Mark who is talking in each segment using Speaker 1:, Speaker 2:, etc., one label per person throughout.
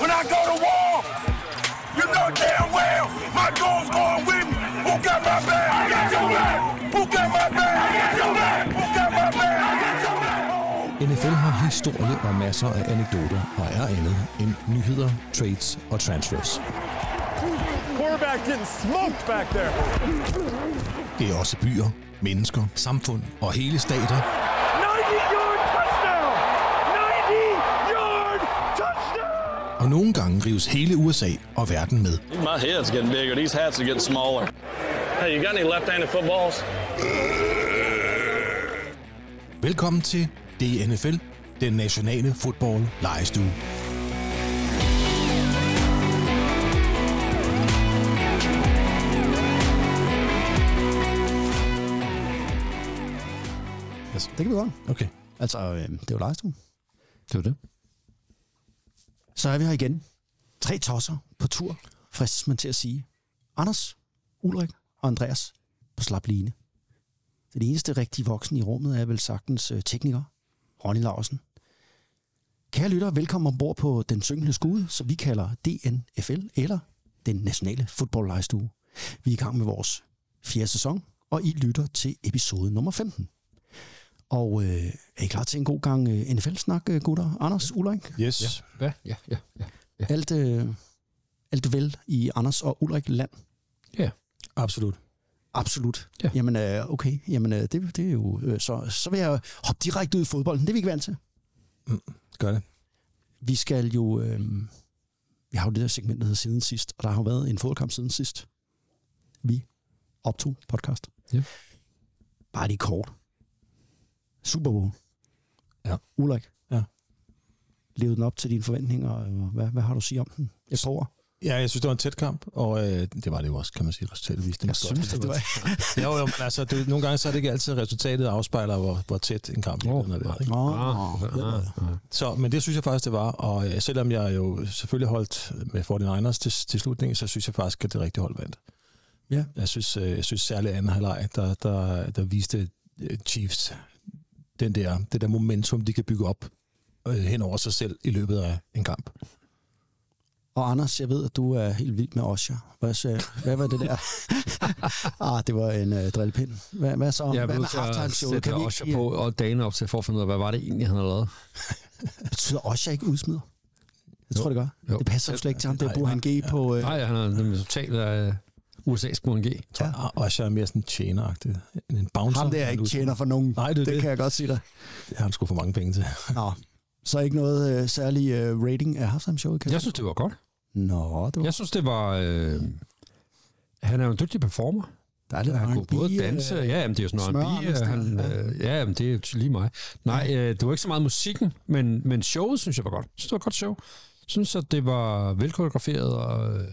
Speaker 1: when I go to war. You know damn well my goal's going with me. Who got my back? I got your back. Who got my back? I got your back. Who got my back? I got your back.
Speaker 2: NFL har historie og masser af anekdoter og er andet end nyheder, trades og transfers.
Speaker 3: Quarterback getting smoked back there.
Speaker 2: Det er også byer, mennesker, samfund og hele stater,
Speaker 3: 90-yard touchdown! 90-yard touchdown!
Speaker 2: og nogle gange rives hele USA og verden med.
Speaker 4: My head's getting bigger. These hats are getting smaller. Hey, you got any left-handed footballs?
Speaker 2: Velkommen til DNFL, den nationale fodbold lejestue.
Speaker 5: Altså, det kan vi godt.
Speaker 2: Okay.
Speaker 5: Altså, øh, det er jo livestream.
Speaker 6: Det var det.
Speaker 5: Så er vi her igen. Tre tosser på tur, fristes man til at sige. Anders, Ulrik og Andreas på slap line. Den eneste rigtige voksen i rummet er vel sagtens øh, tekniker, Ronny Larsen. Kære lytter, velkommen ombord på Den Synkende Skude, som vi kalder DNFL, eller Den Nationale Fodboldlejstue. Vi er i gang med vores fjerde sæson, og I lytter til episode nummer 15. Og øh, er I klar til en god gang øh, NFL-snak, øh, gutter? Anders, Ulrik,
Speaker 2: Yes.
Speaker 6: Ja. Hvad? Ja, ja, ja. ja.
Speaker 5: alt, øh, alt vel i Anders og Ulrik land.
Speaker 6: ja.
Speaker 2: Absolut.
Speaker 5: Absolut.
Speaker 6: Ja.
Speaker 5: Jamen, øh, okay. Jamen, øh, det, det er jo... Øh, så, så vil jeg hoppe direkte ud i fodbolden. Det er vi ikke vant til.
Speaker 2: Gør det.
Speaker 5: Vi skal jo... Øh, vi har jo det der segment, der hedder siden sidst, og der har jo været en fodboldkamp siden sidst. Vi optog podcast.
Speaker 6: Ja.
Speaker 5: Bare lige kort. Super Bowl.
Speaker 2: Ja.
Speaker 5: Ulrik.
Speaker 2: Ja.
Speaker 5: Levede den op til dine forventninger? og Hvad, hvad har du at sige om den? Jeg tror,
Speaker 2: Ja, jeg synes, det var en tæt kamp, og øh, det var det jo også, kan man sige, resultatet viste.
Speaker 5: jeg synes, det var...
Speaker 2: jo, jo, men altså, det, nogle gange så er det ikke altid, resultatet afspejler, hvor, hvor tæt en kamp oh,
Speaker 6: Åh,
Speaker 2: er.
Speaker 6: nej.
Speaker 2: Ikke?
Speaker 5: Nå,
Speaker 2: Så, men det synes jeg faktisk, det var. Og øh, selvom jeg jo selvfølgelig holdt med 49ers til, til slutningen, så synes jeg faktisk, at det rigtige hold vandt.
Speaker 5: Ja.
Speaker 2: Jeg synes, øh, jeg synes særligt anden halvleg, der, der, der viste øh, Chiefs den der, det der momentum, de kan bygge op øh, hen over sig selv i løbet af en kamp.
Speaker 5: Og Anders, jeg ved, at du er helt vild med Osha. Hvad, så, hvad var det der? ah, det var en øh, drillpind. Hvad, hvad så?
Speaker 6: Jeg
Speaker 5: hvad
Speaker 6: blev nødt til at
Speaker 5: halftime-showet?
Speaker 6: sætte
Speaker 5: Kan vi
Speaker 6: Osher
Speaker 5: ikke,
Speaker 6: på og dagen op til for at finde ud af, hvad var det egentlig, han havde lavet.
Speaker 5: Betyder Osha ikke udsmider? Jeg tror, det gør.
Speaker 6: Jo.
Speaker 5: Det passer jo slet ikke til ham, der
Speaker 2: Nej,
Speaker 5: bruger han G på... Øh,
Speaker 6: Nej, han er nemlig totalt øh, af USA's Burhan G.
Speaker 2: Ja. Og så er mere sådan tjeneragtig end en bouncer.
Speaker 5: ham der ikke tjener for nogen.
Speaker 2: Nej, det er
Speaker 5: det
Speaker 2: det.
Speaker 5: kan jeg godt sige dig.
Speaker 2: Det har han sgu for mange penge til.
Speaker 5: Nå, så ikke noget øh, særlig øh, rating af halftime-showet, kan
Speaker 6: Jeg synes, det var godt.
Speaker 5: Nå, det var
Speaker 6: Jeg synes, det var... Øh, han er jo en dygtig performer.
Speaker 5: dejligt.
Speaker 6: Han kunne
Speaker 5: R&B,
Speaker 6: både
Speaker 5: øh,
Speaker 6: danse, ja, jamen, det er jo sådan
Speaker 5: smør
Speaker 6: noget R&B,
Speaker 5: Anders
Speaker 6: øh,
Speaker 5: der,
Speaker 6: han, øh, ja, jamen, det er jo lige mig. Nej, øh, det var ikke så meget musikken, men, men showet synes jeg var godt. Jeg synes, det var et godt show. Jeg synes, at det var velkoreograferet og øh,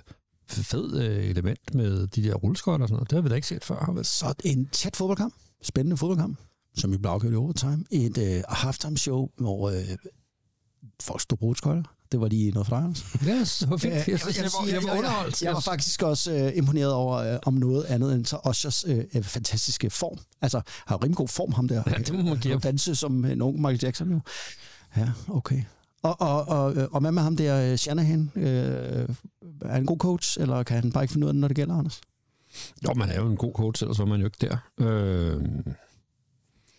Speaker 6: fed øh, element med de der rulleskøjter og sådan noget. Det har vi da ikke set før. Har vi?
Speaker 5: Så en tæt fodboldkamp, spændende fodboldkamp, som vi blev afgjort i overtime. Et øh, halftime-show, hvor øh, folk stod brudskøjler. Det var lige noget for dig, Anders.
Speaker 6: Ja, så var fint.
Speaker 5: Øh,
Speaker 6: Jeg, jeg, jeg,
Speaker 5: vil
Speaker 6: jeg,
Speaker 5: sige,
Speaker 6: jeg, jeg var
Speaker 5: jeg-
Speaker 6: underholdt.
Speaker 5: Jeg var faktisk også øh, imponeret over øh, om noget andet end så Oshers øh, øh, fantastiske form. Altså, har jo rimelig god form, ham der.
Speaker 6: Ja, det må man give
Speaker 5: Han
Speaker 6: ham.
Speaker 5: danse som øh, en ung Michael Jackson jo. Ja, okay. Og, og, og, øh, og hvad med ham der, øh, Shanahan? Øh, er han en god coach, eller kan han bare ikke finde ud af det, når det gælder, Anders?
Speaker 6: Jo, man er jo en god coach, ellers var man jo ikke der. Øh,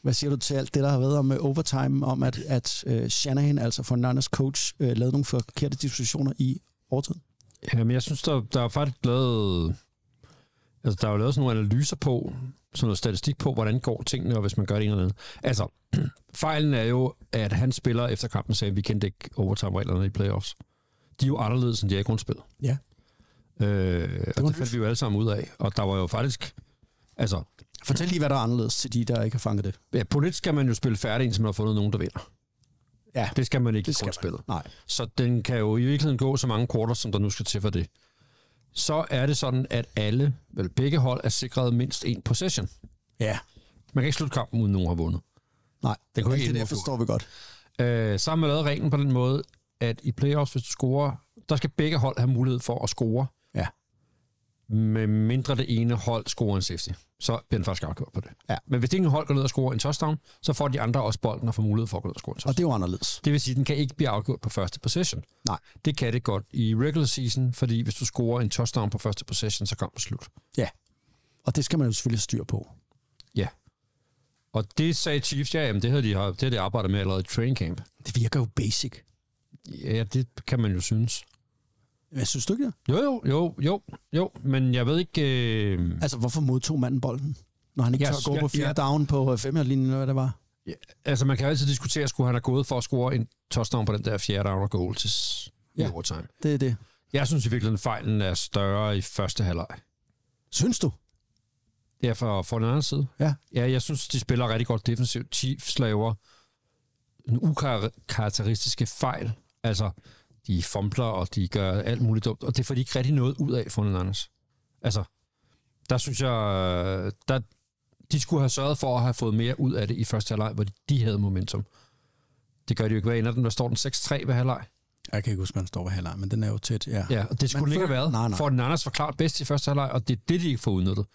Speaker 5: Hvad siger du til alt det, der har været om øh, overtime, om at, at øh, Shanahan, altså for Niners coach, øh, lavede nogle forkerte dispositioner i overtiden?
Speaker 6: jamen, jeg synes, der, der er faktisk lavet... Altså, der er jo lavet sådan nogle analyser på, sådan noget statistik på, hvordan går tingene, og hvis man gør det ene eller andet. Altså, fejlen er jo, at han spiller efter kampen sagde, at vi kendte ikke overtime-reglerne i playoffs. De er jo anderledes, end de er i grundspillet.
Speaker 5: Ja.
Speaker 6: Øh, det og det fandt vi jo alle sammen ud af. Og der var jo faktisk... Altså,
Speaker 5: Fortæl lige, hvad der er anderledes til de, der ikke har fanget det.
Speaker 6: ja, politisk skal man jo spille færdig, indtil man har fundet nogen, der vinder.
Speaker 5: Ja,
Speaker 6: Det skal man ikke
Speaker 5: det
Speaker 6: det
Speaker 5: skal
Speaker 6: i
Speaker 5: man.
Speaker 6: grundspillet.
Speaker 5: Nej.
Speaker 6: Så den kan jo i virkeligheden gå så mange quarters, som der nu skal til for det. Så er det sådan, at alle, vel begge hold, er sikret mindst en possession.
Speaker 5: Ja.
Speaker 6: Man kan ikke slutte kampen, uden nogen har vundet.
Speaker 5: Nej,
Speaker 6: Den kunne
Speaker 5: alt
Speaker 6: ikke
Speaker 5: det der
Speaker 6: ende på-
Speaker 5: forstår vi godt.
Speaker 6: Øh, så har man lavet reglen på den måde, at i playoffs, hvis du scorer, der skal begge hold have mulighed for at score.
Speaker 5: Ja.
Speaker 6: med mindre det ene hold scorer en safety, så bliver den faktisk afgjort på det.
Speaker 5: Ja.
Speaker 6: Men hvis det ene hold går ned og scorer en touchdown, så får de andre også bolden og får mulighed for at gå ned og score en touchdown.
Speaker 5: Og det er jo anderledes.
Speaker 6: Det vil sige, at den kan ikke blive afgjort på første possession.
Speaker 5: Nej.
Speaker 6: Det kan det godt i regular season, fordi hvis du scorer en touchdown på første possession, så kommer slut.
Speaker 5: Ja. Og det skal man jo selvfølgelig have styr på.
Speaker 6: Ja. Og det sagde Chiefs, ja, jamen, det havde de, har- det havde de arbejdet med allerede i training camp.
Speaker 5: Det virker jo basic.
Speaker 6: Ja, det kan man jo synes.
Speaker 5: Jeg synes du ikke det?
Speaker 6: Jo, jo, jo, jo, jo, men jeg ved ikke... Øh,
Speaker 5: Altså, hvorfor modtog manden bolden? Når han ikke
Speaker 6: Jeg
Speaker 5: tør at gå
Speaker 6: sy-
Speaker 5: på
Speaker 6: jeg-
Speaker 5: fjerde
Speaker 6: jeg-
Speaker 5: down på femhjørlinjen, eller hvad det var.
Speaker 6: altså, man kan jo altid diskutere, skulle han have gået for at score en touchdown på den der fjerde down og goal til s- i
Speaker 5: Ja.
Speaker 6: overtime.
Speaker 5: Det er det.
Speaker 6: Jeg synes i virkeligheden, fejlen er større i første halvleg.
Speaker 5: Synes du?
Speaker 6: Det er fra, fra den anden side.
Speaker 5: Ja.
Speaker 6: Ja, jeg synes, de spiller rigtig godt defensivt. Chiefs laver en ukarakteristiske fejl. Altså, de fumbler, og de gør alt muligt dumt, og det får de ikke rigtig noget ud af, for Anders. Altså, der synes jeg, øh, der, de skulle have sørget for at have fået mere ud af det i første halvleg, hvor de, de havde momentum. Det gør de jo ikke. Hvad ender den? Der står den 6-3 ved halvleg.
Speaker 5: Jeg kan ikke huske, hvad han står ved halvleg, men den er jo tæt. Ja.
Speaker 6: Ja, og det skulle
Speaker 5: Men
Speaker 6: den ikke
Speaker 5: før-
Speaker 6: have været.
Speaker 5: Nej, nej.
Speaker 6: For Anders var klart bedst i første halvleg, og det er det, de ikke får udnyttet.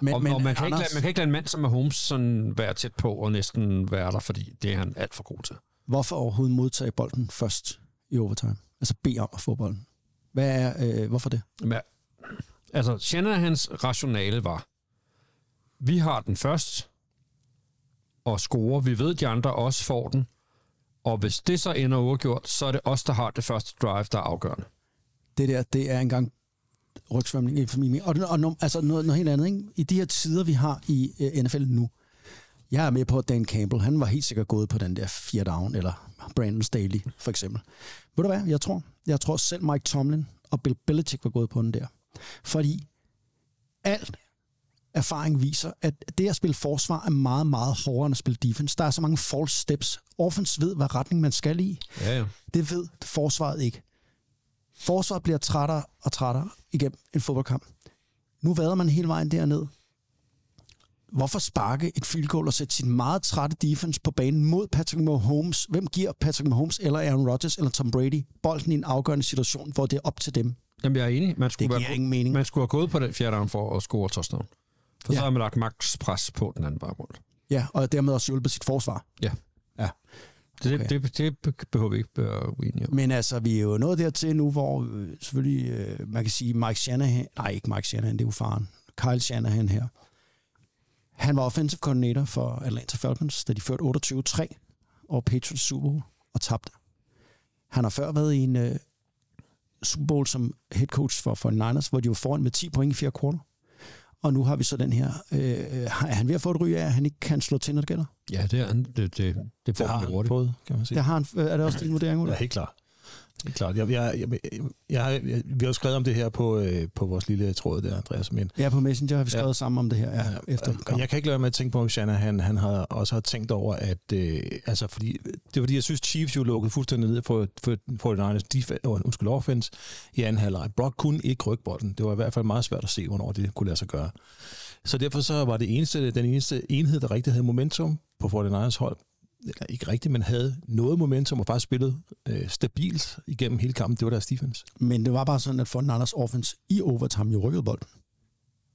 Speaker 5: Men,
Speaker 6: Og,
Speaker 5: men
Speaker 6: men, og man, kan ikke
Speaker 5: Anders,
Speaker 6: lade, man kan ikke lade en mand som er Holmes sådan være tæt på og næsten være der, fordi det er han alt for god til.
Speaker 5: hvorfor overhovedet modtage bolden først i overtime? Altså, bede om at få bolden. Hvad er, øh, hvorfor det?
Speaker 6: Men, altså, Shanahans rationale var, vi har den først og scorer. Vi ved, at de andre også får den. Og hvis det så ender uafgjort, så er det os, der har det første drive, der er afgørende.
Speaker 5: det der, det er engang rygsvømning i familien. Og, og no, altså noget, noget helt andet, ikke? I de her tider, vi har i uh, NFL nu, jeg er med på, at Dan Campbell, han var helt sikkert gået på den der fire down, eller Brandon Staley, for eksempel. Ved du hvad, jeg tror? Jeg tror selv Mike Tomlin og Bill Belichick var gået på den der. Fordi alt erfaring viser, at det at spille forsvar er meget, meget hårdere end at spille defense. Der er så mange false steps. Offense ved, hvad retning man skal i.
Speaker 6: Ja, ja.
Speaker 5: Det ved forsvaret ikke. Forsvaret bliver trættere og trættere igennem en fodboldkamp. Nu vader man hele vejen derned. Hvorfor sparke et field goal og sætte sin meget trætte defense på banen mod Patrick Mahomes? Hvem giver Patrick Mahomes eller Aaron Rodgers eller Tom Brady bolden i en afgørende situation, hvor det er op til dem?
Speaker 6: Jamen, jeg er enig. Man skulle
Speaker 5: Det giver
Speaker 6: være,
Speaker 5: ingen mening.
Speaker 6: Man skulle have gået på den fjerde down for at score touchdown. For ja.
Speaker 5: Ja.
Speaker 6: så har man lagt max pres på den anden vej rundt.
Speaker 5: Ja, og dermed også hjulpet sit forsvar.
Speaker 6: Ja.
Speaker 5: Ja.
Speaker 6: Det,
Speaker 5: Okay.
Speaker 6: okay. det, det, det behøver vi ikke være uenige om.
Speaker 5: Men altså, vi er jo nået dertil nu, hvor øh, selvfølgelig, øh, man kan sige, Mike Shanahan, nej ikke Mike Shanahan, det er jo faren, Kyle Shanahan her. Han var offensive coordinator for Atlanta Falcons, da de førte 28-3 over Patriots Super Bowl og tabte. Han har før været i en øh, Super Bowl som head coach for 49ers, hvor de var foran med 10 point i fjerde kvartal. Og nu har vi så den her. Øh, øh, er han ved at få et ry af, at han ikke kan slå til, når det gælder?
Speaker 6: Ja, det, er, det, det, det får
Speaker 2: Det har
Speaker 6: man
Speaker 2: han
Speaker 6: hurtigt.
Speaker 2: fået, kan man sige.
Speaker 5: Der har han, øh, er det også din vurdering, Ulla?
Speaker 2: Ja, helt klart. Helt klart. Jeg, jeg, jeg, jeg, har- jeg, vi har jo skrevet om det her på, øh, på vores lille tråd der, Andreas. Men
Speaker 5: Ja, på Messenger har vi
Speaker 2: Ja.
Speaker 5: skrevet ja. sammen om det her. Ja, efter
Speaker 2: og jeg kan ikke lade være med at tænke på, om Shanahan han har også har tænkt over, at... Øh, altså, fordi, det er fordi, jeg synes, Chiefs jo lukkede fuldstændig ned for, for, for den egen øh, undskyld, offense i anden halvleg. Brock kunne ikke rykke bolden. Det var i hvert fald meget svært at se, hvornår det kunne lade sig gøre. Så derfor så var det eneste, den eneste enhed, der rigtig havde momentum på 49ers hold, eller ikke rigtigt, men havde noget momentum og faktisk spillet øh, stabilt igennem hele kampen, det var deres defense.
Speaker 5: Men det var bare sådan, at Fonden Anders offense i overtime jo rykkede bolden.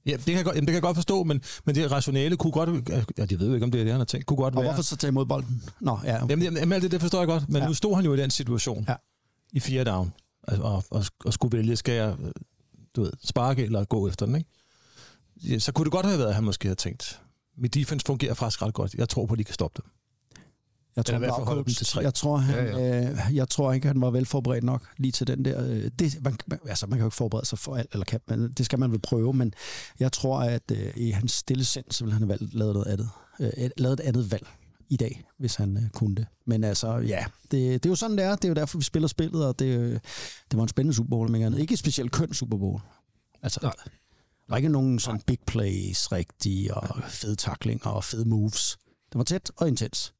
Speaker 2: Ja, det kan jeg godt, jamen, det kan jeg godt forstå, men, men det rationale kunne godt, ja, jeg ved jo ikke, om det er det, han har tænkt, kunne godt
Speaker 5: Og
Speaker 2: være...
Speaker 5: hvorfor så tage imod bolden? Nå, ja.
Speaker 2: Jamen, jamen, jamen alt det, det forstår jeg godt, men
Speaker 5: Ja.
Speaker 2: ja. nu stod han jo i den situation
Speaker 5: Ja.
Speaker 2: ja. i fire down, og, og, og, og skulle vælge, skal jeg øh, du ved, sparke eller gå efter den, ikke? Ja, så kunne det godt have været, at han måske havde tænkt, mit defense fungerer faktisk ret godt, jeg tror på, at de kan stoppe dem.
Speaker 5: Jeg tror,
Speaker 2: eller i hvert fald holde dem
Speaker 5: bagcoached.
Speaker 2: til tre.
Speaker 5: jeg tror, han,
Speaker 6: Ja,
Speaker 5: Øh, jeg tror ikke, han var velforberedt nok lige til den der. Øh, det, man, man- altså, man kan jo ikke forberede sig for alt, eller kan, man, det skal man vel prøve, men jeg tror, at øh, i hans stille sind, så ville han have valgt, lavet, noget andet, øh, et- lavet et andet valg i dag, hvis han øh, kunne det. Men altså, ja, det, det er jo sådan, det er. Det er jo derfor, vi spiller spillet, og det, øh, det var en spændende Super Bowl, men ikke andet. ikke et specielt køn Super Bowl. Altså,
Speaker 6: Nej.
Speaker 5: Der var ikke nogen sådan big plays rigtige, og fede taklinger og fede moves. Det var tæt og intens.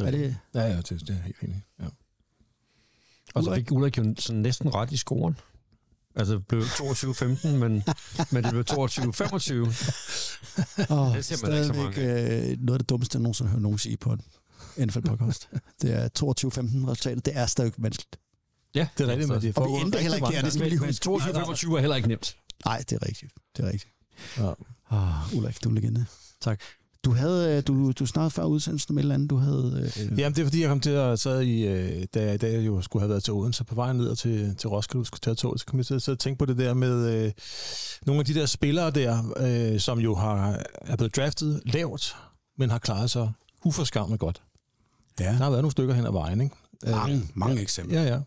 Speaker 5: Er det,
Speaker 2: Ja, ja, det, det er helt enig. Ja.
Speaker 6: Og så fik Ulrik jo sådan næsten ret i scoren. Altså, det blev 22-15, men, men det blev 22-25.
Speaker 5: Åh,
Speaker 6: Det ser man ikke så
Speaker 5: stadigvæk, øh, noget af det dummeste, jeg nogensinde har hørt nogen sige på en NFL-podcast. det er 22-15 resultatet. Det er stadig vanskeligt.
Speaker 6: Ja, altså.
Speaker 2: Det er rigtigt, men det er
Speaker 5: Og vi endte heller ikke der, det skal vi lige huske.
Speaker 6: 22-25 er heller ikke nemt.
Speaker 5: Nej, det er rigtigt. Det er rigtigt.
Speaker 2: Ja.
Speaker 5: Ah, Ulrik, du er en legende. Tak. Du havde, øh, du, du snakkede før udsendelsen om et eller andet, du havde... Øh,
Speaker 2: Jamen, det er fordi, jeg kom til at sad i, øh, da jeg i dag jo skulle have været til Odense på vejen ned og til, til Roskilde, skulle tage toget, så kom jeg til at sidde og tænke på det der med øh, nogle af de der spillere der, øh, som jo har, er blevet draftet lavt, men har klaret sig uforskammende godt.
Speaker 5: Ja.
Speaker 2: Der har været nogle stykker hen ad vejen, ikke? Øh,
Speaker 5: mange, mange eksempler.
Speaker 2: Ja, ja.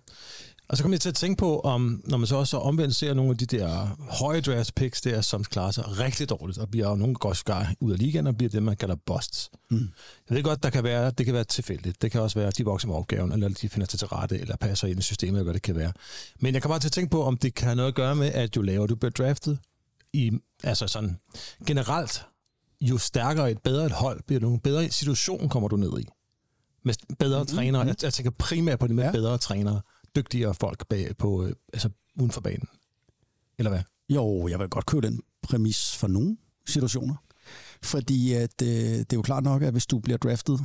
Speaker 2: Og så kom jeg til at tænke på, om, når man så også så omvendt ser nogle af de der høje draft picks der, som klarer sig rigtig dårligt, og bliver jo nogle godt skar ud af ligaen, og bliver det, man kalder busts. Mm. Jeg ved godt, der kan være, det kan være tilfældigt. Det kan også være, at de vokser med opgaven, eller de finder sig til rette, eller passer ind i systemet, eller hvad det kan være. Men jeg kommer bare til at tænke på, om det kan have noget at gøre med, at jo lavere du bliver draftet, i, altså sådan generelt, jo stærkere et bedre et hold bliver du, jo bedre situation kommer du ned i med bedre mm-hmm. trænere. Jeg, jeg tænker primært på det med ja. bedre trænere, dygtigere folk bag på, øh, altså uden for banen. Eller hvad?
Speaker 5: Jo, jeg vil godt købe den præmis for nogle situationer. Fordi at, øh, det er jo klart nok, at hvis du bliver draftet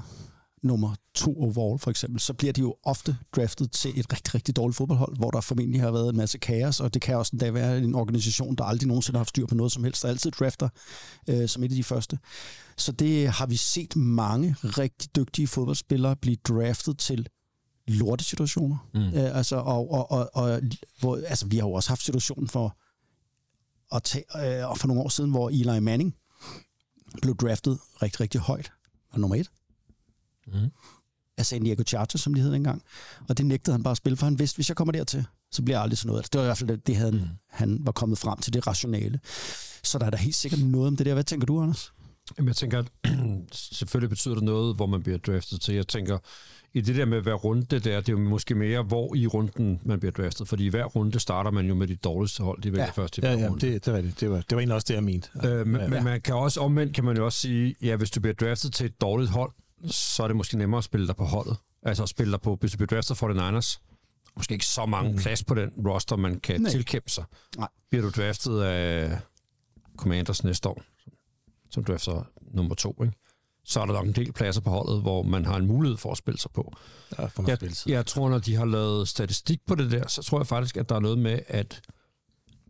Speaker 5: nummer to overall for eksempel, så bliver de jo ofte draftet til et rigtig, rigtig dårligt fodboldhold, hvor der formentlig har været en masse kaos, og det kan også endda være en organisation, der aldrig nogensinde har haft styr på noget som helst, der altid drafter øh, som et af de første. Så det har vi set mange rigtig dygtige fodboldspillere blive draftet til lortesituationer. Mm. Øh, altså, og, og, og, og hvor, altså, vi har jo også haft situationen for, at tage, øh, for nogle år siden, hvor Eli Manning blev draftet rigtig, rigtig højt, og nummer et
Speaker 6: Mhm.
Speaker 5: af San Diego Chargers, som de hed dengang. Og det nægtede han bare at spille, for han vidste, hvis jeg kommer dertil, så bliver jeg aldrig sådan noget. Altså, Det var i hvert fald det, det havde, mm.
Speaker 6: Mhm.
Speaker 5: han var kommet frem til, det rationale. Så der er da helt sikkert noget om det der. Hvad tænker du, Anders?
Speaker 6: Jamen, jeg tænker, at selvfølgelig betyder det noget, hvor man bliver draftet til. Jeg tænker, i det der med hver runde der, det er jo måske mere, hvor i runden man bliver draftet. Fordi i hver runde starter man jo med de dårligste hold, de vælger ja, først i hver
Speaker 2: Ja, ja,
Speaker 6: runde.
Speaker 2: det, det, var det. det var, det var egentlig også det, jeg mente.
Speaker 6: Øh, men, ja. men man kan også omvendt kan man jo også sige, ja, hvis du bliver draftet til et dårligt hold, så er det måske nemmere at spille dig på holdet. Altså at spille dig på, hvis du bliver draftet for den Niners, måske ikke så mange mm. plads på den roster, man kan
Speaker 5: Nej.
Speaker 6: Nej. tilkæmpe sig.
Speaker 5: Nej.
Speaker 6: Bliver du draftet af Commanders næste år, som drafter nummer to, ikke? så er der nok en del pladser på holdet, hvor man har en mulighed for at spille sig på.
Speaker 2: Ja, for noget
Speaker 6: Jeg,
Speaker 2: spilletid.
Speaker 6: jeg tror, når de har lavet statistik på det der, så tror jeg faktisk, at der er noget med, at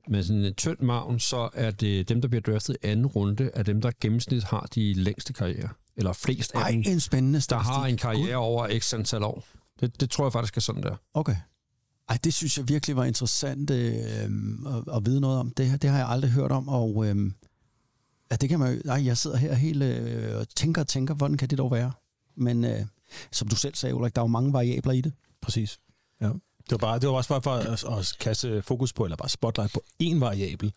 Speaker 6: med sådan en tynd maven, så er det dem, der bliver draftet i anden runde, er dem, der gennemsnit har de længste karriere. Eller flest af
Speaker 5: Ej,
Speaker 6: dem,
Speaker 5: en spændende
Speaker 6: der
Speaker 5: statistik.
Speaker 6: har en karriere over x antal år. Det, det tror jeg faktisk er sådan der.
Speaker 5: Okay. Ej, det synes jeg virkelig var interessant øh, at, at vide noget om. Det, her- det har jeg aldrig hørt om, og øh, ja, det kan man jo... Ej, jeg sidder her helt øh, og tænker og tænker, hvordan kan det dog være? Men øh, som du selv sagde, Ulrik, der er jo mange variabler i det.
Speaker 2: Præcis. Ja. Det var, bare, det var også bare for at, at kaste fokus på, eller bare spotlight på én variabel.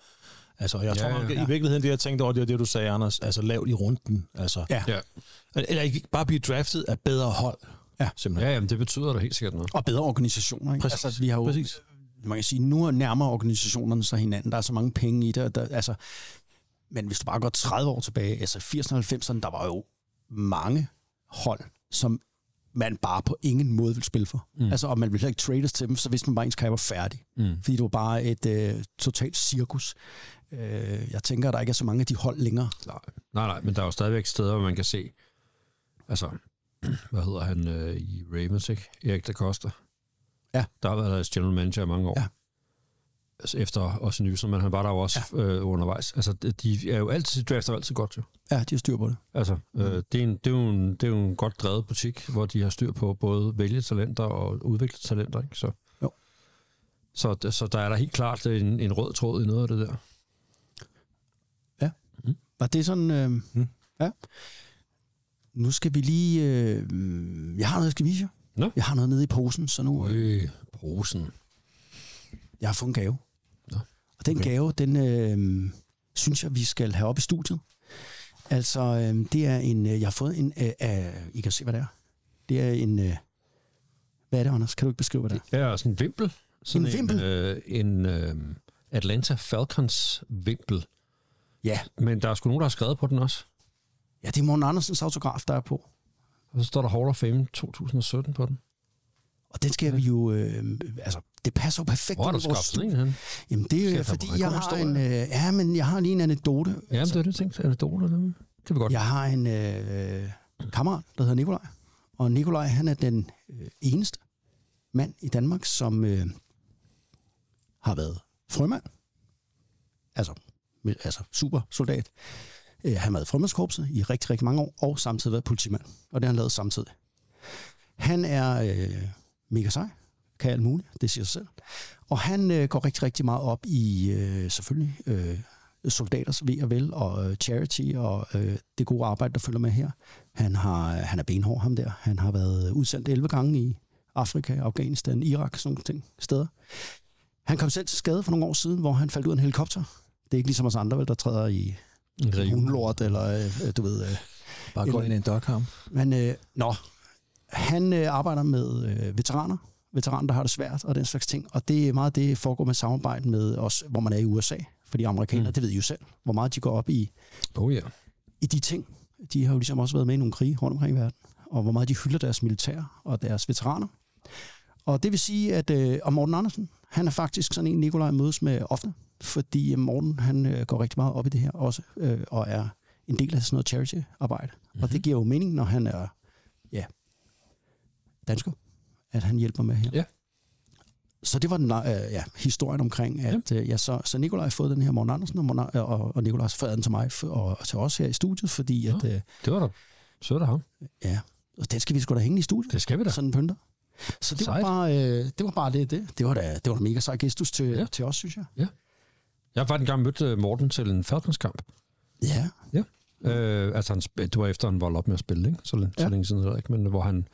Speaker 2: Altså, jeg ja, tror nok, ja. i virkeligheden, det jeg tænkte over, det var det, du sagde, Anders, altså lavt i runden. Altså,
Speaker 5: Ja.
Speaker 6: Ja,
Speaker 2: Eller ikke bare blive draftet af bedre hold. Ja, simpelthen.
Speaker 6: ja jamen, det betyder da helt sikkert noget.
Speaker 5: Og bedre organisationer, ikke?
Speaker 2: Præcis.
Speaker 5: Altså, vi har jo,
Speaker 2: Præcis.
Speaker 5: Man kan sige, nu er nærmere organisationerne sig hinanden. Der er så mange penge i det. og Der, altså, men hvis du bare går 30 år tilbage, altså 80'erne og 90'erne, der var jo mange hold, som man bare på ingen måde ville spille for. Mm. Altså, og man ville heller ikke trades til dem, så vidste man bare, at ens karriere var færdig. Mm. Fordi det var bare et øh, totalt cirkus. Øh, jeg tænker, at der ikke er så mange af de hold længere.
Speaker 6: Nej, nej, nej, men der er jo stadigvæk steder, hvor man kan se, altså, hvad hedder han øh, i Ravens, ikke? Erik da Costa.
Speaker 5: Ja.
Speaker 6: Der har været deres general manager i mange år.
Speaker 5: Ja.
Speaker 6: Altså, efter også Newsom, men han var der jo også ja. øh, undervejs. Altså, de- de er jo altid, de drafter jo altid godt, jo.
Speaker 5: Ja, de har styr på det.
Speaker 6: Altså,
Speaker 5: Mm.
Speaker 6: øh, det, er en, det, er jo en, det er jo en godt drevet butik, hvor de har styr på både vælge talenter og udvikle talenter, ikke? Så,
Speaker 5: Jo.
Speaker 6: Så, så der er der helt klart en, en rød tråd i noget af det der.
Speaker 5: Var det sådan... Øh,
Speaker 6: Hmm.
Speaker 5: mm. Ja. Nu skal vi lige... Øh, jeg har noget, jeg skal vise jer.
Speaker 6: Nå.
Speaker 5: Jeg har noget nede i posen, så nu...
Speaker 6: Øh, posen.
Speaker 5: Jeg har fået en gave. Og den gave, den øh, synes jeg, vi skal have op i studiet. Altså, øh, det er en... Øh, jeg har fået en... Øh, øh, I kan se, hvad det er. Det er en... Øh, hvad er det, Anders? Kan du ikke beskrive, hvad det er?
Speaker 6: Ja, og sådan en vimpel. Sådan
Speaker 5: En vimpel?
Speaker 6: En, øh, en øh, Atlanta Falcons vimpel.
Speaker 5: Ja.
Speaker 6: Men der er sgu nogen, der har skrevet på den også.
Speaker 5: Ja, det er Morten Andersens autograf, der er på.
Speaker 6: Og så står der Hall of Fame 2017 på den.
Speaker 5: Og den skal vi jo... Øh, altså, det passer jo perfekt
Speaker 6: Hvor har
Speaker 5: ind
Speaker 6: du
Speaker 5: i vores
Speaker 6: skabt
Speaker 5: studie.
Speaker 6: sådan en hen?
Speaker 5: Jamen, det er
Speaker 6: Kæft,
Speaker 5: øh,
Speaker 6: hvor
Speaker 5: fordi,
Speaker 6: er det
Speaker 5: jeg
Speaker 6: god
Speaker 5: har,
Speaker 6: historie.
Speaker 5: en, øh, ja, men jeg har lige en anekdote.
Speaker 6: Jamen, det er det, jeg tænkte. Anekdoter, det kan vi godt.
Speaker 5: Jeg har en øh, kammerat, der hedder Nikolaj. Og Nikolaj, han er den øh, eneste mand i Danmark, som øh, har været frømand altså, med- altså super soldat. Øh, han havde frømandskorpset i rigtig, rigtig mange år, og samtidig været politimand. Og det har han lavet samtidig. Han er øh, mega sej, kan alt muligt, det siger sig selv. Og han øh, går rigtig, rigtig meget op i, øh, selvfølgelig, øh, soldaters ved og vel, og øh, charity, og øh, det gode arbejde, der følger med her. Han, har, han er benhård, ham der. Han har været udsendt 11 gange i Afrika, Afghanistan, Irak, sådan nogle ting, steder. Han kom selv til skade for nogle år siden, hvor han faldt ud af en helikopter. Det er ikke ligesom os andre, vel, der træder i
Speaker 6: En reol.
Speaker 5: hundelort, eller øh, øh, du ved... Øh,
Speaker 2: Bare gå
Speaker 5: Eller-
Speaker 2: ind i en doghound.
Speaker 5: men øh, nå, han øh, arbejder med øh, veteraner, veteraner, der har det svært og den slags ting, og det er meget det, foregår med samarbejde med os, hvor man er i USA, fordi amerikanere,
Speaker 6: Mm.
Speaker 5: mm. det ved I jo selv, hvor meget de går op i,
Speaker 6: Oh, ja.
Speaker 5: i de ting. De har jo ligesom også været med i nogle krige rundt omkring i verden, og hvor meget de hylder deres militær og deres veteraner. Og det vil sige, at øh, og Morten Andersen, han er faktisk sådan en, Nikolaj mødes med ofte, fordi øh, Morten, han øh, går rigtig meget op i det her også, øh, og er en del af sådan noget charity-arbejde. Mm-hmm. Og det giver jo mening, når han er ja, dansker, at han hjælper med her.
Speaker 6: Ja.
Speaker 5: Så det var den, øh, ja, historien omkring, at øh, ja, så, så Nikolaj har fået den her Morten Andersen, og, Morten, og, og Nikolaj har fået den til mig for, og, og til os her i studiet, fordi at, øh,
Speaker 6: Det var da. Så er det ham.
Speaker 5: ja, og den skal vi sgu da hænge i studiet.
Speaker 6: Det skal vi da.
Speaker 5: Sådan en pynter. Så det var,
Speaker 6: Sejt.
Speaker 5: bare, øh, det var bare det. Det, det, var, da, det var da mega sej gestus til,
Speaker 6: Ja.
Speaker 5: ja. til os, synes jeg.
Speaker 6: Jeg har faktisk engang mødt øh, Morten til en faldmandskamp.
Speaker 5: Ja,
Speaker 6: Øh, altså, han, sp- det var efter, han var op med at spille, ikke? Så, ja. så
Speaker 5: Ja.
Speaker 6: længe siden, hedder det ikke? men hvor han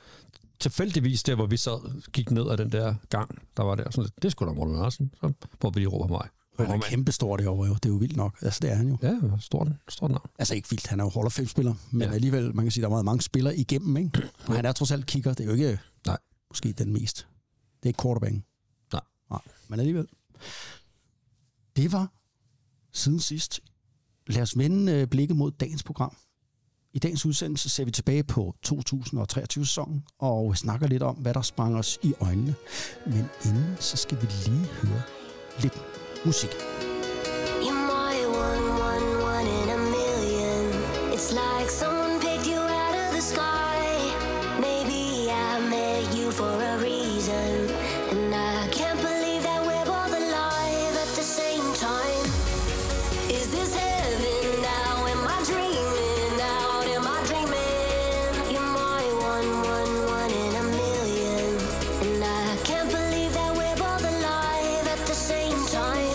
Speaker 6: tilfældigvis der, hvor vi sad, gik ned ad den der gang, der var der sådan lidt, det skulle da Morten Larsen, så prøvede vi lige at råbe af mig.
Speaker 5: han er kæmpe stor derovre jo. Det er jo vildt nok. Altså, det er han jo.
Speaker 6: Ja, stort, stort navn.
Speaker 5: Altså ikke vildt, han er jo Hall of Fame-spiller, men
Speaker 6: Ja.
Speaker 5: ja. alligevel, man kan sige, der er meget mange spillere igennem, ikke? Og han er trods alt kigger, det er jo ikke
Speaker 6: Nej.
Speaker 5: måske den mest. Det er ikke quarterbacken.
Speaker 6: Nej.
Speaker 5: Nej, men alligevel. Det var siden sidst. Lad os vende øh, blikket mod dagens program. I dagens udsendelse ser vi tilbage på 2023-sæsonen og snakker lidt om, hvad der sprang os i øjnene. Men inden, så skal vi lige høre lidt musik.
Speaker 7: You're more than one, one, one in a million. It's like someone picked you out of the sky. Maybe I met you for a reason. And I can't believe that we're both alive at the same time. Is this heaven now? Am I dreaming out? Am I dreaming? You're my one, one, one in a million. And I can't believe that we're both alive at the same time.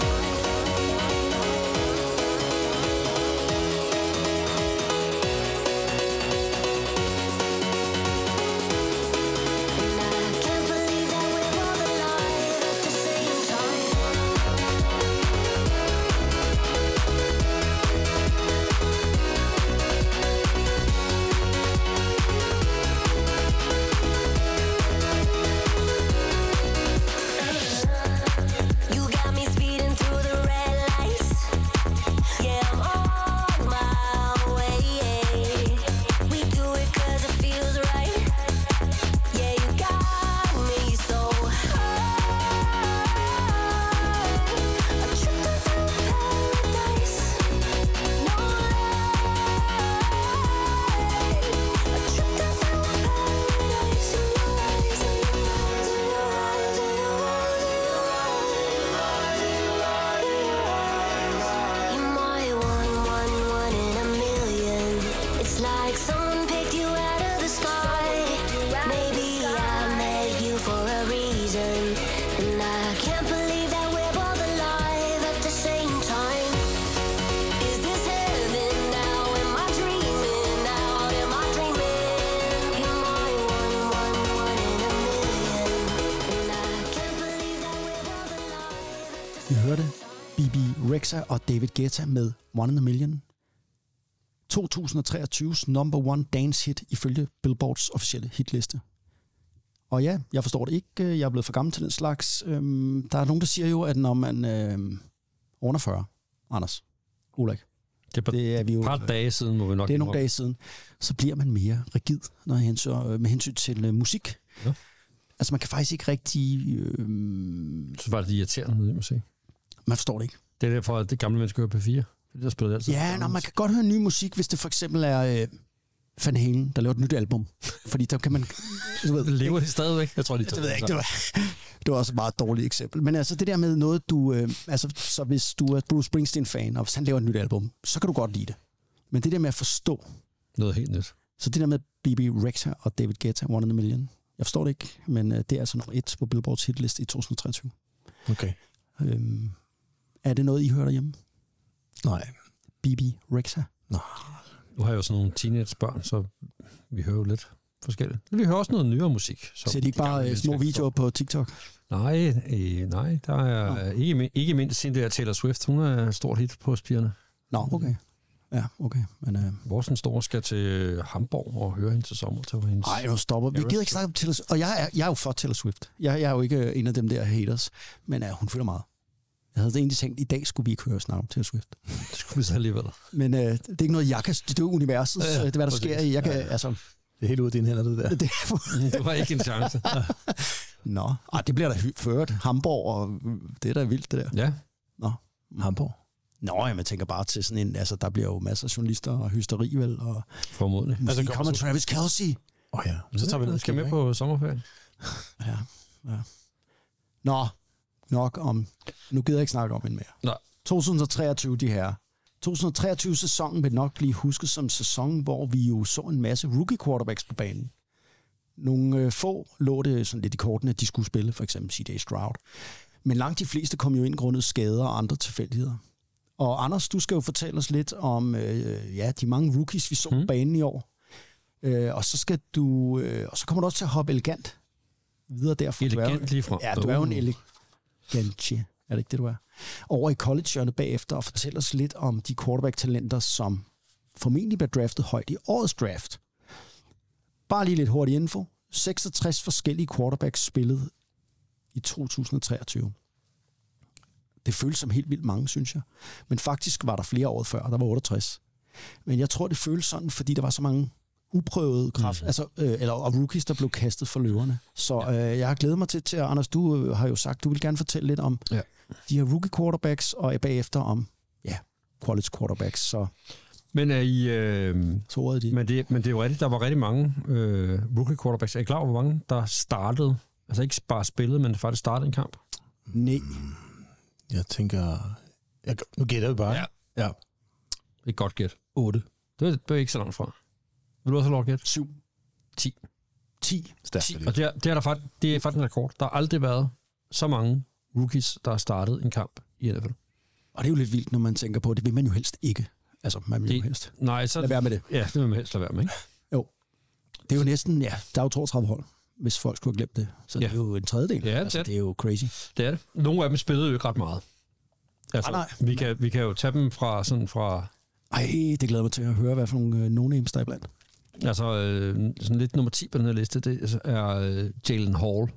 Speaker 7: And I can't believe that we're both alive at the same time. You got me speeding through the red lights. Yeah, I'm on my way. We do it 'cause it feels right. Yeah, you got me so high. A trip to paradise. No lie. A trip to paradise. You're my one, one, one in a million. It's like someone picked you out of the sky. Maybe I met you for a reason, and I can't believe that we're both alive at the same time. Is this heaven now? Am I dreaming out? Am I dreaming? You're my one, one, one in a million, and I can't believe that we're both alive.
Speaker 5: Vi hørte Bibi Rexa og David Guetta med One in a Million. 2023's number one dance hit ifølge Billboards officielle hitliste. Og ja, jeg forstår det ikke. Jeg er blevet for gammel til den slags. Øhm, der er nogen, der siger jo, at når man øhm, under 40, Anders, Ulrik,
Speaker 6: Det er bare
Speaker 5: det er vi jo...
Speaker 6: et par dage siden, må vi nok
Speaker 5: Det er nogle dage siden. Så bliver man mere rigid når hensyn, øh, med hensyn til øh, musik.
Speaker 6: Ja.
Speaker 5: Altså man kan faktisk ikke rigtig... Øh, man
Speaker 6: Så var det irriterende, jeg må sige.
Speaker 5: forstår det ikke.
Speaker 6: Det er derfor, at det gamle mennesker hører på 4. Det der spiller altid.
Speaker 5: Ja, nå, man kan godt høre ny musik, hvis det for eksempel er øh, Van Halen, der laver et nyt album. Fordi der kan man... Du ved,
Speaker 6: Lever de stadigvæk? Jeg tror, de
Speaker 5: det ved jeg ikke, det var, det var også et meget dårligt eksempel. Men altså det der med noget, du... Øh, altså, så hvis du er Bruce Springsteen-fan, og hvis han laver et nyt album, så kan du godt lide det. Men det der med at forstå,
Speaker 6: Noget helt nyt.
Speaker 5: så det der med BB Rexha og David Guetta, One in a Million, jeg forstår det ikke, men øh, det er altså nummer et på Billboard's hitliste i 2023.
Speaker 2: Okay.
Speaker 5: Øhm, er det noget, I hører derhjemme?
Speaker 2: Nej.
Speaker 5: BB Rexha?
Speaker 6: Nu har jeg jo sådan nogle teenagebørn, så vi hører jo lidt forskelligt. Men vi hører også noget nyere musik. Som
Speaker 5: Ser de ikke
Speaker 6: de gamle
Speaker 5: bare øh,
Speaker 6: mennesker
Speaker 5: små
Speaker 6: ikke
Speaker 5: videoer på TikTok?
Speaker 6: Nej, øh, nej, der er øh, ikke, mi- ikke mindst siden det er Taylor Swift. Hun er et stort hit på spirene.
Speaker 5: Nå,
Speaker 2: Mm.
Speaker 5: okay. Ja, okay. Men, øh,
Speaker 6: Vores den store skal til Hamburg og høre hende til sommer. Til hendes.
Speaker 5: Ej, nu stopper vi. Vi gider ikke snakke om Taylor Swift. Og jeg er, jeg er jo for Taylor Swift. Jeg, jeg er jo ikke øh, en af dem der haters. Men ja, hun fylder meget. Jeg havde egentlig tænkt, at i dag skulle vi ikke høre snart om Taylor Swift.
Speaker 6: det skulle vi så alligevel.
Speaker 5: Men øh, det er ikke noget, jeg kan... Det er jo universet,
Speaker 6: Ja,
Speaker 5: ja, det er, hvad der
Speaker 6: præcis.
Speaker 5: sker. i. Jeg kan, ja, Altså,
Speaker 2: Det er helt ude af dine hænder, det der.
Speaker 5: det, er-
Speaker 6: Det var ikke en chance.
Speaker 5: Nå, Ej, det bliver da hy- ført. Hamburg, og øh, det er da vildt, det der.
Speaker 6: Ja,
Speaker 5: Nå,
Speaker 2: Hamburg.
Speaker 5: Nå jamen, jeg tænker bare til sådan en... Altså, der bliver jo masser af journalister og hysteri, vel? Og
Speaker 6: formodentlig.
Speaker 5: altså,
Speaker 2: kommer
Speaker 5: kommer, kommer
Speaker 2: så-
Speaker 5: Travis Kelsey.
Speaker 2: Åh oh, ja, så tager vi ned.
Speaker 6: Jeg skal med på sommerferien.
Speaker 5: Ja, ja. Nå, nok om... Nu gider jeg ikke snakke om hende mere.
Speaker 6: Nej.
Speaker 5: 2023, de her. 2023-sæsonen vil nok blive husket som sæsonen, hvor vi jo så en masse rookie quarterbacks på banen. Nogle øh, få lå det sådan lidt i kortene, at de skulle spille, for eksempel C.J. Stroud. Men langt de fleste kom jo ind grundet skader og andre tilfældigheder. Og Anders, du skal jo fortælle os lidt om øh, ja, de mange rookies, vi så
Speaker 6: Mhm.
Speaker 5: på banen i år. Øh, og så skal du, øh, og så kommer du også til at hoppe elegant videre derfra. Du er jo-
Speaker 6: Elegant lige fra. Uh.
Speaker 5: Ja, du er jo en elegantie. Er det ikke det, du er? Over i college bagefter og fortæl os lidt om de quarterback-talenter, som formentlig bliver draftet højt i årets draft. Bare lige lidt hurtig info. 66 forskellige quarterbacks spillede i 2023. Det føles som helt vildt mange, synes jeg. Men faktisk var der flere år før, der var 68. Men jeg tror, det føles sådan, fordi der var så mange uprøvede
Speaker 6: Mhm.
Speaker 5: kraft, mm. altså, øh, eller og rookies, der blev kastet for løverne. Så øh, jeg har glædet mig til, til Anders, du øh, har jo sagt, du vil gerne fortælle lidt om
Speaker 6: Ja.
Speaker 5: de her rookie quarterbacks, og bagefter om ja, college quarterbacks. Så,
Speaker 6: Men er I... Øh,
Speaker 5: så ordet er dit.
Speaker 6: Men det, men det er jo rigtigt, der var rigtig mange øh, rookie quarterbacks. Er I klar over, hvor mange der startede? Altså ikke bare spillede, men faktisk startede en kamp?
Speaker 5: Nej.
Speaker 2: Jeg tænker... Jeg, nu gætter vi bare.
Speaker 6: Ja.
Speaker 2: ja.
Speaker 6: Et godt gæt.
Speaker 2: 8.
Speaker 6: Det er, det er ikke så langt fra. Vil du også have lov at gætte?
Speaker 5: 7.
Speaker 6: 10.
Speaker 5: 10.
Speaker 2: Stærkt.
Speaker 6: Og det er, det, er der faktisk, det er faktisk en rekord. Der har aldrig været så mange rookies, der har startet en kamp i NFL.
Speaker 5: Og det er jo lidt vildt, når man tænker på, det vil man jo helst ikke. Altså, man vil jo
Speaker 6: Det-
Speaker 5: helst.
Speaker 6: Nej, så...
Speaker 5: Lad være med det.
Speaker 6: Ja, det vil man helst lade være med, ikke?
Speaker 5: Jo. Det er jo næsten, ja, der er jo 32 hold, hvis folk skulle have glemt det. Så ja.
Speaker 6: Ja.
Speaker 5: det er jo en tredjedel.
Speaker 6: Ja,
Speaker 5: altså,
Speaker 6: det-
Speaker 5: det er jo crazy.
Speaker 6: Det er det. Nogle af dem spillede jo ikke ret meget. Altså,
Speaker 5: Ah, Nej,
Speaker 6: Vi, kan, vi kan jo tage dem fra, sådan fra
Speaker 5: Ej, det glæder jeg mig til at høre, hvad for nogle øh, no-names der er blandt.
Speaker 6: Altså, øh, sådan lidt nummer 10 på den her liste, det er øh, Jalen Hall.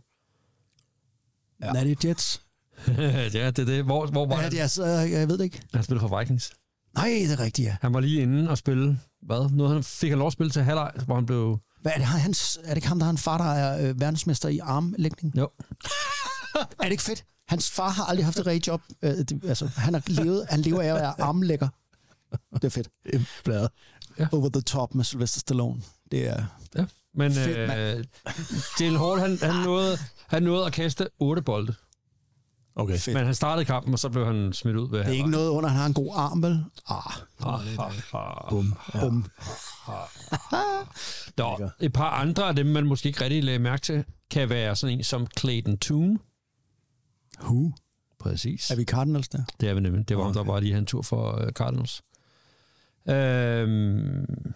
Speaker 5: Ja. Er det Jets?
Speaker 6: ja, det er det. Hvor, hvor var
Speaker 5: Ja,
Speaker 6: han?
Speaker 5: det er, så, jeg ved det ikke.
Speaker 6: Han spillede for Vikings.
Speaker 5: Nej, det er rigtigt, ja.
Speaker 6: Han var lige inde og spille, hvad? Noget, han fik han lov at spille til halvleg, hvor han blev...
Speaker 5: Hvad er det, har hans, er det ikke ham, der har en far, der er øh, verdensmester i armlægning?
Speaker 6: Jo,
Speaker 5: Er det ikke fedt? Hans far har aldrig haft et rigtigt job. Øh, det, altså, han, har levet, han lever af at være armlægger. Det er fedt.
Speaker 2: Bladet.
Speaker 5: Over the top med Sylvester Stallone. Det er...
Speaker 6: ja. Men
Speaker 5: Fedt,
Speaker 6: øh,
Speaker 5: mand.
Speaker 6: Jalen Hall, han, han, nåede, han nåede at kaste otte bolde.
Speaker 2: Okay.
Speaker 5: Fedt.
Speaker 6: Men han startede kampen, og så blev han smidt ud ved
Speaker 5: Det er ikke noget under, han har en god arm, vel? Ah,
Speaker 2: Bum. Ja.
Speaker 5: bum.
Speaker 6: Nå, et par andre af dem, man måske ikke rigtig lagde mærke til, kan være sådan en som Clayton Toon.
Speaker 5: Who?
Speaker 6: Præcis.
Speaker 5: Er vi Cardinals der?
Speaker 6: Det er vi nemlig. Det var ham, der var lige havde en tur for øh, Cardinals. Øhm,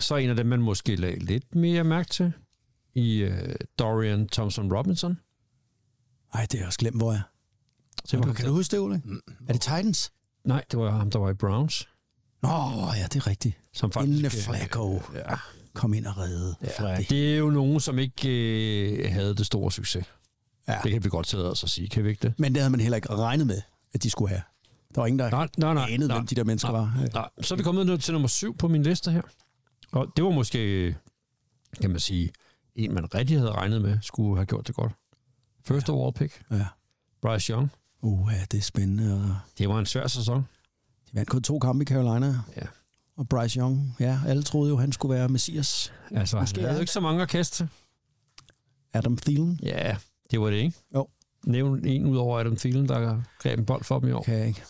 Speaker 6: så en af dem, man måske lagde lidt mere mærke til, i øh, Dorian Thompson Robinson.
Speaker 5: Nej, det er også glemt, hvor jeg er.
Speaker 6: Det var,
Speaker 5: Kan du huske det, Ole?
Speaker 6: Mm,
Speaker 5: Er det Titans?
Speaker 6: nej, det var ham, der var i Browns.
Speaker 5: Nå, ja, det er rigtigt.
Speaker 6: Som faktisk,
Speaker 5: Inden
Speaker 6: øh,
Speaker 5: Flacco ja. kom ind og redde ja, Flacco.
Speaker 6: Det er jo nogen, som ikke øh, havde det store succes.
Speaker 5: Ja.
Speaker 6: Ja. Det kan vi godt tillade os at sige, kan vi ikke det?
Speaker 5: Men det havde man heller ikke regnet med, at de skulle have. Der var ingen, der
Speaker 6: Nej, nej, nej.
Speaker 5: anede,
Speaker 6: nej,
Speaker 5: hvem de der mennesker
Speaker 6: nej,
Speaker 5: var. øh. Ja.
Speaker 6: Nej. Ah, Så er vi kommet ned til nummer syv på min liste her. Og det var måske, øh, kan man sige, en, man rigtig havde regnet med, skulle have gjort det godt. First overall pick,
Speaker 5: Ja.
Speaker 6: Bryce Young.
Speaker 5: Uh, ja, det er spændende. og
Speaker 6: Det var en svær sæson.
Speaker 5: De vandt kun to kampe i Carolina.
Speaker 6: Ja.
Speaker 5: og Bryce Young. Ja, alle troede jo, han skulle være Messias.
Speaker 6: Altså,
Speaker 5: Måske
Speaker 6: Måske
Speaker 5: er
Speaker 6: jeg havde
Speaker 5: han
Speaker 6: jo ikke så mange orkester.
Speaker 5: Adam Thielen.
Speaker 6: Ja, det var det, ikke?
Speaker 5: Jo.
Speaker 6: Nævn en ud over Adam Thielen, der greb en bold for dem i år.
Speaker 5: Kan jeg ikke.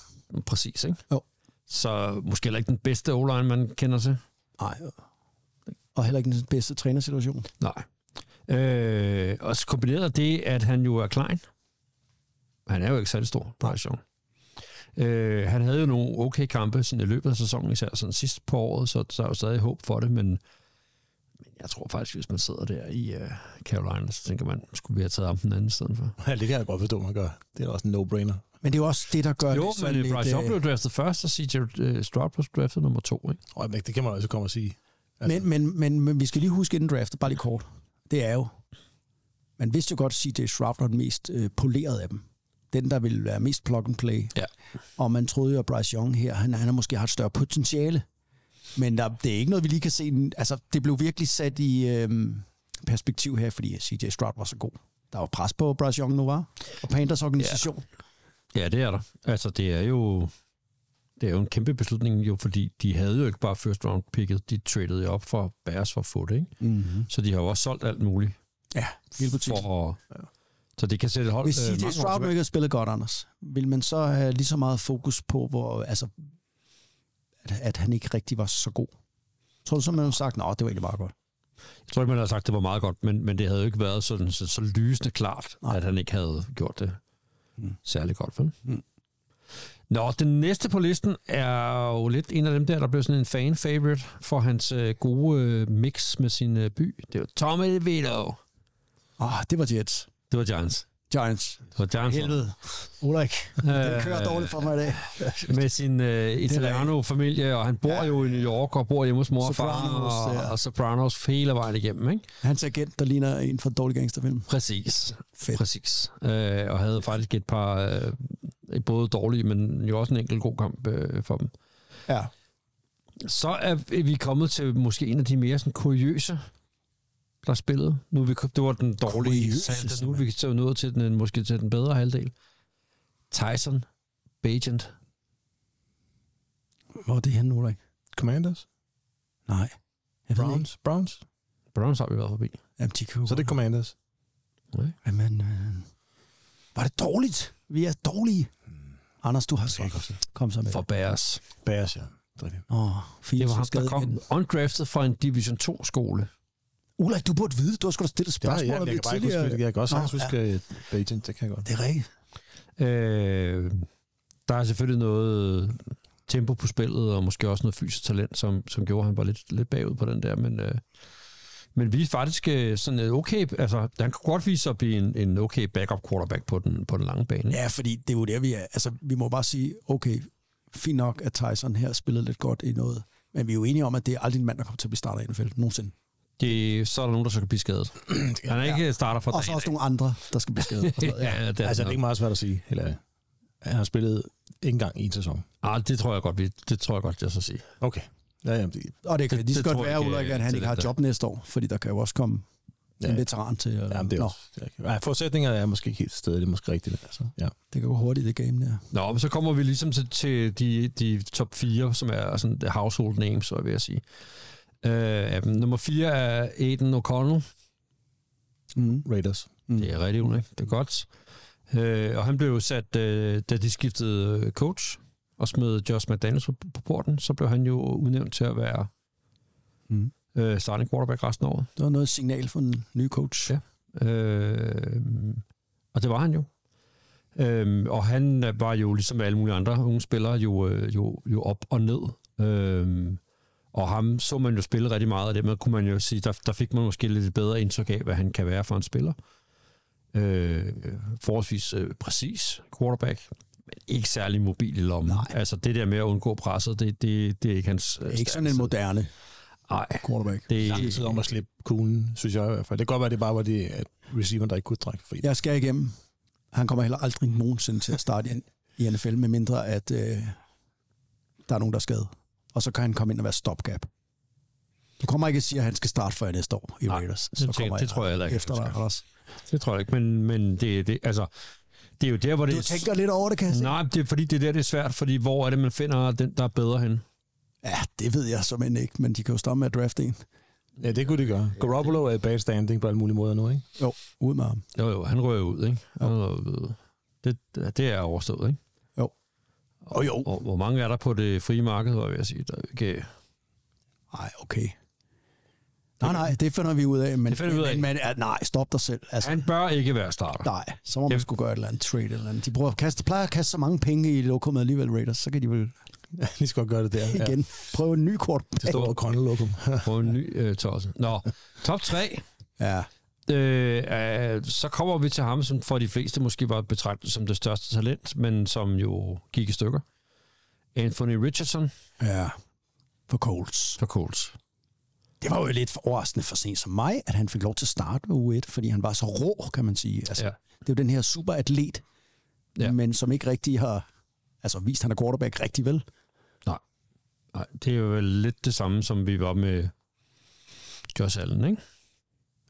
Speaker 6: Præcis, ikke?
Speaker 5: Jo.
Speaker 6: Så måske heller ikke den bedste o man kender til.
Speaker 5: Nej. Og heller ikke den bedste trænersituation.
Speaker 6: Nej. Øh, og så kombineret det, at han jo er klein. Han er jo ikke særlig stor, Bryce Young. Øh, han havde jo nogle okay kampe sådan i løbet af sæsonen, især sådan sidst på året, så der er jo stadig håb for det, men, men jeg tror faktisk, hvis man sidder der i øh, Carolina, så tænker man, skulle vi have taget ham den anden i stedet for?
Speaker 2: Ja, det kan jeg godt forstå, man gør. Det er da også en no-brainer.
Speaker 5: Men det er jo også det, der gør
Speaker 6: Jo,
Speaker 5: det sådan
Speaker 6: men
Speaker 5: lidt...
Speaker 6: Bryce Young
Speaker 5: øh,
Speaker 6: blev draftet først, og CJ øh, Stroud blev draftet nummer to, ikke?
Speaker 2: Og men det kan man også komme og sige. Altså-
Speaker 5: men, men, men, men vi skal lige huske inden draftet, bare lige kort. Det er jo... Man vidste jo godt, at CJ Stroud var den mest øh, polerede af dem. Den, der ville være mest plug and play.
Speaker 6: Ja.
Speaker 5: Og man troede jo, at Bryce Young her, han, han har måske har et større potentiale. Men der, det er ikke noget, vi lige kan se. den- Altså, det blev virkelig sat i øh, perspektiv her, fordi CJ Stroud var så god. Der var pres på Bryce Young nu, var? Og Panthers organisation.
Speaker 6: Ja, det er der. Altså, det er jo... Det er jo en kæmpe beslutning, jo, fordi de havde jo ikke bare first round picket, de tradede jo op for Bears for at få det, ikke?
Speaker 5: Mm-hmm.
Speaker 6: Så de har jo også solgt alt muligt.
Speaker 5: Ja, hele butikken.
Speaker 6: For at, så det kan sætte et hold
Speaker 5: Hvis
Speaker 6: øh,
Speaker 5: CJ
Speaker 6: mange år
Speaker 5: Stroud nu
Speaker 6: tilbage.
Speaker 5: ikke havde spillet godt, Anders, vil man så have lige så meget fokus på, hvor, altså, at, at han ikke rigtig var så god? Tror du så, man havde sagt, at det var egentlig meget godt?
Speaker 6: Jeg tror ikke, man har sagt, at det var meget godt, men, men det havde jo ikke været sådan, så, så lysende klart, Nej. at han ikke havde gjort det mm. særlig godt. Vel? Mm. Nå, den næste på listen er jo lidt en af dem der, der blev sådan en fan-favorite for hans øh, gode øh, mix med sin øh, by. Det var Tommy DeVito.
Speaker 5: Ah, det var Jets.
Speaker 6: Det var Giants.
Speaker 5: Giants.
Speaker 6: Det var Giants. Øh,
Speaker 5: Helvede. Ulrik, den kører dårligt for mig i dag.
Speaker 6: med sin øh, Italiano-familie, og han bor ja. jo i New York, og bor hjemme hos mor og far,
Speaker 5: Sopranos,
Speaker 6: og,
Speaker 5: ja.
Speaker 6: og Sopranos hele vejen igennem, ikke?
Speaker 5: Hans agent, der ligner en fra dårlig gangsterfilm.
Speaker 6: Præcis.
Speaker 5: Fedt.
Speaker 6: Præcis. Øh, og havde faktisk et par, øh, både dårlige, men jo også en enkelt god kamp øh, for dem.
Speaker 5: Ja.
Speaker 6: Så er vi kommet til måske en af de mere sådan kuriøse, der spillede. Nu er vi, det var den dårlige
Speaker 5: Kuriøse,
Speaker 6: salte, nu er vi så nået til den, måske til den bedre halvdel. Tyson Bagent.
Speaker 5: Hvor er det henne, Ulrik?
Speaker 2: Commanders?
Speaker 5: Nej. Jeg ved ikke.
Speaker 2: Browns? Browns?
Speaker 6: Browns har vi været forbi.
Speaker 5: Jamen, de kunne
Speaker 2: Så er det Commanders.
Speaker 5: Jamen, øh, var det dårligt? Vi er dårlige.
Speaker 6: Hmm.
Speaker 5: Anders, du har sagt. Kom så med.
Speaker 6: For
Speaker 5: For...
Speaker 6: Bears.
Speaker 2: Bears, ja. Det er rigtigt.
Speaker 5: Oh,
Speaker 6: Det var ham, der kom undrafted fra en Division 2-skole.
Speaker 5: Ulrik, du burde vide, du har sgu da stillet
Speaker 2: Det var, jeg,
Speaker 5: spørgsmål om
Speaker 2: jeg,
Speaker 5: det
Speaker 2: kan bare ikke huske,
Speaker 5: tidligere.
Speaker 2: hvilket. jeg kan også
Speaker 5: Nå,
Speaker 2: sagtens huske ja. Beijing, det kan jeg godt.
Speaker 5: Det er rigtigt.
Speaker 6: Øh, der er selvfølgelig noget tempo på spillet, og måske også noget fysisk talent, som, som gjorde, at han var lidt, lidt bagud på den der, men... Øh, men vi er faktisk øh, sådan et okay, altså han kan godt vise sig at blive en, en okay backup quarterback på den, på den lange bane.
Speaker 5: Ja, fordi det er jo der, vi er. Altså, vi må bare sige, okay, fint nok, at Tyson her spillede lidt godt i noget. Men vi er jo enige om, at det er aldrig en mand, der kommer til at blive starter i NFL nogensinde.
Speaker 6: Det, så er der nogen, der så kan blive skadet. Han er ikke starter for
Speaker 5: Og så
Speaker 6: dagen.
Speaker 5: også nogle andre, der skal blive skadet. og sådan noget,
Speaker 6: ja, det, er
Speaker 2: Altså, det
Speaker 6: altså,
Speaker 2: er ikke meget svært at sige, heller. Han har spillet ikke engang en sæson.
Speaker 6: ah, det tror jeg godt, vi, det tror jeg godt, jeg så sige.
Speaker 2: Okay. Ja, jamen, det,
Speaker 5: Og det kan
Speaker 6: Det-
Speaker 5: lige så
Speaker 6: det
Speaker 5: godt
Speaker 6: tror jeg
Speaker 5: være,
Speaker 6: ikke,
Speaker 5: Ulrik, at han
Speaker 6: til
Speaker 5: ikke øh, har
Speaker 6: den der.
Speaker 5: job næste år, fordi der kan jo også komme
Speaker 2: ja,
Speaker 5: en veteran til. Og,
Speaker 2: jamen, det er
Speaker 5: Nå,
Speaker 2: også, ja, forudsætningerne er måske ikke helt til stede, det er måske rigtigt. Altså. Ja.
Speaker 5: det kan gå hurtigt, det game der.
Speaker 6: Nå, men så kommer vi ligesom til, til de, de top 4, som er sådan the household names, så vil jeg sige. Øh, af dem. nummer 4 er Aiden O'Connell.
Speaker 5: Mm.
Speaker 2: Raiders.
Speaker 6: Det er rigtig unik. Det er godt. Øh, og han blev jo sat, øh, da de skiftede øh, coach og smed Josh McDaniels på, på porten, så blev han jo udnævnt til at være
Speaker 5: Mm.
Speaker 6: øh, starting quarterback resten af året.
Speaker 5: Det var noget signal fra den nye coach.
Speaker 6: Ja. Øh, og det var han jo. Øh, og han var jo, ligesom alle mulige andre unge spillere, jo, øh, jo, jo op og ned. Øh, og ham så man jo spille rigtig meget, og dermed kunne man jo sige, der, der fik man måske lidt bedre indtryk af, hvad han kan være for en spiller. Øh, forholdsvis øh, præcis quarterback, men ikke særlig mobil i lommen.
Speaker 5: Nej.
Speaker 6: Altså det der med at undgå presset, det, det, det er ikke hans... øh,
Speaker 5: Ikke sådan en
Speaker 6: stærke
Speaker 5: moderne
Speaker 6: side. Nej,
Speaker 5: quarterback.
Speaker 6: det
Speaker 2: lang tid om at slippe kuglen, synes jeg i hvert fald. Det kan godt være, det bare var det, at receiveren, der ikke kunne trække fri.
Speaker 5: Jeg skal igennem. Han kommer heller aldrig nogensinde til at starte i- i NFL, med mindre at øh, der er nogen, der er skadet. Og så kan han komme ind og være stopgap. Du kommer ikke at sige, at han skal starte for næste år i
Speaker 6: Nej,
Speaker 5: Raiders.
Speaker 6: det tænker- det tror jeg heller ikke,
Speaker 5: Efter
Speaker 6: han
Speaker 5: dig,
Speaker 6: skal.
Speaker 5: Anders.
Speaker 6: Det tror jeg ikke, men, men det, det, altså, det er jo der, hvor det...
Speaker 5: Du tænker lidt over det, kan jeg se.
Speaker 6: Nej, det er fordi, det er der, det er svært, fordi hvor er det, man finder den, der er bedre hen?
Speaker 5: Ja, det ved jeg som ikke, men de kan jo stoppe med at drafte en.
Speaker 2: Ja, det kunne de gøre. Garoppolo er i bad standing på alle mulige måder nu, ikke?
Speaker 5: Jo, ud med ham.
Speaker 6: Jo, jo, han rører ud, ikke? Han rører ud. Det, det er overstået, ikke?
Speaker 5: Jo. Og jo.
Speaker 6: Og hvor mange er der på det frie marked, hvor jeg vil sige? Der er ikke...
Speaker 5: Nej, okay. Nej, nej, det finder vi ud af. Men,
Speaker 6: Det finder vi ud af.
Speaker 5: Men, men, ja, nej, stop dig selv. Altså,
Speaker 6: Han bør ikke være starter.
Speaker 5: nej, så må man skulle gøre et eller andet trade eller andet. De bruger, kaste, plejer at kaste så mange penge i lokummet alligevel, Raiders, så kan de vel
Speaker 2: Ja, de skal godt gøre det der.
Speaker 5: igen ja. prøve en ny kort.
Speaker 2: Det står på Grønne
Speaker 6: På en ny øh, tosse. Nå, top 3.
Speaker 5: Ja,
Speaker 6: Øh, øh, så kommer vi til ham, som for de fleste måske var betragtet som det største talent, men som jo gik i stykker. Anthony Richardson
Speaker 5: ja. For Colts.
Speaker 6: for Colts.
Speaker 5: Det var jo lidt for overraskende for sent som mig, at han fik lov til at starte ved U1, fordi han var så rå, kan man sige. Altså,
Speaker 6: Ja.
Speaker 5: ja. Det er jo den her superatlet,
Speaker 6: Ja.
Speaker 5: ja. men som ikke rigtig har altså, vist, at han er quarterback rigtig vel.
Speaker 6: Nej. Nej, det er jo vel lidt det samme, som vi var med Josh Allen, ikke?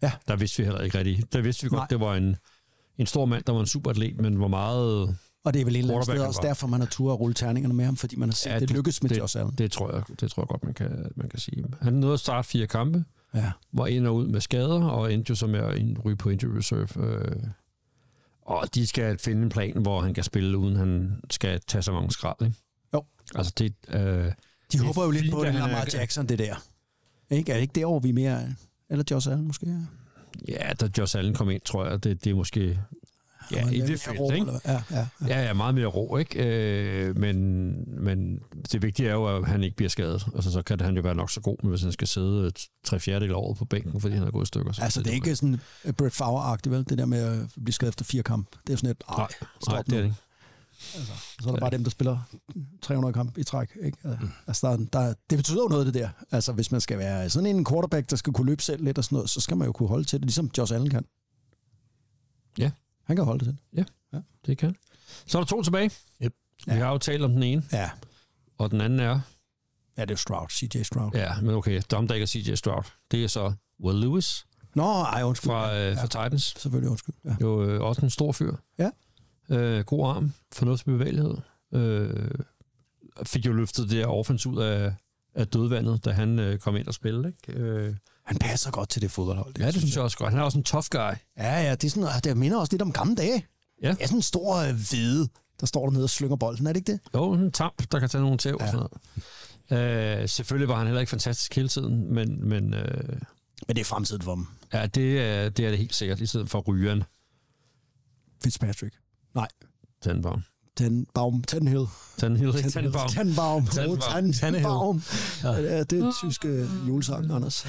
Speaker 5: Ja.
Speaker 6: Der vidste vi heller ikke rigtigt. Der vidste vi godt,
Speaker 5: Nej.
Speaker 6: det var en, en stor mand, der var en superatlet, men hvor meget...
Speaker 5: Og det er vel et eller andet
Speaker 6: Quarterback
Speaker 5: sted
Speaker 6: er
Speaker 5: også
Speaker 6: godt.
Speaker 5: derfor, man har tur at rulle terningerne med ham, fordi man har set, ja, det, det lykkes med det, Josh Allen.
Speaker 6: Det, det, tror jeg, det tror jeg godt, man kan, man kan sige. Han nåede at starte fire kampe,
Speaker 5: Ja.
Speaker 6: var ind og ud med skader, og endte jo så med at ind- ryge på injury reserve. Øh. Og de skal finde en plan, hvor han kan spille, uden han skal tage så mange skrald. Ikke?
Speaker 5: Jo.
Speaker 6: Altså det, øh,
Speaker 5: De
Speaker 6: Det er
Speaker 5: håber jo lidt
Speaker 6: fint,
Speaker 5: på
Speaker 6: at
Speaker 5: det,
Speaker 6: han er-
Speaker 5: Lamar Jackson, det der. Ikke? Er det ikke derovre, vi er mere... Eller Josh Allen måske? Ja,
Speaker 6: ja, da Josh Allen kom ind, tror jeg, det, det er måske... Ja, i det felt, ikke?
Speaker 5: Ja, ja, ja.
Speaker 6: Ja, ja, meget mere rå, ikke? Øh, men, men det vigtige er jo, at han ikke bliver skadet. Altså, så kan han jo være nok så god, men hvis han skal sidde et tre fjerdedel af året på bænken, fordi han er gået i stykker. Så
Speaker 5: Altså, det er ikke sådan øh, Brett Favre-agtigt, vel? Det der med at blive skadet efter fire kamp. Det er sådan et,
Speaker 6: Nej,
Speaker 5: ej,
Speaker 6: nej,
Speaker 5: stop
Speaker 6: det er
Speaker 5: nu.
Speaker 6: det ikke.
Speaker 5: Så er der bare dem, der spiller 300 kamp i træk. Ikke?
Speaker 6: Mm.
Speaker 5: Altså, der, er- der, er- det betyder jo noget, det der. Altså, hvis man skal være sådan en quarterback, der skal kunne løbe selv lidt og sådan noget, så skal man jo kunne holde til det, ligesom Josh Allen kan.
Speaker 6: Ja.
Speaker 5: Han kan holde det til det.
Speaker 6: Det kan. Så er der to tilbage.
Speaker 2: Yep.
Speaker 6: Vi har jo talt om den ene,
Speaker 5: Ja.
Speaker 6: og den anden er...
Speaker 5: Ja, det er jo Stroud, CJ Stroud. Ja.
Speaker 6: Ja, men okay, Dom Dagger CJ Stroud. Det er så Will Lewis
Speaker 5: Nå, ej, undskyld.
Speaker 6: fra, øh, fra Titans.
Speaker 5: Selvfølgelig undskyld. Ja.
Speaker 6: Jo øh, også en stor fyr.
Speaker 5: Ja.
Speaker 6: Øh, god arm, fornuftig bevægelighed. Øh, fik jo løftet det her offense ud af, af dødvandet, da han øh, kom ind og spillede. Ikke? Øh,
Speaker 5: Han passer godt til det fodboldhold.
Speaker 6: ja, det synes jeg også godt. Han er også en tough guy.
Speaker 5: Ja, ja, det, er sådan, det minder også lidt om gamle dage.
Speaker 6: Ja.
Speaker 5: Det er sådan en stor øh, hvide, der står dernede og slynger bolden, er det ikke det?
Speaker 6: Jo, en tamp, der kan tage nogle tæv. Ja. Sådan noget. Øh, selvfølgelig var han heller ikke fantastisk hele tiden, men, men øh,
Speaker 5: Men det er fremtiden for dem.
Speaker 6: ja, det, er, det er det helt sikkert, i stedet for rygeren.
Speaker 5: Fitzpatrick. Nej,
Speaker 6: Tandbaum.
Speaker 5: den Baum, Tenhill.
Speaker 6: Tandhill, ikke Tandbaum.
Speaker 5: Tenbaum. Tandbaum.
Speaker 6: Tandbaum.
Speaker 5: Tandbaum. Ja, det er tyske julesang, Anders.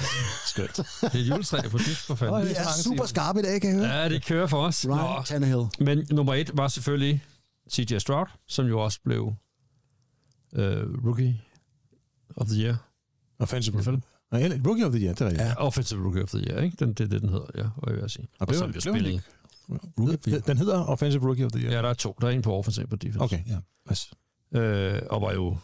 Speaker 6: Skønt. Det er et juletræ på tysk, for
Speaker 5: Vi
Speaker 6: fanden.
Speaker 5: er super skarpe i dag, kan jeg høre.
Speaker 6: Ja, det kører for os.
Speaker 5: Ryan
Speaker 6: Nå.
Speaker 5: Tannehill.
Speaker 6: Men nummer et var selvfølgelig CJ Stroud, som jo også blev øh, Rookie of the Year.
Speaker 2: Offensive Profile. Nej, eller Rookie of the Year, det er rigtigt.
Speaker 5: Ja.
Speaker 2: Ja.
Speaker 6: Offensive Rookie of the Year, ikke? Den, det er det, den hedder, ja, hvad vil jeg sige. Og
Speaker 2: blev-
Speaker 6: som jo
Speaker 2: blev han
Speaker 6: spillede.
Speaker 2: Den, den hedder Offensive Rookie of the Year.
Speaker 6: Ja, der er to. Der er en på offensiv og på defense.
Speaker 2: Okay, ja. Yes.
Speaker 6: Øh, og var jo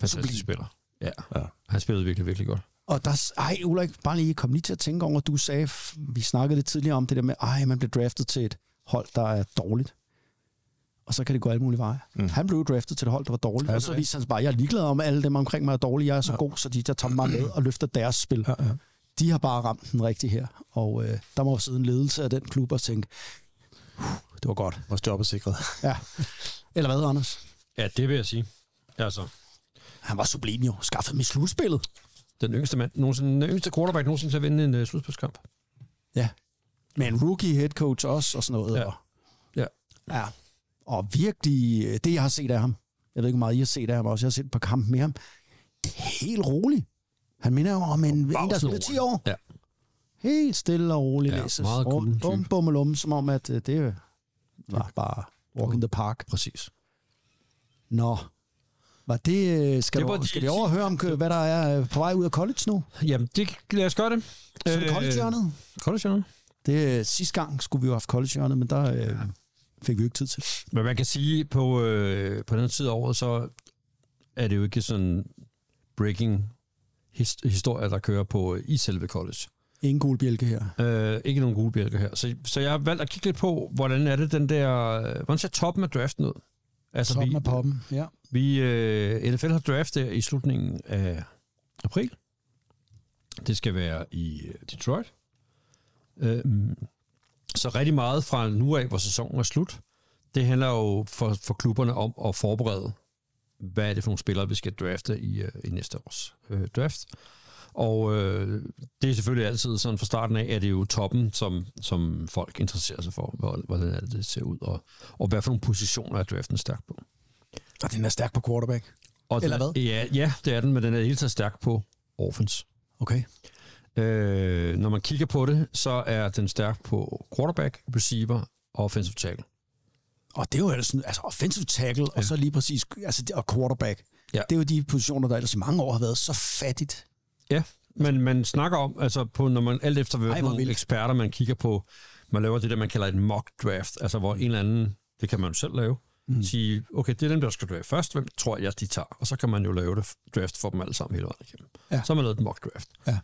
Speaker 6: fantastisk spiller. Ja.
Speaker 2: Ja.
Speaker 6: ja. Han spillede virkelig, virkelig godt.
Speaker 5: Og der, s- ej, Ulrik, bare lige kom lige til at tænke over, du sagde, f- vi snakkede lidt tidligere om det der med, ej, man blev draftet til et hold, der er dårligt. Og så kan det gå alle mulige veje. Mm. Han blev draftet til et hold, der var dårligt, og så viste han sig bare, jeg er ligeglad om, at alle dem omkring mig er dårlige, jeg er så ja. god, så de der tager mig med og løfter deres spil. Ja, ja. De har bare ramt den rigtige her, og øh, der må jo sidde en ledelse af den klub og tænke, "Huh, det var godt.
Speaker 2: Vores job er sikret.
Speaker 5: Ja. Eller hvad, Anders?
Speaker 6: Ja, det vil jeg sige. Altså,
Speaker 5: Han var sublim jo, skaffet med slutspillet.
Speaker 6: den yngste, mand, nogensinde, den yngste quarterback nogensinde til at vinde en uh, slutspilskamp.
Speaker 5: Ja. Med en rookie head coach også, og sådan noget.
Speaker 6: Ja.
Speaker 5: Og,
Speaker 6: Ja.
Speaker 5: Ja. Og virkelig, øh, det jeg har set af ham, jeg ved ikke, hvor meget I har set af ham også, jeg har set et par kampe med ham, helt rolig. Han minder jo om en, en der spiller 10 år.
Speaker 6: Ja.
Speaker 5: Helt stille og roligt.
Speaker 6: Ja,
Speaker 5: læses.
Speaker 6: meget cool
Speaker 5: Rum,
Speaker 6: type.
Speaker 5: bum, bum, og lum, som om, at øh, det var bare walk in the park.
Speaker 6: Præcis.
Speaker 5: Nå, var det, øh, skal,
Speaker 6: Det
Speaker 5: det var
Speaker 6: var de-
Speaker 5: du, skal vi overhøre om, kø- hvad der er øh, på vej ud af college nu?
Speaker 6: Jamen, det, lad os gøre det.
Speaker 5: Så
Speaker 6: Øh,
Speaker 5: er det college-hjørnet?
Speaker 6: college
Speaker 5: Det, øh, sidste gang skulle vi jo have haft college men der øh, fik vi jo ikke tid til.
Speaker 6: Men man kan sige, på, øh, på den her tid af året, så er det jo ikke sådan breaking his- historier, der kører på øh, i selve college.
Speaker 5: Ingen gule bjælke her.
Speaker 6: Øh, ikke nogen gule bjælker her. Så, så jeg har valgt at kigge lidt på, hvordan er det den der... øh, Hvordan ser toppen af draften ud? Altså,
Speaker 5: Toppen
Speaker 6: vi,
Speaker 5: af poppen. Ja.
Speaker 6: Vi, øh, NFL har draft der i slutningen af april. Det skal være i øh, Detroit. Øh, så rigtig meget fra nu af, hvor sæsonen er slut, det handler jo for, for klubberne om at forberede, hvad er det for nogle spillere, vi skal drafte i, øh, i næste års øh, draft. Og øh, det er selvfølgelig altid sådan fra starten af, at det er jo toppen, som, som folk interesserer sig for, hvor- hvordan er det, det ser ud, og, og hvad for nogle positioner er draften stærk på.
Speaker 2: Og den er stærk på quarterback.
Speaker 6: Og
Speaker 2: Eller
Speaker 6: den,
Speaker 2: hvad?
Speaker 6: Ja, ja, det er den, men den er i det hele taget stærk på offense.
Speaker 2: Okay.
Speaker 6: Øh, når man kigger på det, så er den stærk på quarterback, receiver og offensive tackle.
Speaker 5: Og det er jo ellers sådan, altså offensive tackle, ja. og så lige præcis, altså, det- og quarterback.
Speaker 6: Ja.
Speaker 5: Det er jo de positioner, der ellers i mange år har været så fattigt.
Speaker 6: Ja, men man snakker om, altså på, når man alt efter
Speaker 5: Ej,
Speaker 6: hvilke
Speaker 5: hvor
Speaker 6: nogle
Speaker 5: vildt.
Speaker 6: eksperter, man kigger på, man laver det der, man kalder et mock draft, altså hvor en eller anden, det kan man jo selv lave, mm. sige, okay, det er dem, der skal draft først, hvem tror jeg, de tager? Og så kan man jo lave det draft for dem alle sammen hele vejen igennem. Ja. Så har man lavet et mock draft. Ja.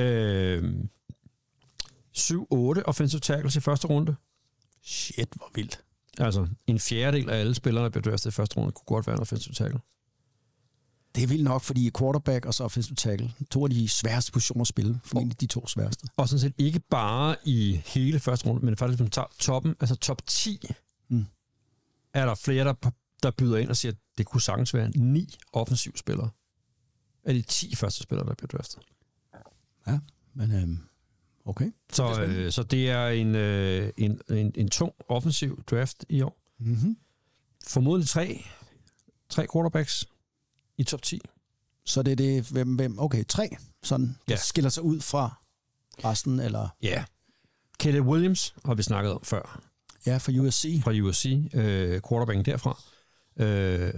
Speaker 6: Øh, 7-8 offensive tackles i første runde.
Speaker 5: Shit, hvor vildt.
Speaker 6: Altså, en fjerdedel af alle spillere, der bliver draftet i første runde, kunne godt være en offensive tackle.
Speaker 5: Det er vildt nok, fordi quarterback og så offensive tackle, to af de sværeste positioner at spille, formentlig de to sværeste.
Speaker 6: Og sådan set ikke bare i hele første runde, men faktisk, hvis man tager toppen, altså top 10, mm. er der flere, der, der byder ind og siger, at det kunne sagtens være ni offensiv spillere. Er de 10 første spillere, der bliver draftet.
Speaker 5: Ja, men øhm, okay.
Speaker 6: Så, øh, så det er en, øh, en, en, en tung offensiv draft i år. Mm-hmm. Formodentlig tre, tre quarterbacks i top 10.
Speaker 5: Så det er det, hvem, hvem, okay, tre, sådan, ja.
Speaker 6: Ja.
Speaker 5: der skiller sig ud fra resten, eller,
Speaker 6: Ja. Yeah. Caleb Williams har vi snakket om før.
Speaker 5: ja, fra USC.
Speaker 6: fra USC, øh, quarterbacken derfra, øh,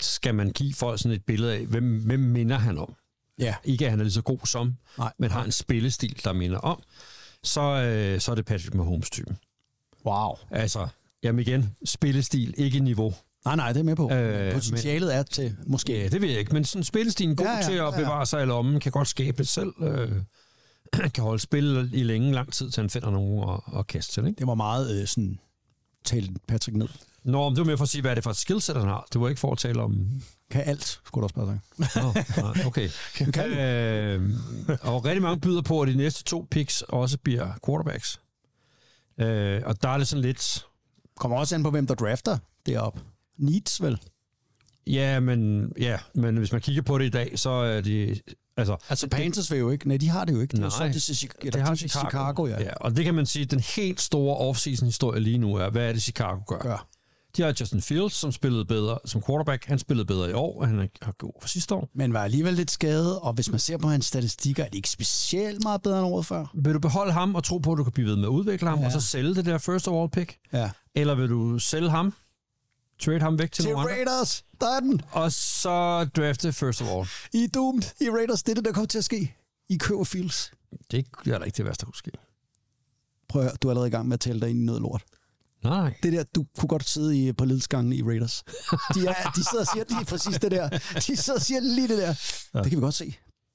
Speaker 6: skal man give folk sådan et billede af, hvem, hvem minder han om?
Speaker 5: Ja.
Speaker 6: Ikke at han er lige så god som,
Speaker 5: Nej.
Speaker 6: men har en spillestil, der minder om, så, øh, så er det Patrick Mahomes-typen.
Speaker 5: Wow.
Speaker 6: Altså, jamen igen, spillestil, ikke niveau.
Speaker 5: Nej, nej, det er med på.
Speaker 6: Øh,
Speaker 5: Øh, Potentialet men... er til, måske.
Speaker 6: Ja, det ved jeg ikke, men sådan spillestilen god ja, ja, til at ja, ja. bevare sig i lommen, kan godt skabe det selv, øh, kan holde spil i længe, lang tid, til han finder nogen at, at kaste til. Ikke?
Speaker 5: Det var meget øh, sådan, talte Patrick ned.
Speaker 6: Nå, men det var mere for at sige, hvad er det for et skillset, han har. Det var ikke for at tale om
Speaker 5: Kan alt, skulle du også bare sige.
Speaker 6: Nå, nej, okay.
Speaker 5: Kan du?
Speaker 6: Øh, og rigtig mange byder på, at de næste to picks også bliver quarterbacks. Øh, og der er det sådan lidt,
Speaker 5: Kommer også an på, hvem der drafter deroppe. Needs vel? Altså,
Speaker 6: ja, men, ja, men hvis man kigger på det i dag, så er det, altså,
Speaker 5: Altså Panthers vil jo ikke. Nej, de har det jo ikke. Det er jo
Speaker 6: Nej.
Speaker 5: sådan, det, til Chicago,
Speaker 6: det har
Speaker 5: til
Speaker 6: Chicago.
Speaker 5: Chicago ja.
Speaker 6: ja. Og det kan man sige, den helt store off-season-historie lige nu er, hvad er det, Chicago gør?
Speaker 5: Gør.
Speaker 6: De har Justin Fields, som spillede bedre som quarterback. Han spillede bedre i år, og han er- har god for sidste år.
Speaker 5: Men var alligevel lidt skadet, og hvis man ser på hans statistikker, er det ikke specielt meget bedre end året før.
Speaker 6: Vil du beholde ham og tro på, at du kan blive ved med at udvikle ham, ja. og så sælge det der first overall pick?
Speaker 5: Ja.
Speaker 6: Eller vil du sælge ham, trade ham væk til,
Speaker 5: Til
Speaker 6: nogle andre,
Speaker 5: Raiders, der er den.
Speaker 6: og så drafte first of all?
Speaker 5: I er doomed. I er Raiders, det er det, der kommer til at ske. I køber Fields.
Speaker 6: Det er da ikke det værste, der kunne ske.
Speaker 5: Prøv at høre, du er allerede i gang med at tælle dig ind i noget lort.
Speaker 6: Nej.
Speaker 5: Det der, du kunne godt sidde i, på ledelsgangen i Raiders. De, er, de sidder og siger lige præcis det der. De sidder og siger lige det der. Ja. Det kan vi godt se.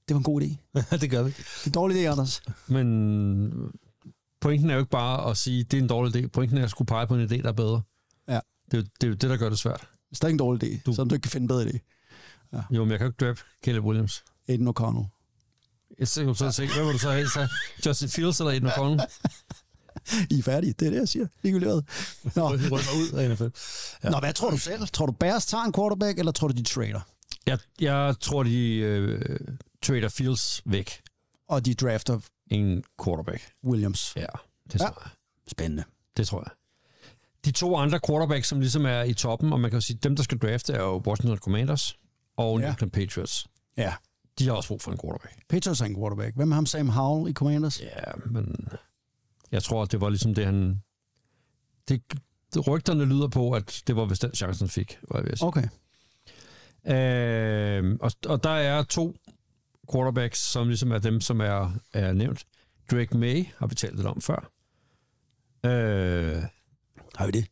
Speaker 5: Det var en god idé.
Speaker 2: det gør vi.
Speaker 5: Det er en dårlig idé, Anders.
Speaker 6: Men øh, pointen er jo ikke bare at sige, at det er en dårlig idé. Pointen er at skulle pege på en idé, der er bedre.
Speaker 5: Ja.
Speaker 6: Det er jo det, er jo det der gør det svært.
Speaker 5: Hvis der er ikke en dårlig idé, du... så du ikke kan finde en bedre idé.
Speaker 6: Jo, men jeg kan jo ikke draft Caleb Williams.
Speaker 5: Aiden O'Connell.
Speaker 6: Jeg ser jo så se, hvad vil du så have? Så Justin Fields eller Edna Conlon?
Speaker 5: I er færdige. Det er det, jeg siger. Ligegyldigt hvad. Nå.
Speaker 2: Vi rykker ud af NFL.
Speaker 5: Ja. Nå, hvad tror du selv? Tror du Bears tager en quarterback, eller tror du, de trader?
Speaker 6: Jeg, jeg tror, de øh, trader Fields væk.
Speaker 5: Og de drafter
Speaker 6: En quarterback.
Speaker 5: Williams.
Speaker 6: Ja, det tror
Speaker 5: Ja.
Speaker 6: jeg.
Speaker 5: Spændende.
Speaker 6: Det tror jeg. De to andre quarterbacks, som ligesom er i toppen, og man kan jo sige, dem, der skal drafte, er jo Washington Commanders og New
Speaker 5: Ja.
Speaker 6: England Patriots.
Speaker 5: Ja.
Speaker 6: De har også brug for en quarterback.
Speaker 5: Patriots er en quarterback. Hvem er ham? Sam Howell i Commanders? Yeah.
Speaker 6: Ja, men jeg tror, det var ligesom det, han... Det, det rygterne lyder på, at det var, hvis den chance, han fik, var jeg ved at sige.
Speaker 5: Okay.
Speaker 6: Okay. Øh, og, og der er to quarterbacks, som ligesom er dem, som er, er nævnt. Drake May har vi talt lidt om før. Øh,
Speaker 5: Har vi det?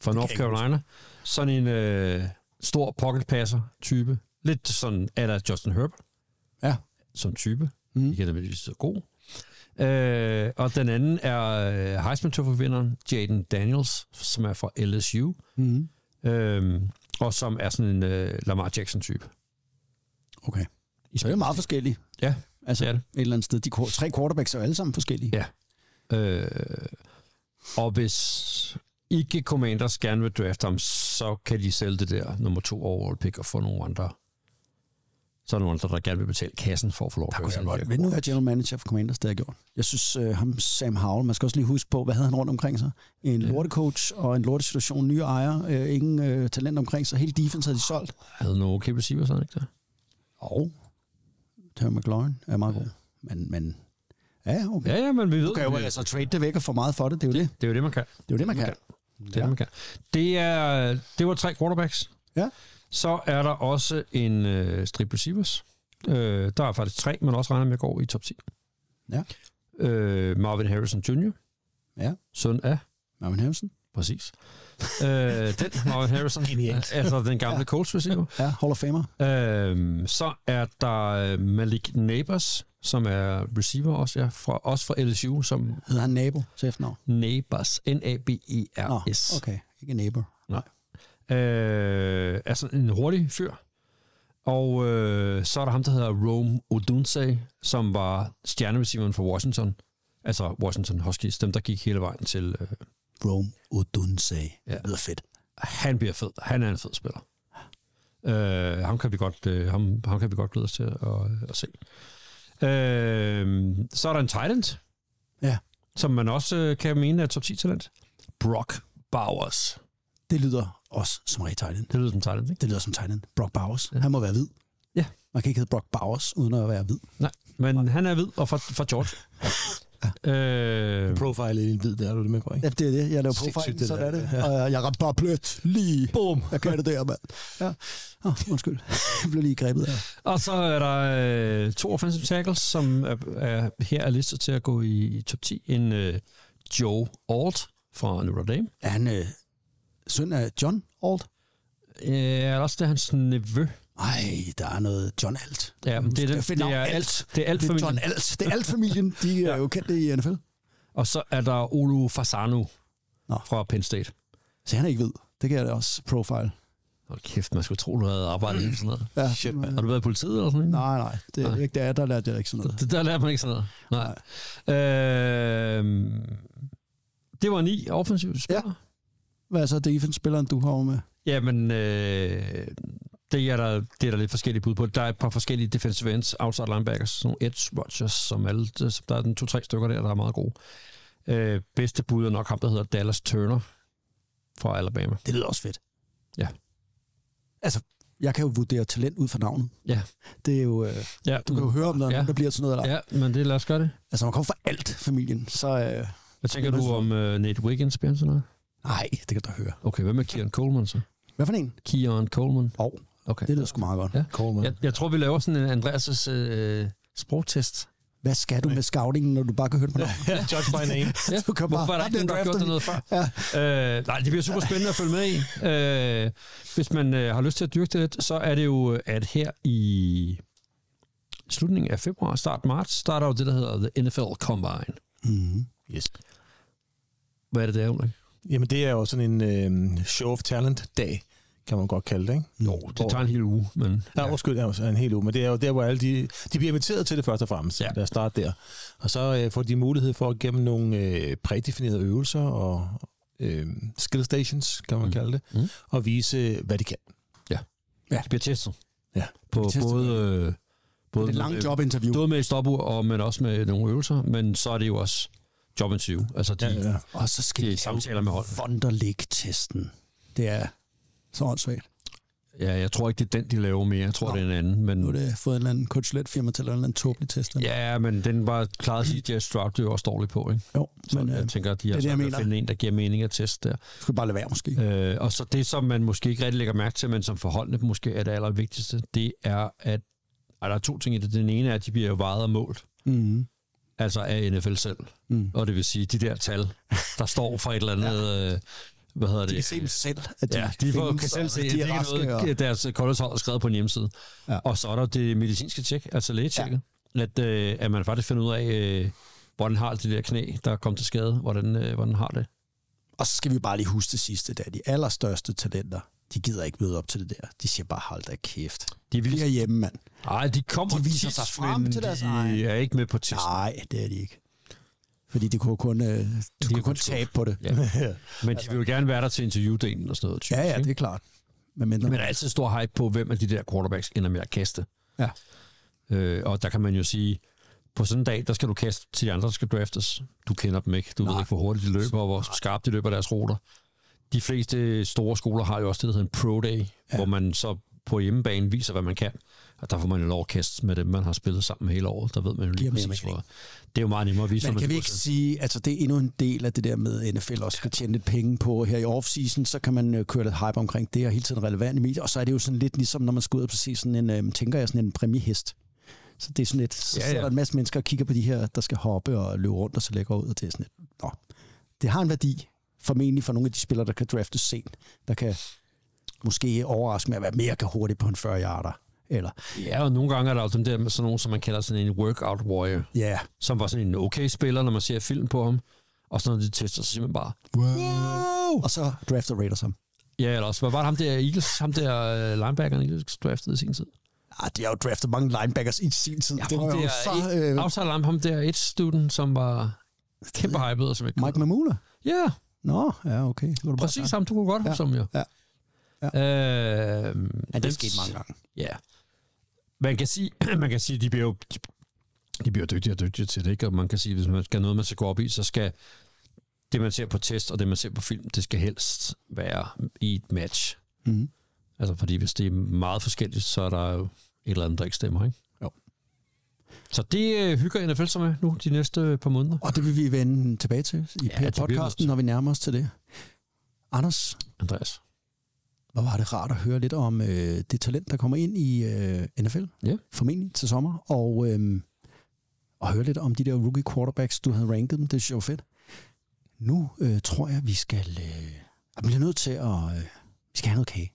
Speaker 6: fra North Carolina. Sådan en øh, stor pocket passer type. Lidt sådan, er der Justin Herbert
Speaker 5: Ja.
Speaker 6: som type. Mm. Ikke nødvendigvis så god. Øh, og den anden er øh,
Speaker 5: Mm-hmm.
Speaker 6: heisman trophy vinderen Jaden Daniels, som er fra LSU. Mm. Øh, og som er sådan en øh, Lamar Jackson-type.
Speaker 5: Okay. Så er det meget forskellige.
Speaker 6: Ja,
Speaker 5: Altså,
Speaker 6: Det er det.
Speaker 5: et eller andet sted. De ko- tre quarterbacks er alle sammen forskellige.
Speaker 6: Ja. Øh, og hvis ikke Commanders gerne vil drafte ham, så kan de sælge det der nummer to overall pick og få nogle andre. Så er der nogle andre, der gerne vil betale kassen for at få lov at
Speaker 5: Der kunne jeg
Speaker 6: gøre
Speaker 5: godt. Vil nu være general manager for Commanders, det har jeg gjort. Jeg synes, øh, ham Sam Howell, man skal også lige huske på, hvad havde han rundt omkring sig? En lortecoach og en lortesituation, nye ejer, øh, ingen øh, talent omkring sig, hele defense havde de solgt.
Speaker 6: Havde nogle okay receiver, sådan ikke det?
Speaker 5: Og Terry McLaurin er meget god. Men, men ja, okay.
Speaker 6: Ja, ja, men vi ved.
Speaker 5: Du kan jo altså trade det væk og få meget for det, det er jo det.
Speaker 6: Det er jo det, man kan.
Speaker 5: Det er jo det, man kan.
Speaker 6: Det, er, det, man kan. det, er, det var tre quarterbacks.
Speaker 5: Ja.
Speaker 6: Så er der også en øh, strip receivers. Øh, der er faktisk tre, man også regner med går i top 10.
Speaker 5: Ja.
Speaker 6: Øh, Marvin Harrison Jr.,
Speaker 5: Ja,
Speaker 6: søn af
Speaker 5: Marvin Harrison.
Speaker 6: Præcis. øh, den, Marvin Harrison, altså den gamle Colts receiver.
Speaker 5: Ja, Hall of Famer.
Speaker 6: Øhm, så er der øh, Malik Neighbors, som er receiver også, ja, fra, også fra LSU, som
Speaker 5: Hedder han nabo til efternavn?
Speaker 6: Neighbors, E
Speaker 5: Nå,
Speaker 6: N-A-B-E-R-S.
Speaker 5: okay. Ikke neighbor.
Speaker 6: Øh, altså en hurtig fyr. Og øh, så er der ham, der hedder Rome Odunze, som var stjernereceiveren for Washington. Altså Washington Huskies, dem der gik hele vejen til... Øh,
Speaker 5: Rome Odunze. Ja. Det lyder fedt.
Speaker 6: han bliver fed. Han er en fed spiller. Øh, ham kan vi godt, øh, ham, ham kan vi godt glæde os til at, at se. Øh, så er der en Titan,
Speaker 5: Ja,
Speaker 6: som man også øh, kan mene er top 10 talent. Brock Bowers.
Speaker 5: det lyder også som rigtig tight end.
Speaker 6: Det lyder som Titan, ikke?
Speaker 5: Det lyder som tegnet. Brock Bowers. Ja. Han må være hvid.
Speaker 6: Ja.
Speaker 5: Man kan ikke hedde Brock Bowers, uden at være hvid.
Speaker 6: Nej, men han er hvid og fra, fra George. øh,
Speaker 2: Profile er en hvid, der er du det med på, ikke?
Speaker 5: Ja, det er det. Jeg laver
Speaker 2: Sindssygt,
Speaker 5: profilen,
Speaker 2: det
Speaker 5: så
Speaker 2: der.
Speaker 5: er det.
Speaker 2: Ja.
Speaker 5: Og jeg- jeg ramte bare blødt lige. Boom. Jeg kørte det der, mand. Ja. Oh, undskyld. jeg blev lige grebet af.
Speaker 6: og så er der øh, to offensive tackles, som er, er, her er listet til at gå i, i top 10. En øh, Joe Alt fra Notre Dame.
Speaker 5: Er han øh, søn af John Alt?
Speaker 6: Øh, eller også det er hans nevø,
Speaker 5: Nej, der er noget John Alt.
Speaker 6: Ja, men det er
Speaker 5: Jeg
Speaker 6: det,
Speaker 5: finder
Speaker 6: det er
Speaker 5: navnet
Speaker 6: alt. Det er alt
Speaker 5: Det er John
Speaker 6: familien.
Speaker 5: Alt. Det er Alt-familien. De er jo kendte i NFL.
Speaker 6: Og så er der Olu Fasano
Speaker 5: Nå.
Speaker 6: fra Penn State.
Speaker 5: Så han er ikke hvid. Det kan jeg da også profile.
Speaker 6: Hold kæft, man skulle tro, du havde arbejdet i sådan noget.
Speaker 5: Ja.
Speaker 6: Shit, man. Har du været i politiet eller sådan
Speaker 5: Nej,
Speaker 6: noget?
Speaker 5: nej. Det er ikke der, der lærte jeg ikke sådan noget.
Speaker 6: Det, der lærer man ikke sådan noget. Nej. Øhm, det var ni offensive spillere.
Speaker 5: Hvad er så defense-spilleren, du har med?
Speaker 6: Ja. Jamen, øh, det, er der, det er der lidt forskellige bud på. Der er et par forskellige defensive ends, outside linebackers, sådan nogle edge rushers, som alle, der er den to-tre stykker der, der er meget gode. Øh, bedste bud er nok ham, der hedder Dallas Turner fra Alabama.
Speaker 5: Det lyder også fedt.
Speaker 6: Ja.
Speaker 5: Altså, jeg kan jo vurdere talent ud fra navnet.
Speaker 6: Ja.
Speaker 5: Det er jo, øh,
Speaker 6: Ja,
Speaker 5: du kan jo høre, om der, er
Speaker 6: Ja.
Speaker 5: nogen, der bliver sådan noget eller ej.
Speaker 6: Ja, men det lad os gøre det.
Speaker 5: Altså, når man kommer fra alt familien, så... Øh,
Speaker 6: Hvad tænker du om uh, Nate Wiggins, Bjørn, sådan noget?
Speaker 5: nej, det kan du høre.
Speaker 6: Okay, hvad med Kieran Coleman så?
Speaker 5: Hvad for en?
Speaker 6: Kieran Coleman.
Speaker 5: Åh, oh,
Speaker 6: Okay.
Speaker 5: det lyder sgu meget godt.
Speaker 6: Ja.
Speaker 5: Ja.
Speaker 2: Coleman.
Speaker 6: Jeg, jeg tror, vi laver sådan en Andreas' øh, sprogtest.
Speaker 5: Hvad skal du med scoutingen, når du bare kan høre det på navnet?
Speaker 2: Ja, judge by name.
Speaker 6: Ja,
Speaker 5: Du kan bare-
Speaker 6: Hvorfor er der
Speaker 5: Ham der
Speaker 6: ikke nogen, der har
Speaker 5: drafter
Speaker 6: gjort
Speaker 5: vi.
Speaker 6: det noget før? Ja. Øh, nej, det bliver super spændende at følge med i. Øh, hvis man øh, har lyst til at dyrke det lidt, så er det jo, at her i slutningen af februar, start marts, starter jo det, der hedder The NFL Combine.
Speaker 2: Yes.
Speaker 6: Hvad er det, det er, Ulrik?
Speaker 2: Jamen, det er jo sådan en øh, show of talent-dag, kan man godt kalde det, ikke?
Speaker 6: Jo, det tager en hel uge, men...
Speaker 2: Ja, undskyld, det er jo en hel uge, men det er jo der, hvor alle de, de bliver inviteret til det først og fremmest. Ja. Lad os starte der. Og så øh, får de mulighed for at gennem nogle øh, prædefinerede øvelser og øh, skill stations, kan man mm. kalde det, mm. og vise, hvad de kan.
Speaker 6: Ja. De bliver testet.
Speaker 2: Ja.
Speaker 6: På
Speaker 5: testet.
Speaker 6: både... Øh, både
Speaker 5: Det er et langt jobinterview.
Speaker 6: Både med et stopur, og, men også med nogle øvelser, men så er det jo også jobinterview. Altså, de, ja, ja.
Speaker 5: Og så skal
Speaker 6: Det
Speaker 5: vi
Speaker 6: er
Speaker 5: lave
Speaker 6: samtaler med hold.
Speaker 5: Wonder League-testen. Det er så åndssvagt.
Speaker 6: ja, jeg tror ikke, det er den, de laver mere. Jeg tror, det er en anden. Men,
Speaker 5: Nu har det fået en eller anden coachlet-firma til at lave en eller anden tåbelig test. eller?
Speaker 6: Ja, men den var klaret sig, at Stroud det er jo også dårligt på, ikke?
Speaker 5: Jo,
Speaker 6: Så
Speaker 5: men
Speaker 6: men,
Speaker 5: øh,
Speaker 6: jeg tænker, at de
Speaker 5: det
Speaker 6: har
Speaker 5: er det, jeg
Speaker 6: svært ved at
Speaker 5: mener.
Speaker 6: finde en, der giver mening at teste der.
Speaker 5: du skal bare lade være måske.
Speaker 6: Øh, og så det, som man måske ikke rigtig lægger mærke til, men som forholdene måske er det allervigtigste, det er, at ej, der er to ting i det. Den ene er, at de bliver jo vejet og målt.
Speaker 5: Mm.
Speaker 6: altså af NFL selv. Mm. Og det vil sige, de der tal, der står for et eller andet... ja. øh, hvad hedder det?
Speaker 5: kan se dem selv, at de
Speaker 6: ja, de får,
Speaker 5: findes,
Speaker 6: kan selv
Speaker 5: og
Speaker 6: se,
Speaker 5: de er
Speaker 6: at det ikke er
Speaker 5: raske,
Speaker 6: noget,
Speaker 5: og-
Speaker 6: deres koldhedshold er skrevet på en hjemmeside.
Speaker 5: Ja.
Speaker 6: Ja. Og så er der det medicinske tjek, altså lægetjekket, ja. at, øh, at man faktisk finder ud af, øh, hvordan har det der knæ, der er kommet til skade, hvordan, øh, hvordan har det.
Speaker 5: Og så skal vi bare lige huske det sidste, det er de allerstørste talenter. De gider ikke møde op til det der. De siger bare, hold da kæft.
Speaker 6: De
Speaker 5: De
Speaker 6: vil
Speaker 5: er hjemme, mand.
Speaker 6: Ej, de kommer
Speaker 5: De viser
Speaker 6: tit,
Speaker 5: sig frem
Speaker 6: men
Speaker 5: til deres
Speaker 6: de
Speaker 5: egen.
Speaker 6: er ikke med på testen.
Speaker 5: Nej, det er de ikke. Fordi de kunne kun, øh, de kunne kun
Speaker 6: kun skuffe.
Speaker 5: tabe på det.
Speaker 6: Ja. Men de vil jo gerne være der til interviewdelen og sådan noget. Typisk,
Speaker 5: altså- Ja, ja,
Speaker 6: ikke?
Speaker 5: det er klart. Men, mindre,
Speaker 6: Men der er altid stor hype på, hvem af de der quarterbacks ender med at kaste.
Speaker 5: Ja.
Speaker 6: Øh, og der kan man jo sige, på sådan en dag, der skal du kaste til de andre, der skal draftes. Du kender dem ikke. Du Nej. ved ikke, hvor hurtigt de løber, og hvor skarpt de løber deres ruter. De fleste store skoler har jo også det, der hedder en pro day, ja. hvor man så på hjemmebane viser, hvad man kan. Og der får man jo lov at kaste med dem, man har spillet sammen hele året. Der ved man jo lige
Speaker 5: Giver
Speaker 6: præcis,
Speaker 5: mening.
Speaker 6: hvor... Det er jo meget nemmere at vise,
Speaker 5: Men
Speaker 6: hvad
Speaker 5: kan vi
Speaker 6: man
Speaker 5: ikke sige, altså det er endnu en del af det der med, at NFL også skal tjene lidt penge på her i offseason, så kan man øh, køre lidt hype omkring det, og hele tiden relevant i medier, og så er det jo sådan lidt ligesom, når man skal ud og se sådan en, øh, tænker jeg, sådan en præmiehest. Så det er sådan lidt, så
Speaker 6: Ja,
Speaker 5: ja,
Speaker 6: ja.
Speaker 5: ja. sidder der en masse mennesker og kigger på de her, der skal hoppe og løbe rundt og så lægger ud, og det er sådan lidt, nå, det har en værdi, formentlig for nogle af de spillere, der kan draftes sent, der kan måske overraske med at være mere kan hurtigt på en 40-yarder, eller
Speaker 6: Ja, og nogle gange er der jo dem der med sådan nogen, som man kalder sådan en workout warrior.
Speaker 5: ja, yeah,
Speaker 6: som var sådan en okay spiller, når man ser film på ham. Og så når de tester, så siger man bare, wow.
Speaker 5: og så drafter Raiders ham.
Speaker 6: Ja, eller også, hvad var det ham der Eagles, ham der øh, linebackeren Eagles draftede i sin tid?
Speaker 5: Ah, de har jo draftet mange linebackers i sin tid. Ja, det var
Speaker 6: ham
Speaker 5: jo
Speaker 6: der,
Speaker 5: så...
Speaker 6: øh,
Speaker 5: Øh,
Speaker 6: outside line, ham der et student, som var kæmpe hyped, og som ikke
Speaker 5: Mike Mamula?
Speaker 6: Ja,
Speaker 5: Nå, ja, okay. Det var du
Speaker 6: præcis
Speaker 5: Bare
Speaker 6: ham, du kunne godt have
Speaker 5: Ja,
Speaker 6: ja. som jo.
Speaker 5: ja, ja.
Speaker 6: Øh,
Speaker 5: ja,
Speaker 6: dem-
Speaker 5: det skete mange gange.
Speaker 6: Ja. Man kan sige, man kan sige de bliver jo de bliver dygtigere og dygtigere til det, ikke? Og man kan sige, hvis man skal have noget, man skal gå op i, så skal det, man ser på test og det, man ser på film, det skal helst være i et match.
Speaker 5: Mhm.
Speaker 6: Altså, fordi hvis det er meget forskelligt, så er der jo et eller andet, der ikke stemmer, ikke?
Speaker 5: Jo.
Speaker 6: Så det øh, hygger NFL sig med nu de næste øh, par måneder.
Speaker 5: Og det vil vi vende tilbage til i
Speaker 6: Ja,
Speaker 5: ja,
Speaker 6: det bliver vi nødt
Speaker 5: podcasten,
Speaker 6: til.
Speaker 5: når vi nærmer os til det. Anders,
Speaker 6: Andreas.
Speaker 5: hvor var det rart at høre lidt om øh, det talent, der kommer ind i øh, NFL,
Speaker 6: Ja.
Speaker 5: formentlig til sommer, og, øh, og høre lidt om de der rookie quarterbacks, du havde ranket dem. Det synes jeg var fedt. Nu øh, tror jeg, vi skal... Øh, vi bliver nødt til at... Øh, vi skal have noget kage.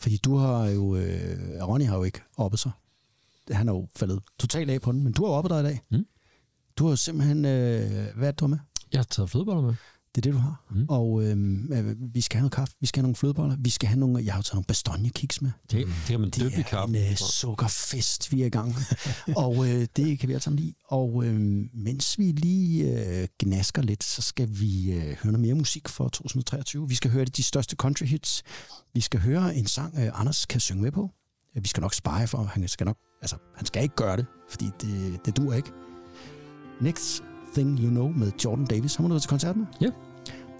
Speaker 5: Fordi du har jo... Øh, Ronny har jo ikke oppe sig. Han er jo faldet totalt af på den, men du har oppe dig i dag.
Speaker 6: Mm.
Speaker 5: Du har jo simpelthen... Øh, hvad er det, du har med?
Speaker 6: Jeg har taget flødeboller med.
Speaker 5: Det er det, du har.
Speaker 6: Mm.
Speaker 5: Mm. Og øhm, øh, vi skal have noget kaffe, vi skal have nogle flødeboller, vi skal have nogle... Jeg har jo taget nogle bastonjekiks med.
Speaker 6: Det, det kan man
Speaker 5: Mm. Det
Speaker 6: døbe i
Speaker 5: er en
Speaker 6: kaffen.
Speaker 5: øh, sukkerfest, vi er i gang med. og øh, det kan vi alle sammen lide. Og øh, mens vi lige øh, gnasker lidt, så skal vi øh, høre noget mere musik for 2023. Vi skal høre de største country hits. Vi skal høre en sang, øh, Anders kan synge med på. Øh, Vi skal nok spare for, han skal nok... Altså, han skal ikke gøre det, fordi det, det dur ikke. Next Thing You Know med Jordan Davis. Har man noget til koncert med?
Speaker 6: Ja.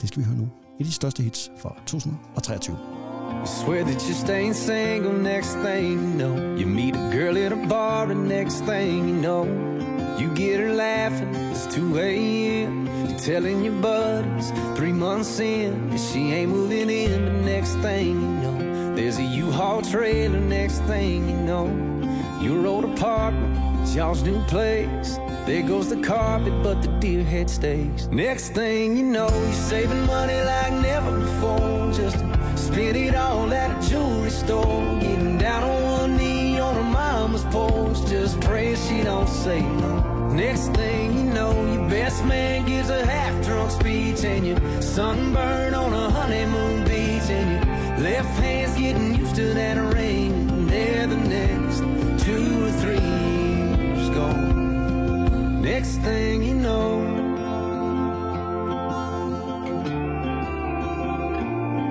Speaker 5: Det skal vi høre nu. Et af de største hits for 2023.
Speaker 8: Swear that you're staying single, next thing you know. You meet a girl at a bar, and next thing you know, you get her laughing. It's 2 a.m. You're telling your buddies, three months in, and she ain't moving in. The next thing you know, there's a U-Haul trailer. Next thing you know, your old apartment, it's y'all's new place. There goes the carpet, but the deer head stays. Next thing you know, you're saving money like never before. Just to spend it all at a jewelry store. Getting down on one knee on her mama's porch. Just praying she don't say no. Next thing you know, your best man gives a half drunk speech. And your sunburn on a honeymoon beach. And your left hand's getting used to that rain. And there the next two or three years gone. Next thing you know,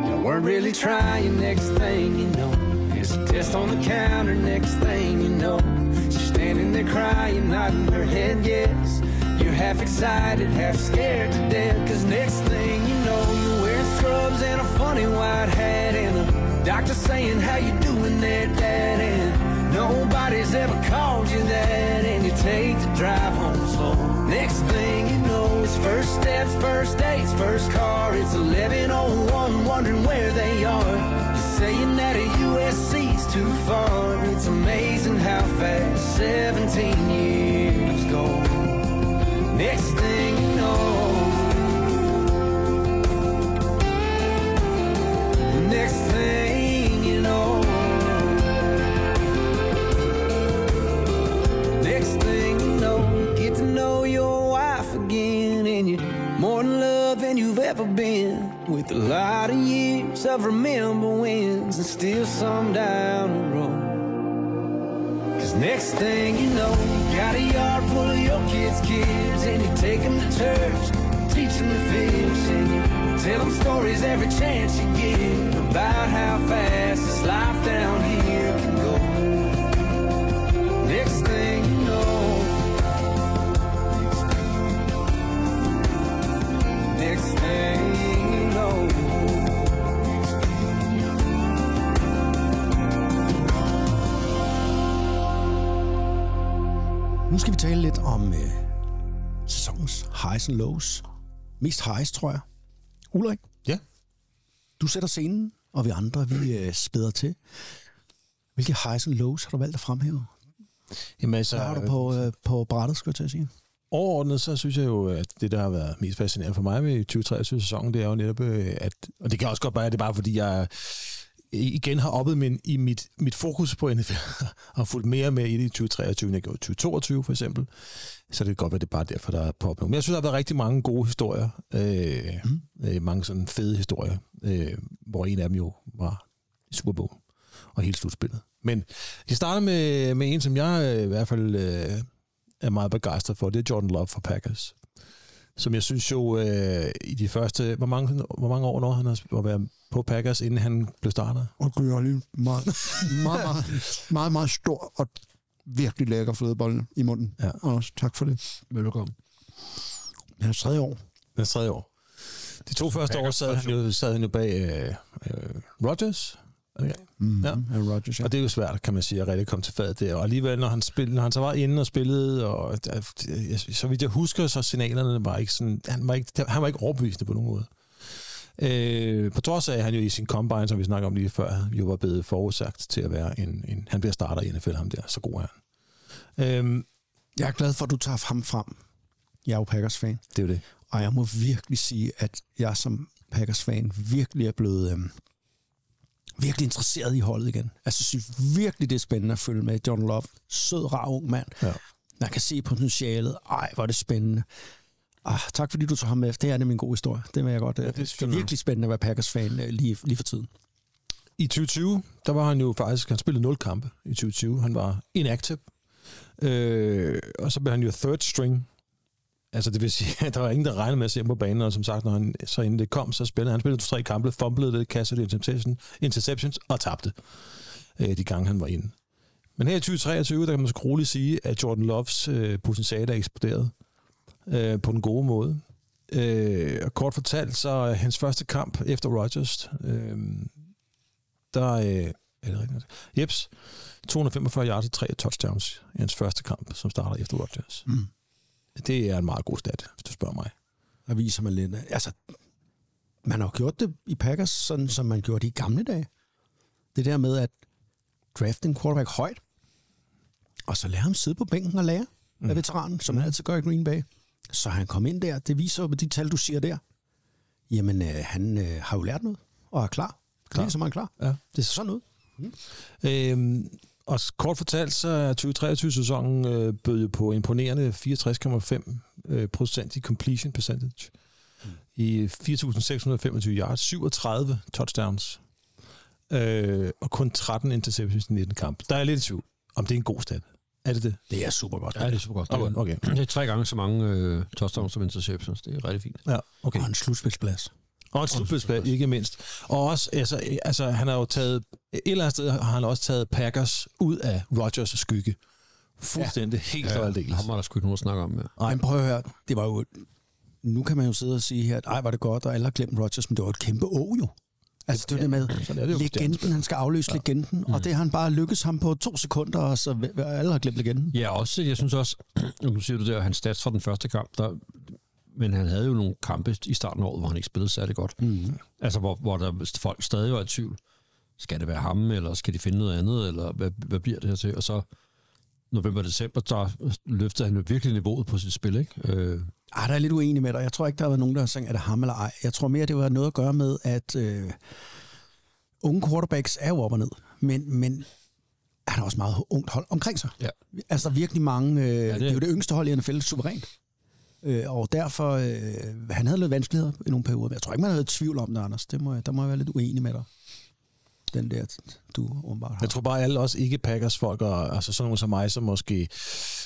Speaker 8: you weren't really trying. Next thing you know, there's a test on the counter. Next thing you know, she's standing there crying, nodding her head yes. You're half excited, half scared to death. Cause next thing you know, you're wearing scrubs and a funny white hat. And the doctor saying, How you doing there, Dad? And nobody's ever called you that. And you take the drive home slow. Next thing you know, it's first steps, first dates, first car. It's 1101, wondering where they are. You're saying that a USC's too far. It's amazing how fast 17 years go. Next thing you know, next thing you know. Next thing you know, you get to know your wife again, and you're more in love than you've ever been with A lot of years of remember wins and still some down the road. Cause next thing you know, you got a yard full of your kids' kids and you take 'em to church, teach 'em to fish and you tell 'em stories every chance you get about how fast this life down here can go. Next thing you know, Next thing you know,
Speaker 5: Nu skal vi tale lidt om øh, sæsonens highs and lows. Mest highs, tror jeg. Ulrik,
Speaker 2: Ja.
Speaker 5: du sætter scenen, og vi andre, vi øh, spæder til. Hvilke highs and lows har du valgt at fremhæve?
Speaker 2: Jamen, altså,
Speaker 5: Hvad har du på, øh, på brættet, skulle jeg til at sige?
Speaker 2: overordnet, så synes jeg jo, at det, der har været mest fascinerende for mig ved 2023-sæsonen, det er jo netop, øh, at, og det kan også godt være, at det er bare fordi, jeg igen har oppet min, i mit, mit fokus på NFL, og har fulgt mere med i det i 2023, end jeg gjorde i 2022 for eksempel. Så det kan godt være, det er bare derfor, der er poppet. Men jeg synes, der har været rigtig mange gode historier. Øh, mm. øh, mange sådan fede historier, øh, hvor en af dem jo var i Super Bowl og hele slutspillet. Men jeg starter med, med en, som jeg øh, i hvert fald øh, er meget begejstret for, det er Jordan Love fra Packers. Som jeg synes jo, øh, i de første... Hvor mange, hvor mange år når han har været på Packers, inden han blev starter?
Speaker 9: og gør lige meget, meget, meget, meget, meget stor og virkelig lækker flødebolle i munden.
Speaker 2: Ja.
Speaker 9: Anders, tak for det.
Speaker 6: Velkommen.
Speaker 9: Han er tredje år.
Speaker 2: Den tredje år. De to første år sad han, jo, sad han jo bag øh, øh, Rodgers. Okay.
Speaker 9: Mm-hmm.
Speaker 2: Ja.
Speaker 9: Ja, Rodgers, ja.
Speaker 2: Og det er jo svært, kan man sige, at rigtig komme til fadet der. Og alligevel, når han, spillede, når han så var inde og spillede, og øh, der- jeg- så vidt jeg husker, så signalerne var ikke sådan, han var ikke, han var ikke overbevisende på nogen måde. Øh, på trods af, at han jo i sin combine, som vi snakker om lige før, jo var blevet forudsagt til at være en, en han bliver starter i NFL, ham der, så god er han. Øh,
Speaker 9: Jeg er glad for, at du tager ham frem.
Speaker 5: Jeg er jo Packers-fan,
Speaker 2: det er jo det.
Speaker 5: og jeg må virkelig sige, at jeg som Packers-fan virkelig er blevet øhm, virkelig interesseret i holdet igen. Altså, synes virkelig, det er spændende at følge med. John Love, sød, rar ung mand.
Speaker 2: Ja.
Speaker 5: Man kan se potentialet. Ej, hvor er det spændende. Ah, tak fordi du tog ham med. Det er nemlig en god historie. Det vil jeg godt. Ja, det,
Speaker 2: det
Speaker 5: er det er
Speaker 2: selvfølgelig.
Speaker 5: virkelig spændende at være Packers-fan øh, lige, lige for tiden.
Speaker 2: I 2020, der var han jo faktisk, han spillede 0 kampe i 2020. Han var inactive. Øh, og så blev han jo third string. Altså det vil sige, at der var ingen, der regnede med at se ham på banen, og som sagt, når han så inden det kom, så spillede han spillede tre kampe, fumblede det, kastede det interception, interceptions og tabte øh, de gange, han var inde. Men her i 2023, der kan man så roligt sige, at Jordan Loves øh, potentiale er eksploderet øh, på den gode måde. Øh, og kort fortalt, så er hans første kamp efter Rodgers, øh, der øh, er det rigtigt? Jeps, 245 yards og tre touchdowns i hans første kamp, som starter efter Rodgers. Mm. Det er en meget god stat, hvis du spørger mig.
Speaker 5: Og viser man lidt. Altså, man har jo gjort det i Packers, sådan som man gjorde det i gamle dage. Det der med at drafte en quarterback højt, og så lade ham sidde på bænken og lære mm. af veteranen, som han altid gør i Green Bay. Så han kom ind der, det viser jo med de tal, du siger der. Jamen, øh, han øh, har jo lært noget, og er klar. klar. Det er så meget klar.
Speaker 2: Ja.
Speaker 5: Det ser sådan ud.
Speaker 2: Øhm, og s- kort fortalt, så er 2023-sæsonen øh, bød jo på imponerende 64,5 øh, procent i completion percentage. Mm. I 4.625 yards, 37 touchdowns. Øh, og kun 13 interceptions i 19 kamp. Der er jeg lidt i tvivl, om det er en god stat. Er det det?
Speaker 5: Det er super godt.
Speaker 6: Ja, det er super godt.
Speaker 2: Okay, okay.
Speaker 6: Det er tre gange så mange øh, touchdowns som interceptions. Det er rigtig fint.
Speaker 2: Ja, okay.
Speaker 5: Og en slutspilsplads.
Speaker 2: Og en slutspilsplads, ikke mindst. Og også, altså, altså, han har jo taget, et eller andet sted har han også taget Packers ud af Rodgers skygge. Fuldstændig, ja. helt og aldeles.
Speaker 6: Ham var der sgu ikke nogen at snakke om. Ja.
Speaker 5: Ej, men prøv at høre, det var jo... Nu kan man jo sidde og sige her, at ej, var det godt, og alle har glemt Rodgers, men det var et kæmpe å jo. Altså, det er det med
Speaker 2: sådan er det jo Mm. på
Speaker 5: legenden, han skal afløse ja. legenden, og det har han bare lykkes ham på to sekunder, og så v- alle har glemt legenden.
Speaker 6: Ja, også, jeg synes også, nu siger du der, hans stats fra den første kamp, der, men han havde jo nogle kampe i starten af året, hvor han ikke spillede særlig godt. Mm. Altså, hvor, hvor der folk stadig var i tvivl. Skal det være ham, eller skal de finde noget andet, eller hvad, hvad bliver det her til? Og så november december, der løftede han jo virkelig niveauet på sit spil, ikke? Øh,
Speaker 5: Ej, Ah, der er jeg lidt uenig med dig. Jeg tror ikke, der har været nogen, der har sagt, er det ham eller ej. Jeg tror mere, det var noget at gøre med, at øh, unge quarterbacks er jo op og ned, men, men er der også meget ungt hold omkring sig.
Speaker 6: ja.
Speaker 5: Altså, der er virkelig mange... Øh, ja, det,
Speaker 6: det
Speaker 5: er...
Speaker 6: er-
Speaker 5: det er jo det yngste hold i NFL, suverænt. Øh, og derfor, øh, han havde lidt vanskeligheder i nogle perioder, men jeg tror ikke, man havde tvivl om det, Anders. Det må jeg, der må jeg være lidt uenig med dig. Den der, du åbenbart har.
Speaker 2: Jeg tror bare, at alle os ikke-Packers-folk, og altså sådan nogle som mig, som måske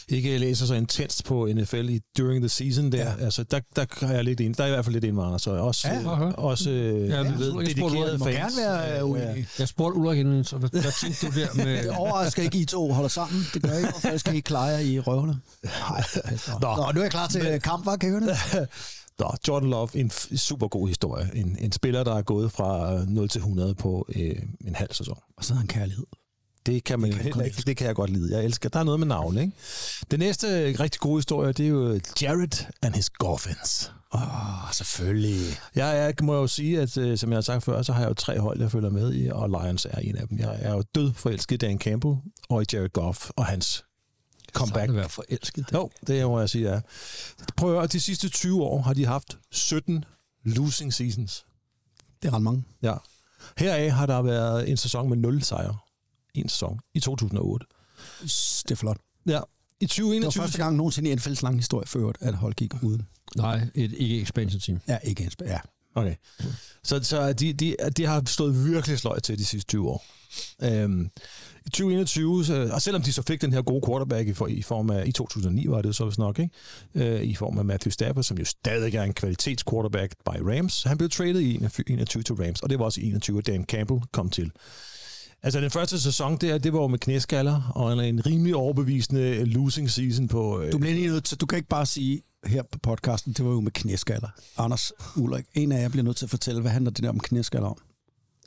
Speaker 2: ikke læser så intenst på NFL i during the season der, ja. altså der, der er jeg lidt ind. Der er i hvert fald lidt ind med Anders, og også,
Speaker 6: Ja,
Speaker 2: ja,
Speaker 6: okay.
Speaker 2: også ja,
Speaker 6: Ja, jeg tror,
Speaker 2: ved,
Speaker 6: jeg spurgte
Speaker 2: dedikerede
Speaker 6: Ulrik, må
Speaker 2: fans.
Speaker 9: gerne være
Speaker 2: Ja,
Speaker 9: uenig.
Speaker 6: Jeg spurgte Ulrik inden, så hvad, hvad tænkte du der med...
Speaker 5: Det overrasker ikke, I to holder sammen. Det gør ikke, og først skal I klare jer i røverne. Nej, Nå. Nå, nu er jeg klar til men... kamp, var kan I høre det?
Speaker 2: Nå, Jordan Love, en f- super god historie. En, en spiller, der er gået fra øh, 0 til 100 på øh, en halv sæson.
Speaker 5: Og så har han kærlighed.
Speaker 2: Det kan man det
Speaker 5: kan
Speaker 2: kan,
Speaker 5: jeg godt
Speaker 2: ikke, det kan jeg godt lide. Jeg elsker. Der er noget med navn, ikke? Den næste øh, rigtig gode historie, det er jo Jared and his Goffins.
Speaker 5: Åh, oh, selvfølgelig.
Speaker 2: Jeg er, må jo sige, at øh, som jeg har sagt før, så har jeg jo tre hold, jeg følger med i, og Lions er en af dem. Jeg er jo død forelsket i Dan Campbell og i Jared Goff og hans comeback.
Speaker 6: At være forelsket.
Speaker 2: Jo, det må jeg sige, ja. Prøv at høre, de sidste 20 år har de haft 17 losing seasons.
Speaker 5: Det er ret mange.
Speaker 2: Ja. Heraf har der været en sæson med 0 sejre. En sæson i 2008.
Speaker 5: Det er flot.
Speaker 2: Ja. I
Speaker 5: Det var
Speaker 2: 2021...
Speaker 5: første gang nogensinde i NFL's lange historie før, at hold gik uden.
Speaker 6: Nej, et ikke expansion team.
Speaker 5: Ja, ikke ens. Ja.
Speaker 2: Okay. Så, så de, de, de har stået virkelig sløjt til de sidste 20 år. Øhm, I 2021, så, og selvom de så fik den her gode quarterback i, for, i form af, i 2009 var det så vist nok, ikke? Øh, i form af Matthew Stafford, som jo stadig er en kvalitetsquarterback by Rams, han blev traded i 21 til Rams, og det var også i 21, at Dan Campbell kom til. Altså den første sæson der, det var jo med knæskaller og en, en rimelig overbevisende losing season på... Øh,
Speaker 5: Du bliver lige nødt til, du kan ikke bare sige her på podcasten, det var jo med knæskaller. Anders Ulrik, en af jer bliver nødt til at fortælle, hvad handler det der om knæskaller om?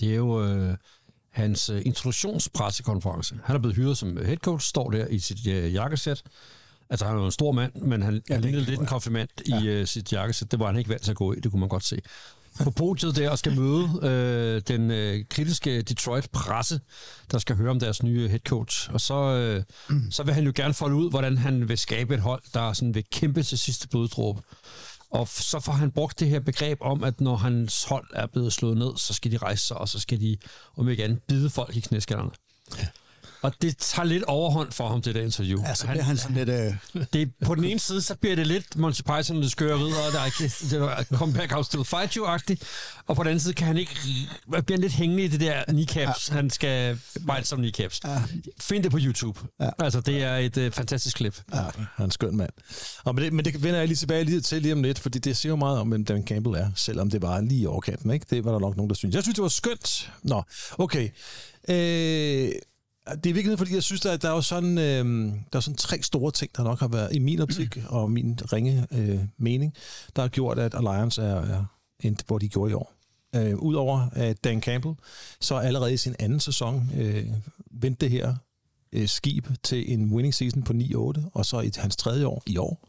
Speaker 6: Det er jo øh, hans øh, introduktionspressekonference. Han er blevet hyret som head coach, står der i sit øh, jakkesæt. Altså, han er jo en stor mand, men han, ja, han lignede lidt en konfirmand ja. i øh, sit jakkesæt. Det var han ikke vant til at gå i, det kunne man godt se. På podiet der og skal møde øh, den øh, kritiske Detroit-presse, der skal høre om deres nye head coach. Og så, øh, så vil han jo gerne folde ud, hvordan han vil skabe et hold, der sådan vil kæmpe til sidste bloddråbe. Og f- så får han brugt det her begreb om, at når hans hold er blevet slået ned, så skal de rejse sig, og så skal de, om ikke andet, bide folk i knæskallerne. Og det tager lidt overhånd for ham, det der interview.
Speaker 5: Altså, han, han sådan lidt... Øh,
Speaker 6: Det, på den ene side, så bliver det lidt Monty Python og det skøre ridder, der er ikke- det var come back, I'll still fight you-agtigt. Og på den anden side kan han ikke, bliver han lidt hængende i det der kneecaps. Han skal bite som kneecaps. Find det på YouTube. Altså, det er et øh, fantastisk klip.
Speaker 2: Han er en skøn mand. Og men, det, men det vender jeg lige tilbage lige til lige om lidt, fordi det siger jo meget om, hvem Dan Campbell er, selvom det var lige i overkanten. Ikke? Det var der nok nogen, der synes. Jeg synes, det var skønt. Nå, okay. Øh, det er vigtigt, fordi jeg synes, at der er jo sådan, øh, der er sådan tre store ting, der nok har været i min optik og min ringe øh, mening, der har gjort, at Alliance er, er endt, hvor de gjorde i år. Øh, Udover at Dan Campbell, så allerede i sin anden sæson øh, vendte det her øh, skib til en winning season på 9-8, og så i hans tredje år i år,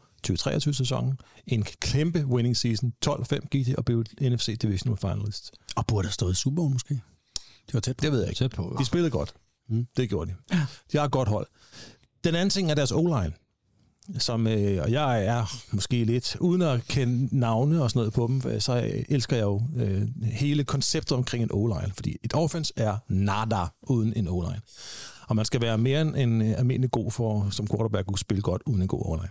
Speaker 2: 2023-sæsonen, en kæmpe winning season, 12-5 gik det, og blev NFC Divisional Finalist.
Speaker 5: og burde have stået i Super Bowl måske. Det var tæt på.
Speaker 2: Det ved jeg ikke.
Speaker 6: Tæt på.
Speaker 2: De spillede godt. Mm. Det gjorde de. De har et godt hold. Den anden ting er deres O-line, som, øh, og jeg er måske lidt, uden at kende navne og sådan noget på dem, øh, så øh, elsker jeg jo øh, hele konceptet omkring en O-line, fordi et offense er nada uden en O-line. Og man skal være mere end en øh, almindelig god for, som quarterback, at kunne spille godt uden en god O-line.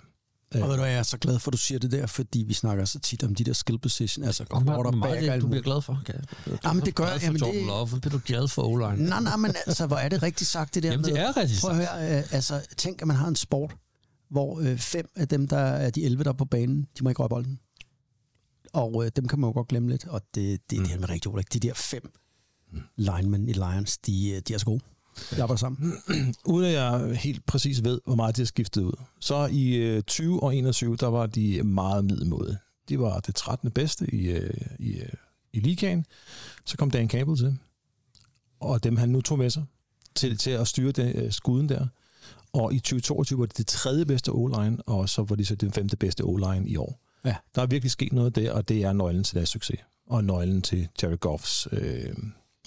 Speaker 5: Og ved du hvad, jeg er så glad for, at du siger det der, fordi vi snakker så tit om de der skill position, altså
Speaker 6: Og meget, øh,
Speaker 5: quarterback og alt
Speaker 6: du bliver
Speaker 5: muligt.
Speaker 6: glad for. Okay.
Speaker 5: Jamen, det gør
Speaker 6: jeg.
Speaker 5: jeg.
Speaker 6: Glad
Speaker 5: Jamen,
Speaker 6: for Jordan
Speaker 5: det-
Speaker 6: Love, Hvorfor bliver du glad for O-line.
Speaker 5: Nej, nej, men altså, hvor er det rigtigt sagt, det der
Speaker 6: Jamen,
Speaker 5: med...
Speaker 6: det er rigtigt
Speaker 5: Prøv at høre, øh, altså, tænk, at man har en sport, hvor øh, fem af dem, der er de 11, der er på banen, de må ikke røre bolden. Og øh, dem kan man jo godt glemme lidt, og det, det er det her med rigtig Ulrik. De der fem linemen i Lions, de, øh, de er så gode. De arbejder sammen.
Speaker 2: uden at jeg helt præcis ved, hvor meget de har skiftet ud. Så i øh, 20 og 21, der var de meget middelmåde. De var det 13. bedste i, øh, i, øh, i ligaen. Så kom Dan Campbell til, og dem han nu tog med sig til, til at styre den, øh, skuden der. Og i 2022 var det det tredje bedste O-line, og så var de så den femte bedste O-line i år.
Speaker 5: Ja.
Speaker 2: Der er virkelig sket noget der, og det er nøglen til deres succes. Og nøglen til Jerry Goffs øh,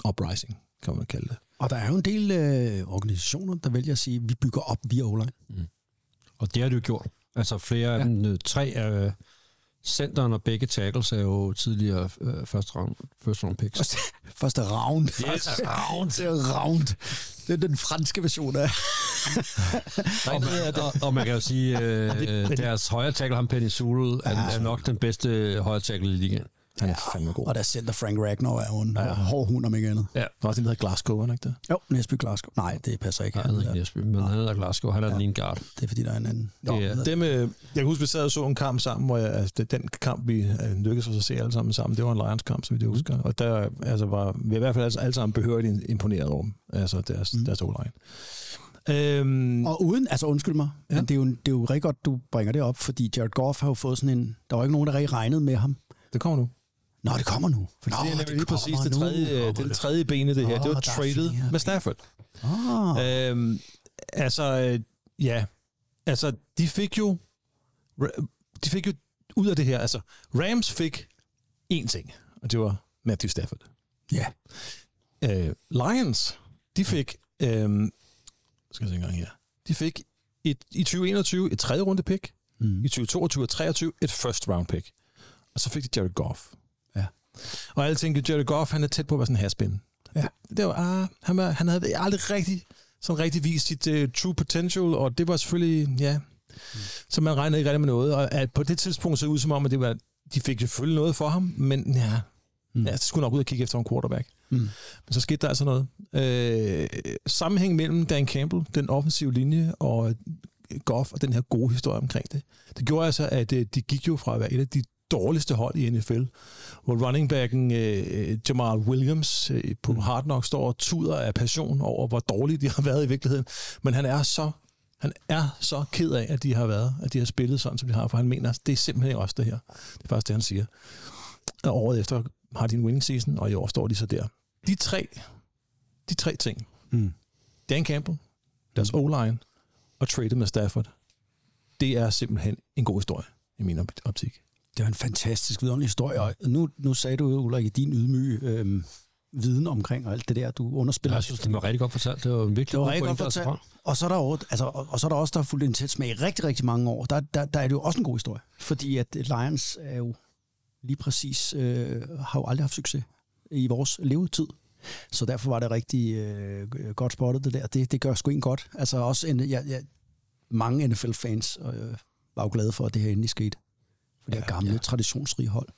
Speaker 2: uprising, kan man kalde det.
Speaker 5: Og der er jo en del øh, organisationer, der vælger at sige, at vi bygger op via online.
Speaker 6: Og det har de jo gjort. Altså flere af ja. dem, øh, tre af øh, centeren og begge tackles er jo tidligere øh, første round, first round picks.
Speaker 5: Og så, Første round. Yes. Første round. Det er round. Det er den franske version af.
Speaker 6: Og man, og, og man kan jo sige, øh, øh, deres højre tackle, ham Penny Sulu, er, er nok den bedste højre tackle i ligaen.
Speaker 2: Han er fandme god.
Speaker 5: Og der center Frank Ragnar er jo en ja. hård hund om ikke andet.
Speaker 6: Ja.
Speaker 2: Der er også en, der hedder Glasgow, er der ikke det?
Speaker 5: Jo, Næsby Glasgow. Nej, det passer ikke.
Speaker 6: Jeg ved ikke, Jesper, men han hedder Glasgow, han er den ene guard.
Speaker 5: Det er fordi, der er en anden. Nå,
Speaker 6: Det er-
Speaker 5: ved jeg.
Speaker 2: Det med, jeg kan huske, vi sad og så en kamp sammen, hvor jeg, altså, det, den kamp, vi øh, lykkedes os at se alle sammen sammen, det var en Lions kamp, som vi det husker. Og der altså, var vi i hvert fald altså, alle sammen behørigt imponeret over dem, altså deres, mm. deres O-line. Øhm,
Speaker 5: Og uden, altså undskyld mig, ja. men det er, jo, det er jo rigtig godt, du bringer det op, fordi Jared Goff har jo fået sådan en, der var ikke nogen, der rigtig regnede med ham.
Speaker 2: det kommer nu.
Speaker 5: Nå, det kommer nu. Nå,
Speaker 2: det er nemlig lige præcis
Speaker 5: kommer
Speaker 2: det
Speaker 5: nu.
Speaker 2: tredje, øh, det, er det tredje benet, det her.
Speaker 5: Åh,
Speaker 2: det var
Speaker 5: der er
Speaker 2: traded
Speaker 5: flere
Speaker 2: med Stafford.
Speaker 5: Ah,
Speaker 2: Øhm, altså, øh, ja. Altså, de fik jo... De fik jo ud af det her... Altså, Rams fik én ting, og det var Matthew Stafford.
Speaker 5: ja.
Speaker 2: Øh, Lions, de fik... Øh, skal jeg se en gang her. De fik et, i 2021 et tredje runde pick, mm. i 2022 og 23 et first round pick. Og så fik de Jared Goff.
Speaker 5: Ja.
Speaker 2: Og alle tænkte, Jared Goff, han er tæt på at være sådan en haspin.
Speaker 5: Ja.
Speaker 2: Det var, ah, han, var, han havde aldrig rigtig, sådan rigtig vist sit uh, true potential, og det var selvfølgelig, ja, så man regnede ikke rigtig med noget. Og at på det tidspunkt så det ud som om, at det var, de fik selvfølgelig noget for ham, men ja, mm. ja så skulle nok ud og kigge efter en quarterback. Mm. Men så skete der altså noget. Øh, sammenhæng mellem Dan Campbell, den offensive linje, og øh, Goff og den her gode historie omkring det. Det gjorde altså, at øh, de gik jo fra at være et af de dårligste hold i NFL, hvor runningbacken øh, Jamal Williams øh,
Speaker 5: Mm.
Speaker 2: på Hard Knock står og tuder af passion over, hvor dårlige de har været i virkeligheden. Men han er så han er så ked af, at de har været, at de har spillet sådan, som de har, for han mener, det er simpelthen ikke også det her. Det er faktisk det, han siger. Og året efter har de en winning season, og i år står de så der. De tre, de tre ting,
Speaker 5: Mm.
Speaker 2: Dan Campbell, deres O-line og trade med Stafford, det er simpelthen en god historie, i min op- optik.
Speaker 5: Det var en fantastisk vidunderlig historie, og nu, nu sagde du jo, Ulrik, i din ydmyge øhm, viden omkring og alt det der, du underspiller.
Speaker 6: Jeg synes, det var rigtig godt fortalt. Det var en virkelig
Speaker 5: det var
Speaker 6: god
Speaker 5: rigtig godt
Speaker 6: pointe, altså,
Speaker 5: fortalt. Og så er der, over, altså, og, og så er der også, der har fulgt en tæt smag i rigtig, rigtig mange år. Der, der, der er det jo også en god historie, fordi at Lions er jo lige præcis, øh, har jo aldrig haft succes i vores levetid. Så derfor var det rigtig øh, godt spottet det der. Det, det gør sgu en godt. Altså også en, ja, ja, mange NFL-fans øh, var jo glade for, at det her endelig skete. For det her gamle, ja. traditionsrige hold.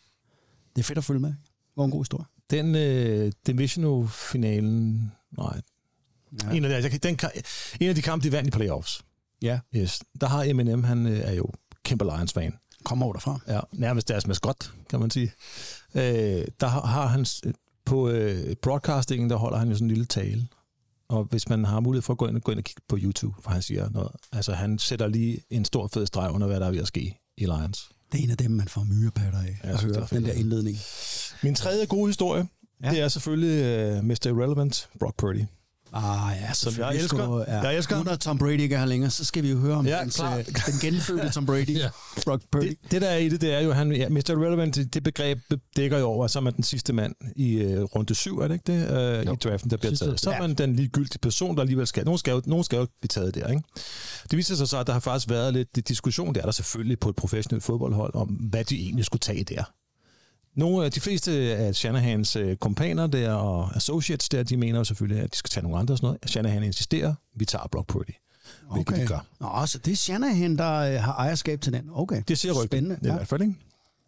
Speaker 5: Det er fedt at følge med. Det var en god historie.
Speaker 2: Den øh, Divisional-finalen, nej,
Speaker 5: Ja.
Speaker 2: en, af de, altså, jeg kan- den, ka- en af de kampe, de vandt i playoffs,
Speaker 5: Ja.
Speaker 2: yes. der har M&M, han øh, er jo kæmpe Lions-fan.
Speaker 5: Kommer over derfra.
Speaker 2: ja, nærmest deres maskot, kan man sige. Øh, der har, har han, s- på øh, broadcastingen, der holder han jo sådan en lille tale. Og hvis man har mulighed for at gå ind, gå ind og kigge på YouTube, for han siger noget. Altså han sætter lige en stor fed streg under, hvad der er ved at ske i Lions.
Speaker 5: Det er en af dem, man får myrepatter af
Speaker 2: Ja,
Speaker 5: ja,
Speaker 2: jeg
Speaker 5: at
Speaker 2: synes, det er
Speaker 5: høre
Speaker 2: fedt.
Speaker 5: den der indledning.
Speaker 2: Min tredje gode historie, ja. det er selvfølgelig øh, Mr. Irrelevant, Brock Purdy.
Speaker 5: Ah ja, så
Speaker 2: jeg elsker. Jeg elsker ham.
Speaker 5: Nu når Tom Brady ikke er her længere, så skal vi jo høre om
Speaker 2: Ja,
Speaker 5: ja, hans,
Speaker 2: klart.
Speaker 5: øh, den genfødte Tom Brady,
Speaker 6: Ja.
Speaker 5: ja. Brock Purdy.
Speaker 2: Det, det der er i det, det er jo, han, ja, Mr. Irrelevant, det det begreb dækker jo over, at så er man den sidste mand i øh, runde syv, er det ikke det, øh, i draften, der bliver
Speaker 6: Sidste-
Speaker 2: taget. Så er man den ligegyldige person, der alligevel skal. Nogen skal jo, nogen skal jo blive taget der, ikke? Det viser sig så, at der har faktisk været lidt lidt diskussion, det er der selvfølgelig på et professionelt fodboldhold, om hvad de egentlig skulle tage der. Nogle af de fleste af Shanahans øh, kompaner der og associates der, de mener jo selvfølgelig, at de skal tage nogle andre og sådan noget. Shanahan insisterer, vi tager Brock Purdy, hvilket okay. de gør.
Speaker 5: Nå, så det er Shanahan, der øh, har ejerskab til den. Okay,
Speaker 2: Det siger rygtet.
Speaker 5: Spændende.
Speaker 2: I
Speaker 5: Ja.
Speaker 2: hvert fald, ikke?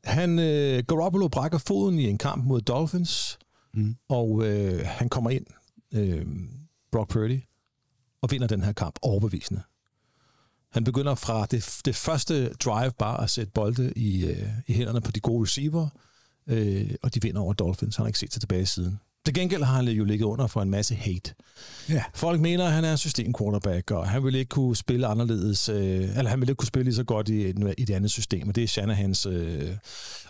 Speaker 2: Han, øh, Garoppolo brækker foden i en kamp mod Dolphins, mm. og øh, han kommer ind, øh, Brock Purdy, og vinder den her kamp overbevisende. Han begynder fra det, det første drive bare at sætte bolde i, øh, i hænderne på de gode receiver, øh, og de vinder over Dolphins. Han har ikke set sig tilbage siden. Til gengæld har han jo ligget under for en masse hate.
Speaker 5: Ja.
Speaker 2: Folk mener, at han er system quarterback, og han ville ikke kunne spille anderledes, øh, eller han ville ikke kunne spille lige så godt i, et- i et andet system, og det er Shanahans øh,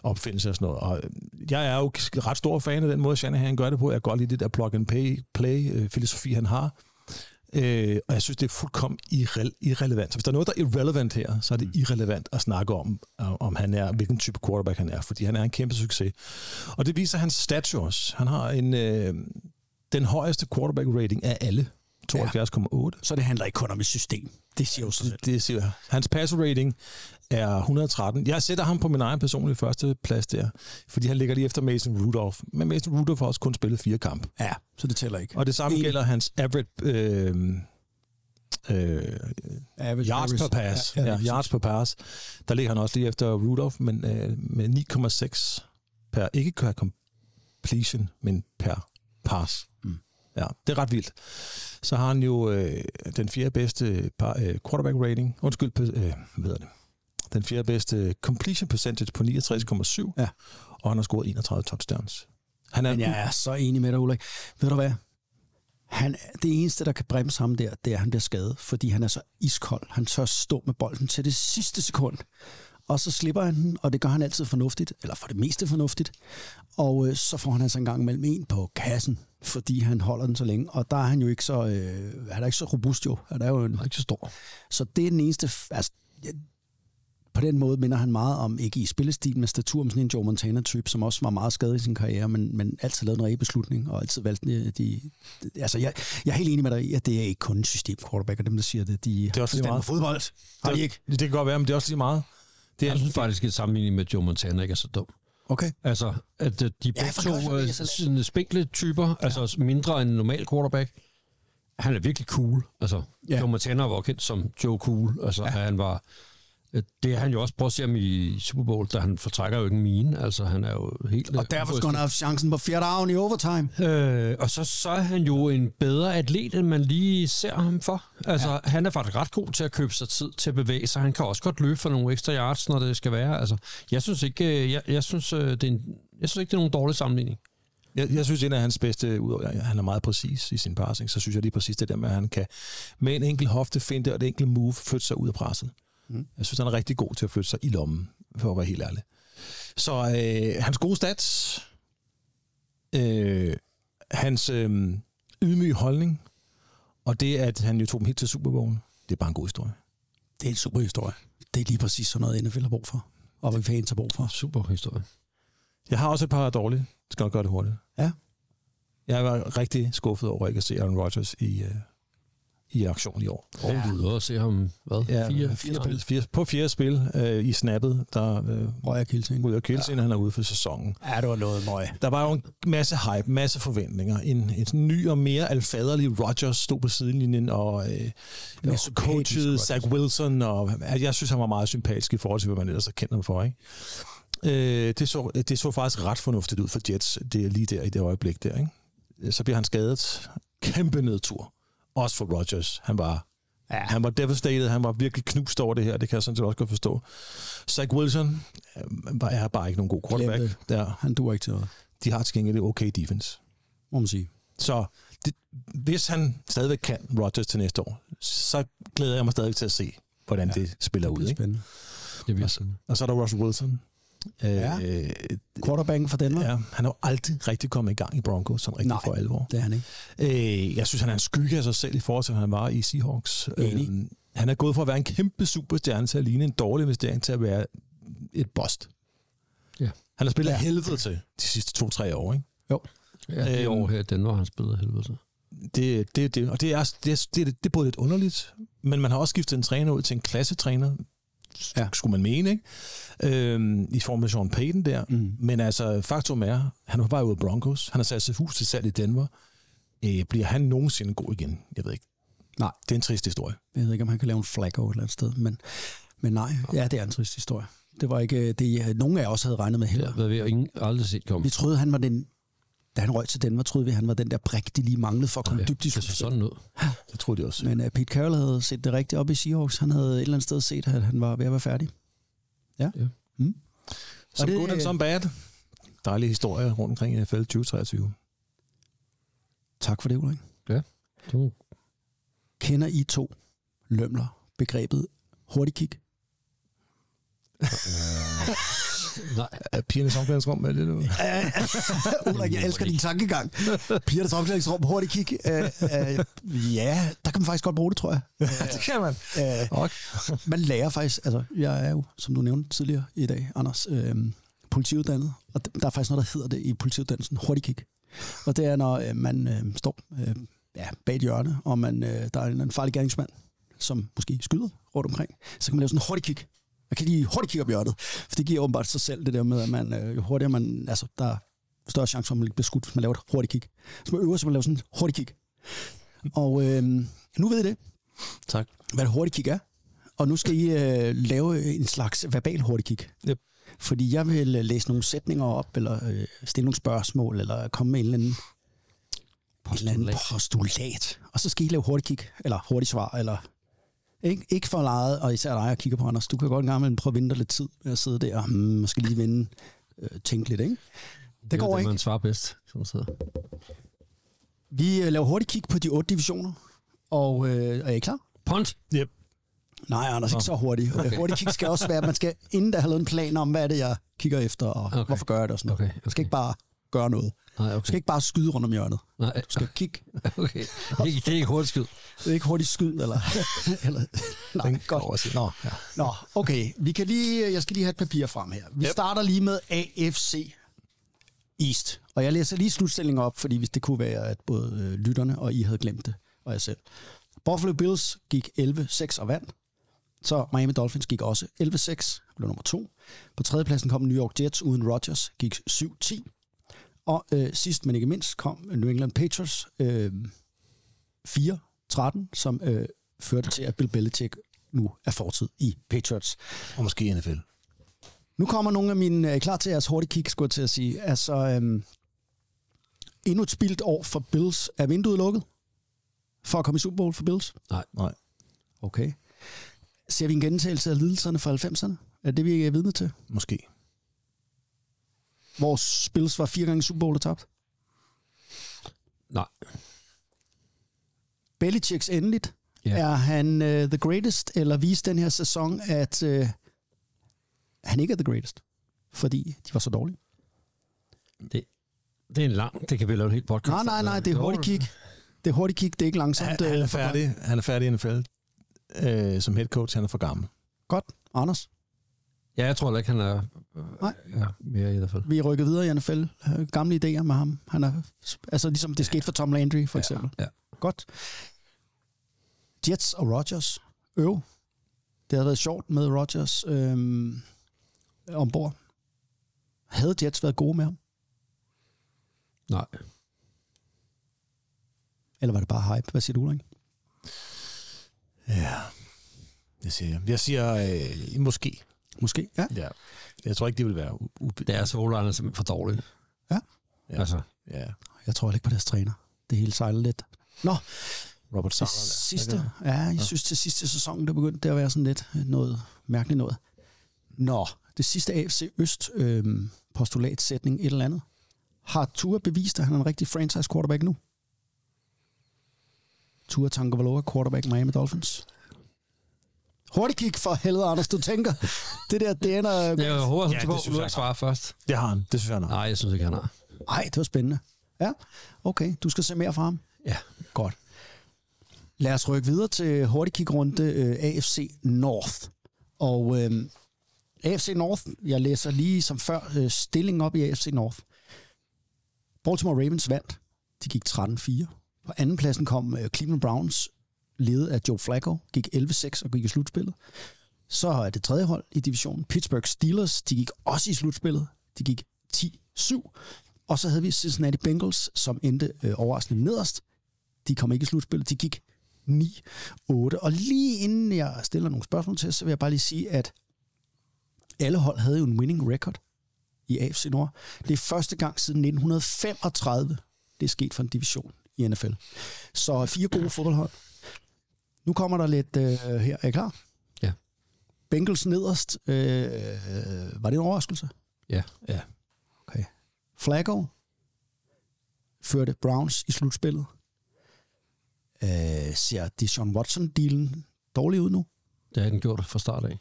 Speaker 2: opfindelse og sådan noget. Og øh, jeg er jo ret stor fan af den måde, Shanahan gør det på. Jeg kan godt lide det der plug-and-play-filosofi, han har. Øh, og jeg synes, det er fuldkommen irre- irrelevant. Så hvis der er noget, der er irrelevant her, så er det irrelevant at snakke om, øh, om om han er, hvilken type quarterback han er, fordi han er en kæmpe succes. Og det viser hans stats jo også. Han har en, øh, den højeste quarterback rating af alle. 72,8.
Speaker 5: Så det handler ikke kun om et system. Det siger jo sig selv.
Speaker 2: Det siger jeg. Hans passer rating er 113. Jeg sætter ham på min egen personlige første plads der, fordi han ligger lige efter Mason Rudolph. Men Mason Rudolph har også kun spillet fire kampe.
Speaker 5: Ja, så det tæller ikke.
Speaker 2: Og det samme
Speaker 5: Enig.
Speaker 2: gælder hans average... Øh, øh,
Speaker 5: Average,
Speaker 2: yards per pass. Ja, ja,
Speaker 5: lige
Speaker 2: yards per pass. Der ligger han også lige efter Rudolph, men øh, med 9,6 per, ikke per completion, men per pass. Mm. Ja, det er ret vildt. Så har han jo øh, den fjerde bedste par, øh, quarterback rating, undskyld, pe- øh, hvad hedder det? Den fjerde bedste completion percentage på 69,7,
Speaker 5: Ja.
Speaker 2: og han har scoret 31 touchdowns. Han er,
Speaker 5: Men jeg er så enig med dig, Ulrik. Ved du hvad? Han, det eneste, der kan bremse ham der, det er, at han bliver skadet, fordi han er så iskold. Han tør stå med bolden til det sidste sekund. Og så slipper han den, og det gør han altid fornuftigt, eller for det meste fornuftigt. Og øh, så får han altså en gang imellem en på kassen, fordi han holder den så længe. Og der er han jo ikke så, øh, han er ikke så robust jo. Han er jo en,
Speaker 6: Ikke så stor.
Speaker 5: så det er den eneste... f- Altså, ja, på den måde minder han meget om, ikke i spillestil, men statur om sådan en Joe Montana-type, som også var meget skadet i sin karriere, men, men altid lavede en rigtig beslutning, og altid valgte de... de altså, jeg, jeg er helt enig med dig i, at det er ikke kun system quarterback, og dem, der siger det, de det
Speaker 2: er også lige meget.
Speaker 5: fodbold. Har de ikke?
Speaker 2: det kan godt være, men det er også lige meget. Det er,
Speaker 6: Jeg synes faktisk, at sammenligningen med Joe Montana ikke er så dum.
Speaker 5: Okay.
Speaker 6: Altså, at øh, de er begge
Speaker 5: for
Speaker 6: to
Speaker 5: godt, så
Speaker 6: øh,
Speaker 5: bliver jeg så lidt-
Speaker 6: sådan spinkle typer, ja. altså også mindre end en normal quarterback. Han er virkelig cool. Altså,
Speaker 5: Ja.
Speaker 6: ja. Joe Montana var jo kendt som Joe Cool. Altså, ja. han var... øh, Det har han jo også prøvet at se ham i Super Bowl, da han fortrækker jo ikke en mine. Altså, han er jo helt... øh,
Speaker 5: Og derfor skulle
Speaker 6: udrustet.
Speaker 5: han have haft chancen på fjerde down i overtime.
Speaker 6: Øh, og så, så er han jo en bedre atlet, end man lige ser ham for. Altså, ja. han er faktisk ret god til at købe sig tid til at bevæge sig. Han kan også godt løbe for nogle ekstra yards, når det skal være. Altså, jeg synes ikke, øh, jeg, jeg synes, øh, det er en, jeg synes ikke, det er nogen dårlig sammenligning.
Speaker 2: Jeg, jeg synes, en af hans bedste, udover at han er meget præcis i sin passing, så synes jeg lige præcis det der med, at han kan med en enkelt hofte finte og et enkelt move flytte sig ud af presset. Mm. Jeg synes, han er rigtig god til at flytte sig i lommen, for at være helt ærlig. Så øh, hans gode stats, øh, hans øh, ydmyge holdning, og det, at han jo tog dem helt til Super Bowl, det er bare en god historie.
Speaker 5: Det er en super historie. Det er lige præcis sådan noget, NFL har brug for. Og hvad fans har brug for.
Speaker 6: Super historie.
Speaker 2: Jeg har også et par dårlige. Jeg skal nok gøre det hurtigt.
Speaker 5: Ja.
Speaker 2: Jeg var rigtig skuffet over ikke at se Aaron Rodgers i, øh, i aktion i år.
Speaker 6: Og ja. du ude og se ham, hvad?
Speaker 2: Ja, fire, fire spil. Fire, på fire spil øh, i snappet, der øh,
Speaker 5: Røg og kilting.
Speaker 2: ryger Kjelsen, ja. han er ude for sæsonen.
Speaker 5: Ja, det var noget møg.
Speaker 2: Der var jo en masse hype, masse forventninger. En, en sådan ny og mere alfaderlig Rodgers stod på sidelinjen, og, øh, og
Speaker 5: sympatisk
Speaker 2: coachede
Speaker 5: Rodgers.
Speaker 2: Zach Wilson, og at jeg synes, han var meget sympatisk i forhold til, hvad man ellers har kendt ham for. Ikke? Øh, det, så, det så faktisk ret fornuftigt ud for Jets, det er lige der i det øjeblik der. Ikke? Så bliver han skadet. Kæmpe nedtur. Også for Rodgers. Han var Ja. Han var devastated, han var virkelig knust over det her, det kan jeg sådan set også godt forstå. Zach Wilson øh, var- er bare ikke nogen god quarterback.
Speaker 5: Glem
Speaker 2: Der
Speaker 5: Han duer ikke til noget,
Speaker 2: de har til gengæld et okay defense.
Speaker 5: må man sige.
Speaker 2: Så det, hvis han stadigvæk kan Rodgers til næste år, så glæder jeg mig stadigvæk til at se, hvordan ja, det spiller
Speaker 5: Det
Speaker 2: ud.
Speaker 5: er
Speaker 2: Ikke?
Speaker 5: spændende.
Speaker 6: Det er virkelig.
Speaker 2: Og så er der Russell Wilson.
Speaker 5: Ja.
Speaker 2: Øh,
Speaker 5: Quarterbacken for Danmark? Ja.
Speaker 2: ja, han har jo aldrig rigtig kommet i gang i Broncos, sådan rigtig
Speaker 5: Nej.
Speaker 2: for alvor.
Speaker 5: Det er han ikke.
Speaker 2: Øh, jeg synes, han er en skygge af sig selv i forhold til, hvad han var i Seahawks. Øhm,
Speaker 5: Enig.
Speaker 2: han er gået fra at være en kæmpe superstjerne til at ligne en dårlig investering til at være et bust.
Speaker 6: Ja.
Speaker 2: Han har spillet
Speaker 5: Ja.
Speaker 2: ja. helvede til de sidste to-tre år, ikke?
Speaker 6: Ja, det
Speaker 2: Øhm.
Speaker 6: år her i Danmark, han spillede af helvede. til.
Speaker 2: det, det, det, og det er, det, er- det, er- det er både lidt underligt, men man har også skiftet en træner ud til en klassetræner, ja.
Speaker 5: Ja.
Speaker 2: skulle man mene, ikke? Øhm, i form af Sean Payton der. Mm. Men altså, faktum er, han var bare ude af Broncos, han har sat sit hus til salg i Denver. Øh, bliver han nogensinde god igen? Jeg ved ikke.
Speaker 5: Nej.
Speaker 2: Det er en trist historie.
Speaker 5: Jeg ved ikke, om han kan lave en flag over et eller andet sted, men, men nej, ja, det er en trist historie. Det var ikke øh, det, øh, nogen af os havde regnet med heller.
Speaker 6: Det har jeg ingen, aldrig set komme.
Speaker 5: Vi troede, han var den, da han røg til Danmark, troede vi, han var den der brik, de lige manglede for at komme
Speaker 6: Ja,
Speaker 5: ja, dybt i
Speaker 6: det så
Speaker 5: Super
Speaker 6: sådan ud.
Speaker 2: Det tror de også.
Speaker 5: Men uh, Pete Carroll havde set det rigtigt op i Seahawks. Han havde et eller andet sted set, at han var ved at være færdig. Mm.
Speaker 2: Som
Speaker 5: og det- øh,
Speaker 2: good and som bad. Dejlige historier rundt omkring i NFL 2023.
Speaker 5: Tak for det, Ulrik.
Speaker 6: Du-
Speaker 5: Kender I to lømler begrebet hurtigkig?
Speaker 6: Nej,
Speaker 2: Er pigerne samklædningsrum med det nu?
Speaker 5: Ulrik, jeg elsker din tankegang. Piger, der omklædningsrum, hurtigt kig. Uh, uh, ja, der kan man faktisk godt bruge det, tror jeg.
Speaker 2: det kan man.
Speaker 5: Øh,
Speaker 2: Okay.
Speaker 5: man lærer faktisk, altså jeg er jo, som du nævnte tidligere i dag, Anders, øh, politiuddannet, og d- der er faktisk noget, der hedder det i politiuddannelsen, hurtig kick. Og det er, når øh, man øh, står øh, ja, bag et hjørne, og man, øh, der er en, eller anden farlig gerningsmand, som måske skyder rundt omkring, så kan man lave sådan en hurtig kick, Man kan lige hurtigt kigge op i hjørnet, for det giver åbenbart sig selv det der med, at man, øh, jo hurtigere man, altså der er større chance for, at man bliver skudt, hvis man laver et hurtigt kig. Så man øver sig, man laver sådan et hurtigt kig. Og øh, nu ved I det,
Speaker 2: Tak.
Speaker 5: hvad et hurtigt kig er. Og nu skal I øh, lave en slags verbal hurtigt kig.
Speaker 2: Yep.
Speaker 5: Fordi jeg vil øh, læse nogle sætninger op, eller øh, stille nogle spørgsmål, eller komme med en eller anden et eller andet postulat. Og så skal I lave hurtigt kig, eller hurtigt svar, eller ikke, ikke for lejet, og især dig, jeg kigger på, Anders. Du kan godt en gang imellem prøve at vente dig lidt tid med at sidde der, og hmm, måske lige vende, øh, tænke lidt, ikke? Det går
Speaker 6: det,
Speaker 5: ikke.
Speaker 6: man svarer bedst, som sidder.
Speaker 5: Vi øh, laver hurtigt kig på de otte divisioner, og øh, er I klar?
Speaker 6: Pont!
Speaker 2: Yep.
Speaker 5: Nej, Anders, ikke så hurtigt. Okay. Hurtigt kig skal også være, at man skal inden der have lavet en plan om, hvad er det, jeg kigger efter, og okay.
Speaker 6: Okay.
Speaker 5: hvorfor gør jeg det og sådan noget.
Speaker 6: Okay,
Speaker 5: Man skal
Speaker 6: okay.
Speaker 5: ikke bare gøre noget.
Speaker 6: Nej,
Speaker 5: Du skal
Speaker 6: okay.
Speaker 5: ikke bare skyde rundt om hjørnet.
Speaker 6: Nej,
Speaker 5: Du skal kigge.
Speaker 6: okay. Det er ikke, det er ikke hurtigt skyd.
Speaker 5: Det er ikke hurtigt skyd, eller... eller nej,
Speaker 2: Den
Speaker 5: godt.
Speaker 2: går også. Nå, ja.
Speaker 5: Nå, okay. Vi kan lige, jeg skal lige have et papir frem her. Vi yep. starter lige med AFC East. Og jeg læser lige slutstillingen op, fordi hvis det kunne være, at både øh, lytterne og I havde glemt det, og jeg selv. Buffalo Bills gik 11-6 og vandt. Så Miami Dolphins gik også 11-6, blev nummer to. På tredjepladsen kom New York Jets uden Rodgers, gik 7-10. Og øh, sidst, men ikke mindst, kom New England Patriots øh, 4-13, som øh, førte til, at Bill Belichick nu er fortid i Patriots.
Speaker 2: Og måske NFL.
Speaker 5: Nu kommer nogle af mine øh, klar til jeres hurtige kig, skulle jeg til at sige. Altså, øhm, endnu et spildt år for Bills. Er vinduet lukket? For at komme i Super Bowl for Bills?
Speaker 2: Nej.
Speaker 5: Okay. Ser vi en gentagelse af lidelserne fra 90'erne? Er det, vi er vidne til?
Speaker 2: Måske.
Speaker 5: Vores Bills var fire gange i Super Bowl og tabt.
Speaker 6: Nej.
Speaker 5: Belichicks endeligt.
Speaker 6: Ja.
Speaker 5: Yeah. Er han øh, the greatest, eller viste den her sæson, at øh, han ikke er the greatest? Fordi de var så dårlige.
Speaker 6: Det er en lang, det kan vi lave en helt podcast.
Speaker 5: Nej, nej,
Speaker 6: om.
Speaker 5: nej, det er
Speaker 6: Jo,
Speaker 5: hurtigt kig. Det er hurtigt kig, det er ikke langsomt.
Speaker 2: Han, han er
Speaker 5: øh,
Speaker 2: færdig. Han er færdig i NFL. Øh, som head coach, han er for gammel.
Speaker 5: Godt, Anders.
Speaker 6: Ja, jeg tror heller ikke, han er
Speaker 5: Nej.
Speaker 6: nej. Ja, mere i hvert fald.
Speaker 5: Vi er rykket videre i NFL. Øh, Gamle idéer med ham. Han er, altså ligesom det skete for Tom Landry, for eksempel.
Speaker 6: Ja,
Speaker 5: Godt. Jets og Rodgers. Øv. Det havde været sjovt med Rodgers øhm, ombord. Havde Jets været gode med ham?
Speaker 6: nej.
Speaker 5: Eller var det bare hype? Hvad siger du, Ulrik?
Speaker 2: Ja. Det siger jeg. Jeg siger øh, måske.
Speaker 5: Måske, ja.
Speaker 2: Ja. Jeg tror ikke, det vil være u- u-
Speaker 6: Det er så Ola, er simpelthen for dårlig.
Speaker 5: Ja.
Speaker 2: Ja.
Speaker 6: Altså,
Speaker 2: Ja.
Speaker 5: Jeg tror heller ikke på deres træner. Det hele sejler lidt. Nå,
Speaker 2: Robert
Speaker 5: til
Speaker 2: Sala.
Speaker 5: sidste, ja, jeg synes til sidste sæson, der begyndte det at være sådan lidt øh, noget mærkeligt noget. Nå, det sidste AFC Øst øh, postulatsætning, et eller andet. Har Tua bevist, at han er en rigtig franchise quarterback nu? Tua Tagovailoa, quarterback Miami Dolphins. Hurtigt kig for helvede, Anders, du tænker. Det der, det ender...
Speaker 6: jeg håber, at
Speaker 2: Ja,
Speaker 6: ja,
Speaker 2: det synes
Speaker 6: du
Speaker 2: jeg
Speaker 6: ikke svarer først.
Speaker 2: Det har han. Det synes jeg nok.
Speaker 6: Nej, jeg synes ikke, han har.
Speaker 5: Ej, det var spændende. Ja, okay, du skal se mere fra ham.
Speaker 6: Ja.
Speaker 5: Godt. Lad os rykke videre til hurtigkigrunde øh, AFC North. Og øh, AFC North, jeg læser lige som før øh, stillingen op i AFC North. Baltimore Ravens vandt. De gik 13-4. På andenpladsen kom øh, Cleveland Browns, ledet af Joe Flacco, gik 11-6 og gik i slutspillet. Så er det tredje hold i divisionen, Pittsburgh Steelers, de gik også i slutspillet. De gik 10-7. Og så havde vi Cincinnati Bengals, som endte øh, overraskende nederst. De kom ikke i slutspillet, de gik 9-8. Og lige inden jeg stiller nogle spørgsmål til, så vil jeg bare lige sige, at alle hold havde jo en winning record i AFC Nord. Det er første gang siden 1935, det er sket for en division i NFL. Så fire gode fodboldhold. Nu kommer der lidt øh, her. Er I klar?
Speaker 6: Ja.
Speaker 5: Bengals nederst. Øh, var det en overraskelse?
Speaker 6: Ja. ja.
Speaker 5: Okay. Flacco førte Browns i slutspillet. Øh, ser Deshaun Watson-dealen dårlig ud nu?
Speaker 6: Det har den gjort fra start af.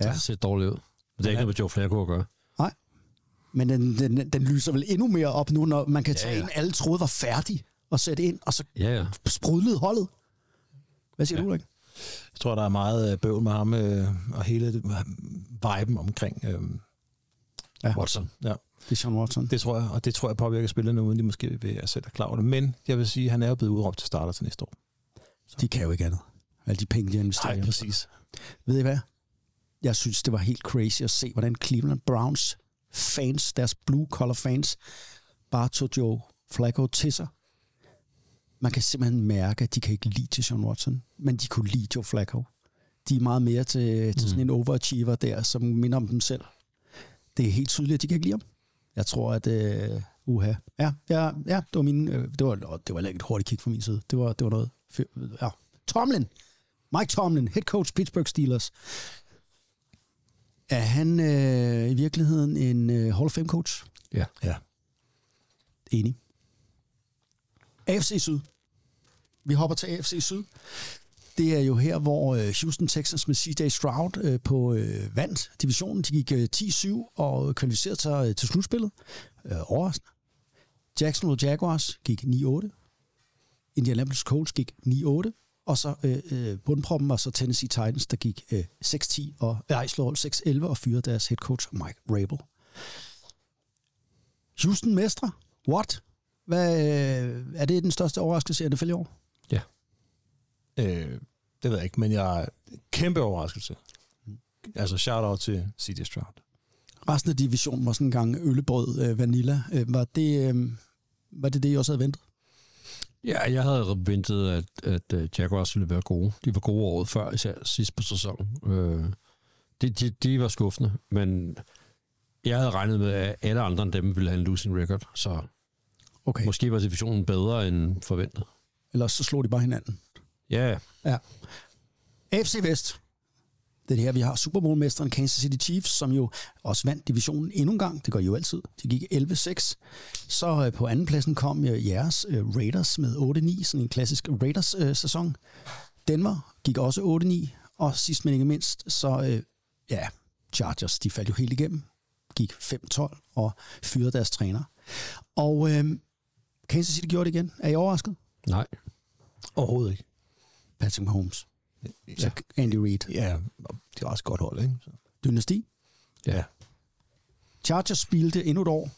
Speaker 5: Ja.
Speaker 6: Ja. Det ser dårligt ud. Men det er ikke noget med Joe Flacco at gøre.
Speaker 5: Nej. Men den, den, den lyser vel endnu mere op nu, når man kan tage ja,
Speaker 6: ja.
Speaker 5: en, alle troede var færdig, og sætte ind, og så
Speaker 6: Ja, ja.
Speaker 5: sprudlede holdet. Hvad siger ja. du, Ulrik?
Speaker 2: Jeg tror, der er meget øh, bøvl med ham øh, og hele det- viben omkring øh,
Speaker 5: Ja.
Speaker 2: Watson. Ja.
Speaker 5: Det er Sean Watson. Det.
Speaker 2: Det tror jeg, og det tror jeg påvirker spillerne, uden de måske vil være selv er klar over det. Men jeg vil sige, at han er jo blevet udråbt til starter til næste år.
Speaker 5: De kan jo ikke andet. Alle de penge, de har investeret.
Speaker 2: Nej,
Speaker 5: i.
Speaker 2: præcis.
Speaker 5: Ved I hvad? Jeg synes, det var helt crazy at se, hvordan Cleveland Browns fans, deres blue collar fans, bare tog Joe Flacco til sig. Man kan simpelthen mærke, at de kan ikke lide til Sean Watson, men de kunne lide Joe Flacco. De er meget mere til, til sådan en overachiever der, som minder om dem selv. Det er helt tydeligt, at de kan ikke lide ham. Jeg tror, at... Øh, uha. Ja, ja, ja, det var min... Øh, det, var, åh, det var heller ikke et hurtigt kig fra min side. Det var, det var noget... fy- Ja. Tomlin! Mike Tomlin, head coach Pittsburgh Steelers. Er han øh, i virkeligheden en øh, Hall of Fame coach?
Speaker 6: Ja.
Speaker 2: Ja.
Speaker 5: Enig. AFC Syd. Vi hopper til AFC Syd. Det er jo her, hvor øh, Houston Texans med CJ Stroud øh, på øh, vandt divisionen. De gik øh, 10-7 og kvalificerede sig øh, til slutspillet. Øh, overraskende. Jacksonville Jaguars gik 9-8. Indianapolis Colts gik 9-8. Og så øh, øh, bundproppen var så Tennessee Titans, der gik øh, 6-10 og, nej, slår 6-11 og fyrede deres head coach Mike Rabel. Houston Mestre. What? Hvad, øh, er det den største overraskelse i NFL i år?
Speaker 6: ja.
Speaker 2: Øh, det ved jeg ikke, men jeg kæmpe overraskelse. Altså shout-out til C.D. Stroud.
Speaker 5: Resten af divisionen var sådan en gang øllebrød, øh, vanilla. Øh, var, det, øh, var det det, I også havde ventet?
Speaker 6: Ja, jeg havde ventet, at, at øh, Jaguars ville være gode. De var gode året før, især sidst på sæsonen. Øh, de, de, de var skuffende, men jeg havde regnet med, at alle andre end dem ville have en losing record, så
Speaker 5: Okay.
Speaker 6: måske var situationen bedre end forventet.
Speaker 5: Eller så slog de bare hinanden.
Speaker 6: Ja,
Speaker 5: Ja. AFC Vest. Det er det her, vi har Super Bowl-mesteren Kansas City Chiefs, som jo også vandt divisionen endnu en gang. Det gør de jo altid. De gik 11-6. Så øh, på andenpladsen kom øh, jeres øh, Raiders med 8-9, sådan en klassisk Raiders-sæson. Denver gik også 8-9, og sidst men ikke mindst, så øh, ja, Chargers, de faldt jo helt igennem. Gik 5-12 og fyrede deres træner. Og øh, Kansas City gjorde det igen. Er I overrasket?
Speaker 6: nej.
Speaker 2: Overhovedet ikke.
Speaker 5: Patrick Mahomes. Ja. Andy Reid.
Speaker 2: Ja, det er også et godt hold, ikke? Så.
Speaker 5: Dynasti.
Speaker 2: Ja.
Speaker 5: Chargers spildte endnu et år.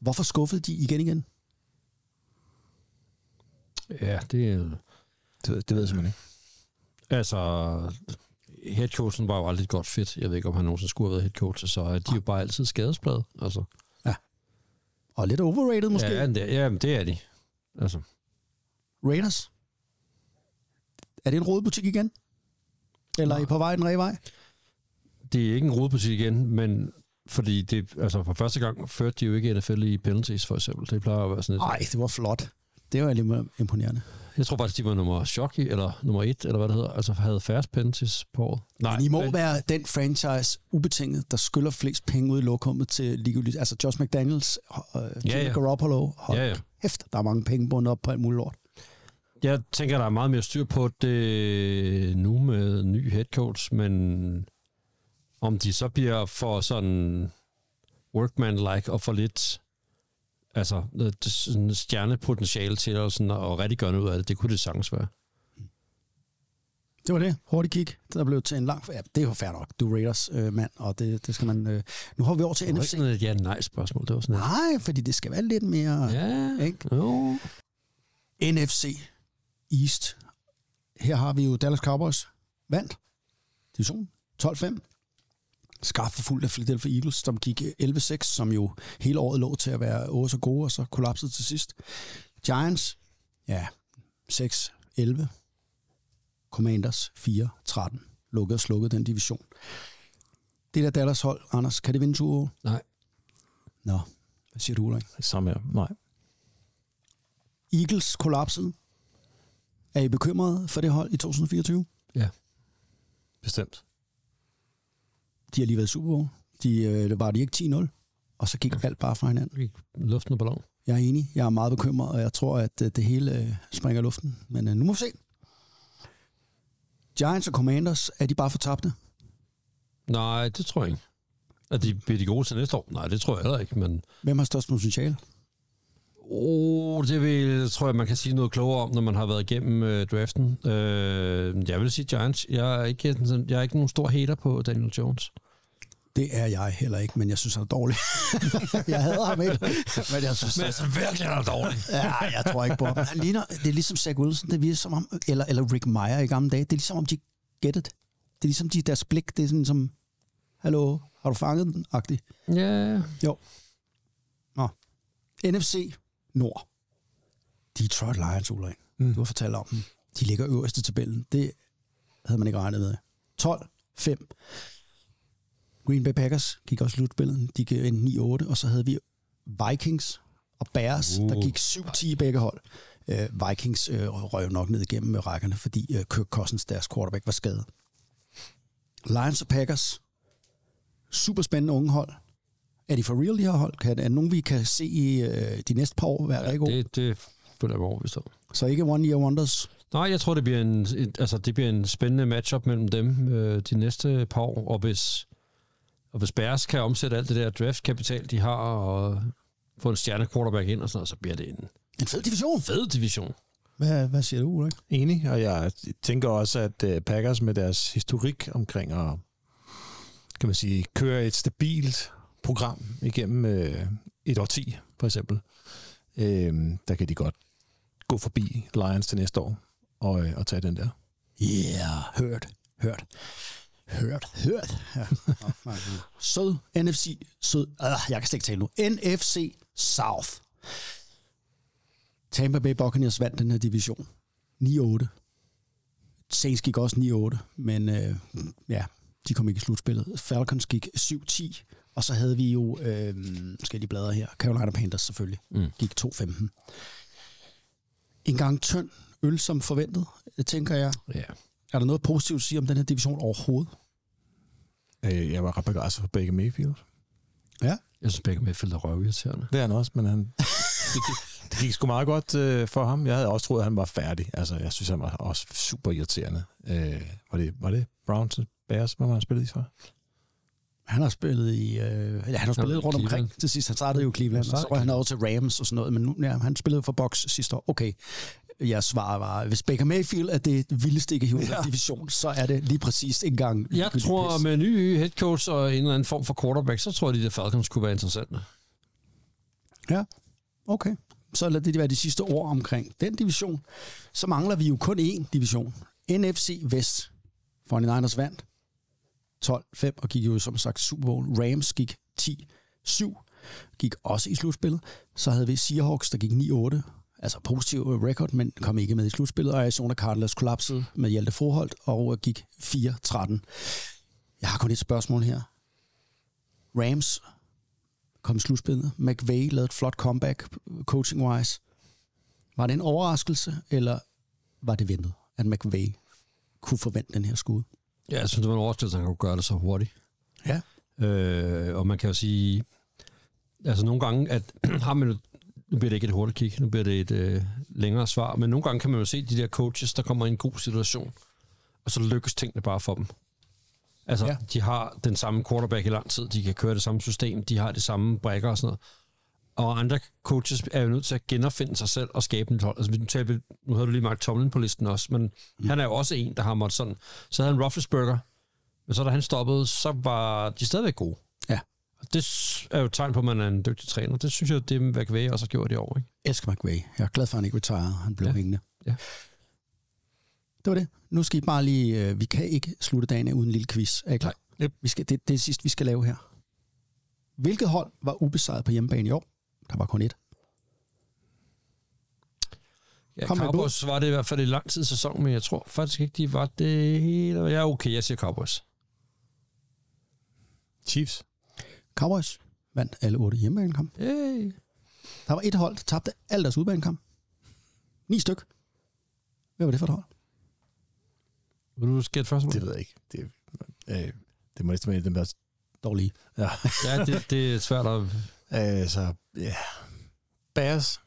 Speaker 5: Hvorfor skuffede de igen igen?
Speaker 6: Ja, det er...
Speaker 2: Det, ved- det ved jeg simpelthen ikke.
Speaker 6: Altså, headcoachen var jo aldrig et godt fit. Jeg ved ikke, om han nogensinde skulle have været headcoach, så er de jo bare altid skadesplade. Altså,
Speaker 5: Og lidt overrated måske.
Speaker 6: Ja,
Speaker 5: Ja.
Speaker 6: det, ja, det er de. Altså,
Speaker 5: Raiders? Er det en rodebutik igen? Eller er I på vej den rige vej?
Speaker 6: det er ikke en rodebutik igen, men fordi det, altså for første gang førte de jo ikke NFL i penalties, for eksempel. Det plejer at være sådan et...
Speaker 5: Nej, det var flot. Det var lidt imponerende.
Speaker 6: Jeg tror faktisk, de var nummer chok i, eller nummer et, eller hvad det hedder. Altså havde færrest penalties på året. Nej,
Speaker 5: Men I må
Speaker 6: men-
Speaker 5: være den franchise ubetinget, der skylder flest penge ud i lokummet til ligegyldigt. Altså Josh McDaniels, øh, ja, ja.
Speaker 6: ja.
Speaker 5: Garoppolo. Hold
Speaker 6: Ja,
Speaker 5: ja,
Speaker 6: ja.
Speaker 5: ja. kæft, der er mange penge bundet op på alt muligt lort.
Speaker 6: Jeg tænker, der er meget mere styr på det nu med ny headcoach, men om de så bliver for sådan workman-like og for lidt altså, noget- det- sådan stjernepotentiale til og, sådan, og rigtig gøre noget ud af det, det kunne det sagtens være.
Speaker 5: Det var det. Hurtigt kig. Der blev til en lang... Ja, det er jo fair nok. Du er Raiders øh, mand, og det, det skal man... Øh... Nu har vi over til
Speaker 6: Det var ikke
Speaker 5: NFC.
Speaker 6: sådan et ja-nej-spørgsmål, det var sådan et...
Speaker 5: Nej, fordi det skal være lidt mere... Ja.
Speaker 6: Ja,
Speaker 5: Ah, Ikke?
Speaker 6: jo.
Speaker 5: NFC East. Her har vi jo Dallas Cowboys. Vandt. Division 12-5. Skarpt forfulgt af Philadelphia Eagles, som gik 11-6, som jo hele året lå til at være åh så gode, og så kollapsede til sidst. Giants, ja, 6-11. Commanders 4-13. Lukkede og slukkede den division. Det der Dallas hold, Anders, kan det vinde to
Speaker 6: Nej.
Speaker 5: Nå, hvad siger du, Ulrik?
Speaker 2: Samme her. Nej.
Speaker 5: Eagles kollapset. Er I bekymret for det hold i 2024?
Speaker 6: Ja.
Speaker 2: Bestemt.
Speaker 5: De har lige været i Super Bowl. De øh, var de ikke 10-0, og så gik alt bare fra hinanden.
Speaker 6: Luften og ballon.
Speaker 5: Jeg er enig, jeg er meget bekymret, og jeg tror, at øh, det hele øh, springer i luften. Men øh, nu må vi se. Giants og Commanders, er de bare fortabte?
Speaker 6: Nej, det tror jeg ikke. At de bliver de gode til næste år? Nej, det tror jeg heller ikke, men...
Speaker 5: Hvem har størst potentiale?
Speaker 6: Oh, det vil, tror jeg, man kan sige noget klogere om, når man har været igennem øh, draften. Øh, jeg vil sige Giants. Jeg er, ikke, øh, sådan- jeg er ikke nogen stor hater på Daniel Jones.
Speaker 5: Det er jeg heller ikke, men jeg synes, han er dårlig. jeg hader ham ikke, men jeg synes,
Speaker 6: altså, virkelig er dårlig.
Speaker 5: Ja, jeg tror ikke på ham. Han ligner, det er ligesom Zach Wilson, det virker som om, eller, eller Rick Meyer i gamle dage, det er ligesom om, de get it. Det er ligesom de, deres blik, det er sådan som, hallo, har du fanget den? Agtigt.
Speaker 6: Ja,
Speaker 5: Jo. Nå. NFC Nord. Detroit Lions, Ulrik. Mm. Du har fortalt om dem. De ligger øverst i tabellen. Det havde man ikke regnet med. 12-5. Green Bay Packers gik også i slutspillet. De gik ind 9-8, og så havde vi Vikings og Bears, uh. der gik 7-10 i begge hold. Øh, Vikings øh, røg nok ned igennem med rækkerne, fordi øh, Kirk Cousins, deres quarterback, var skadet. Lions og Packers. Super spændende unge hold. Er de for real, de her hold? Kan, er det nogen, vi kan se i øh, de næste par år være ja, rigtig gode?
Speaker 6: det, det føler jeg mig overbevist om.
Speaker 5: Så ikke One Year Wonders?
Speaker 6: Nej, jeg tror, det bliver en, et, altså, det bliver en spændende matchup mellem dem øh, de næste par år, og hvis, og hvis Bears kan omsætte alt det der draftkapital, de har, og få en stjerne quarterback ind og sådan noget, så bliver det en
Speaker 5: En fed division.
Speaker 6: fed division.
Speaker 5: Hvad, hvad siger du, Ulrik?
Speaker 2: Enig, og jeg tænker også, at øh, Packers med deres historik omkring at kan man sige, køre et stabilt program igennem øh, et årti, for eksempel, øh, der kan de godt gå forbi Lions til næste år og, øh, og tage den der.
Speaker 5: Yeah, hørt, hørt, hørt, hørt. Ja. Nå, nej, nej. sød NFC, sød. Øh, jeg kan slet ikke tale nu. NFC South. Tampa Bay Buccaneers vandt den her division. 9-8. Saints gik også 9-8, men øh, ja, de kom ikke i slutspillet. Falcons gik 7-10, og så havde vi jo, øh, skal de bladre her, Carolina Panthers selvfølgelig, mm. gik 2-15. En gang tynd øl som forventet, øh, tænker jeg.
Speaker 6: Ja.
Speaker 5: Er der noget positivt at sige om den her division overhovedet?
Speaker 2: Øh, jeg var ret begejstret for Baker Mayfield.
Speaker 5: Ja.
Speaker 6: Jeg synes, begge med er røvirriterende.
Speaker 2: Det er han også, men han, det, gik, det gik sgu meget godt øh, for ham. Jeg havde også troet, at han var færdig. Altså, jeg synes, han var også super irriterende. Øh, var, det, var det Browns og Bears, hvor man spillede i for?
Speaker 5: Han har spillet i, øh, ja, han har spillet rundt
Speaker 6: Cleveland.
Speaker 5: omkring til sidst. Han startede jo i Cleveland, og så var han over til Rams og sådan noget, men nu, ja, han spillede for Box sidste år. Okay, jeg svarer bare, hvis Baker Mayfield er det vildeste ikke i ja. division, så er det lige præcis en gang.
Speaker 6: Jeg
Speaker 5: ligegyldigt
Speaker 6: tror,
Speaker 5: pis.
Speaker 6: med ny head coach og en eller anden form for quarterback, så tror jeg, de der Falcons kunne være interessante.
Speaker 5: Ja, okay. Så lad det være de sidste ord omkring den division. Så mangler vi jo kun én division. NFC Vest. 49ers vandt 12-5 og gik jo som sagt Super Bowl. Rams gik 10-7, gik også i slutspillet. Så havde vi Seahawks, der gik 9-8, altså positiv record, men kom ikke med i slutspillet. Og Arizona Cardinals kollapsede med Hjalte Froholt og øh, gik 4-13. Jeg har kun et spørgsmål her. Rams kom i slutspillet. McVay lavede et flot comeback coaching-wise. Var det en overraskelse, eller var det ventet, at McVay kunne forvente den her skud?
Speaker 6: Ja, jeg synes, det var en overraskelse, at han kunne gøre det så hurtigt.
Speaker 5: Ja.
Speaker 6: Øh, og man kan jo sige, altså nogle gange, at har man jo, nu bliver det ikke et hurtigt kig, nu bliver det et øh, længere svar, men nogle gange kan man jo se de der coaches, der kommer i en god situation, og så lykkes tingene bare for dem. Altså, ja.
Speaker 5: Ja.
Speaker 6: de har den samme quarterback i lang tid, de kan køre det samme system, de har det samme brækker og sådan noget. Og andre coaches er jo nødt til at genopfinde sig selv og skabe et hold. Altså, vi- nu, talte vi- nu havde du lige Mark Tomlin på listen også, men mm. han er jo også en, der har måttet sådan. Så havde han Roethlisberger, men så da han stoppede, så var de stadigvæk gode.
Speaker 5: Ja.
Speaker 6: Og det s- er jo et tegn på, at man er en dygtig træner. Det synes jeg, det er McVay også har gjort i år. Ikke?
Speaker 5: Jeg elsker McVay. Jeg er glad for, at han ikke retired. Han blev
Speaker 6: Ja.
Speaker 5: ja. hængende.
Speaker 6: Ja.
Speaker 5: Det var det. Nu skal I bare lige... øh, Vi kan ikke slutte dagen af uden en lille quiz. Er I klar? Yep. Vi skal, det, det er det sidste, vi skal lave her. Hvilket hold var ubesejret på hjemmebane i år? Der var kun et.
Speaker 6: Ja,
Speaker 5: Kom med et bud.
Speaker 6: Cowboys var det i hvert fald i lang tid sæson, men jeg tror faktisk ikke, de var det hele. Ja, okay, jeg siger Cowboys.
Speaker 2: Chiefs.
Speaker 5: Cowboys vandt alle otte hjemmebanekampe.
Speaker 6: Hey.
Speaker 5: Der var et hold, der tabte alle deres udbanekamp. Ni styk. Hvad var det for et hold?
Speaker 6: Vil du skære først?
Speaker 2: Det ved jeg ikke. Det, øh, det må næsten være den der...
Speaker 5: Dårlige.
Speaker 2: Ja,
Speaker 6: Ja, det, det er svært at...
Speaker 2: øh, så ja. Bears.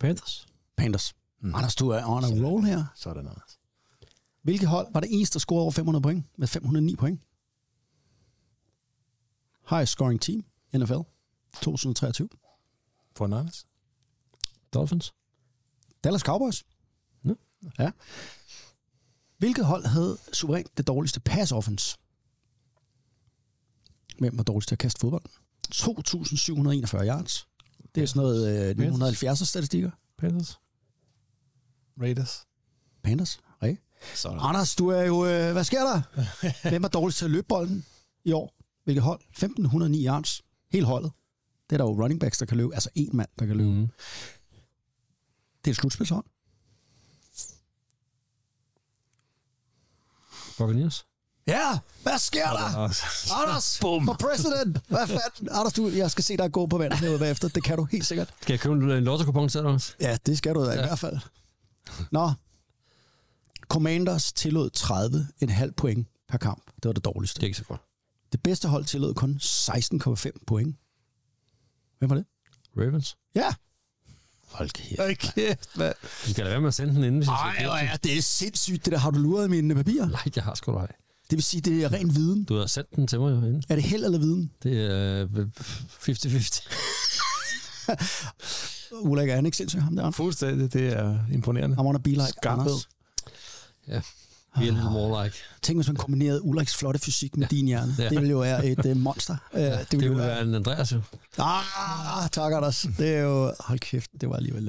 Speaker 6: Panthers?
Speaker 5: Panthers. Mm. Anders, du er on a roll her.
Speaker 2: Sådan noget.
Speaker 5: Hvilket hold var det eneste, der scorede over 500 point med 509 point? Highest scoring team, NFL, 2023.
Speaker 2: For Niners.
Speaker 6: Dolphins?
Speaker 5: Dallas Cowboys.
Speaker 6: Nå.
Speaker 5: Ja. Hvilket hold havde suverænt det dårligste pass offense? Hvem var dårligst til at kaste fodbold? 2.741 yards. Det er sådan noget øh, 1970'er statistikker.
Speaker 6: Panthers?
Speaker 2: Raiders.
Speaker 5: Panthers, Ray.
Speaker 6: Sådan.
Speaker 5: Anders, du er jo... Øh, hvad sker der? Hvem er dårligst til at løbe bolden i år? Hvilket hold? 1509 yards. Helt holdet. Det er der jo running backs, der kan løbe. Altså en mand, der kan løbe.
Speaker 6: Mhm.
Speaker 5: Mm. Det er et slutspilshold.
Speaker 6: Buccaneers?
Speaker 5: Ja, hvad sker der? Anders, Boom. for president. Hvad fanden? Anders, du, jeg skal se dig gå på vandet herude bagefter. Det kan du helt sikkert.
Speaker 6: Skal jeg købe en, en lotto-kupon til dig, Anders?
Speaker 5: Ja, det skal du da ja. i hvert fald. Nå. Commanders tillod 30,5 point per kamp. Det var det dårligste.
Speaker 6: Det er ikke så godt.
Speaker 5: Det bedste hold tillod kun 16,5 point. Hvem var det?
Speaker 6: Ravens?
Speaker 5: Ja. Hold kæft.
Speaker 10: Ej, kæft, hvad?
Speaker 6: Du skal da være med at sende den inden, hvis jeg
Speaker 5: Ej,
Speaker 6: skal
Speaker 5: hvor er det sindssygt, det der. Har du luret mine papirer?
Speaker 6: Nej, jeg har sgu da ej.
Speaker 5: Det vil sige, det er ren viden.
Speaker 6: Du har sendt den til mig jo inden.
Speaker 5: Er det held eller viden?
Speaker 6: Det er øh, 50-50.
Speaker 5: Ulrik, er han ikke sindssyg, ham der?
Speaker 10: Fuldstændig, det er imponerende.
Speaker 5: I wanna be like
Speaker 10: Skarphed.
Speaker 5: Anders.
Speaker 6: Vi er lidt more like.
Speaker 5: Tænk, hvis man kombinerede Ulriks flotte fysik med ja. din hjerne.
Speaker 6: Ja.
Speaker 5: Det ville jo være et uh, monster. Uh, det, ville
Speaker 6: Det
Speaker 5: jo
Speaker 6: ville være en Andreas jo.
Speaker 5: Ah, tak, Anders. Det er jo... Hold kæft, det var alligevel...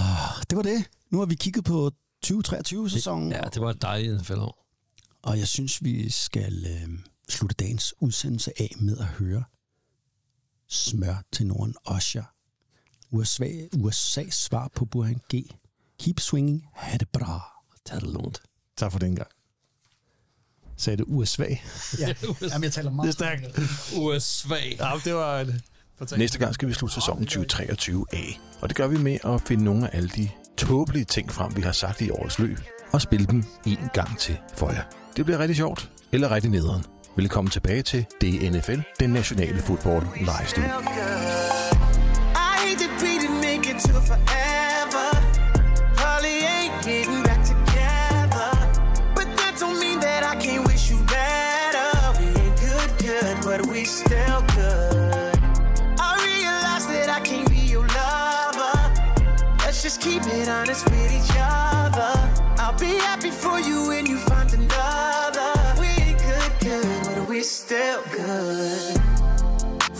Speaker 5: Uh... Det var det. Nu har vi kigget på 2023-sæsonen,
Speaker 6: Ja, det var et dejligt fældeår.
Speaker 5: og jeg synes, vi skal uh, slutte dagens udsendelse af med at høre smør til Norden Osher. USA, USA's svar på Burhan G. Keep swinging. Ha' det bra.
Speaker 6: Tag det lånt.
Speaker 10: Tak for den gang. Sagde det USA.
Speaker 5: Ja. Jamen, jeg taler meget.
Speaker 10: Det er stærkt.
Speaker 6: USA.
Speaker 10: Ja, det var et...
Speaker 2: Næste gang skal vi slutte sæsonen 2023 af, og det gør vi med at finde nogle af alle de tåbelige ting frem, vi har sagt i årets løb, og spille dem en gang til for jer. Det bliver rigtig sjovt, eller rigtig nederen. Velkommen tilbage til DNFL, den nationale fodbold lejestue.
Speaker 8: I hate that we didn't make it to forever. Probably ain't getting back together. But that don't mean that I can't wish you better. We ain't good, good, but we still good. I realize that I can't be your lover. Let's just keep it honest with each other. I'll be happy for you when you find another. We ain't good, good, but we still good.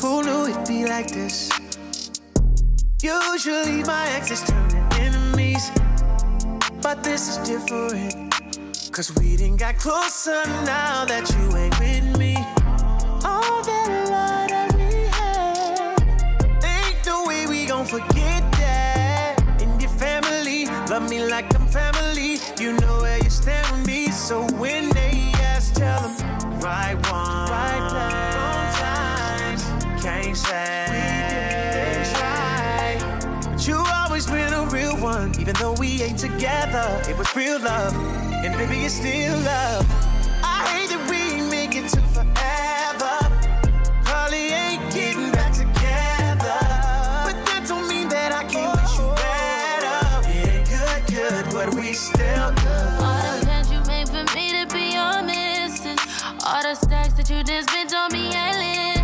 Speaker 8: Who knew it'd be like this? Usually my exes turn to enemies, but this is different. Cause we didn't got closer now that you ain't with me. All that love that we had, ain't no way we gon' forget that. And your family, love me like I'm family. You know where you stand with me, so when they ask, tell them right one, right time, wrong times. Can't say we didn't try. But you always been a real one, even though we ain't together. It was real love, and baby, it's still love. I hate that we ain't make it to forever. Probably ain't getting back together. But that don't mean that I can't wish you better. It ain't good, good, but we still good.
Speaker 7: All the plans you made for me to be your missus. All the stacks that you just spent on me ain't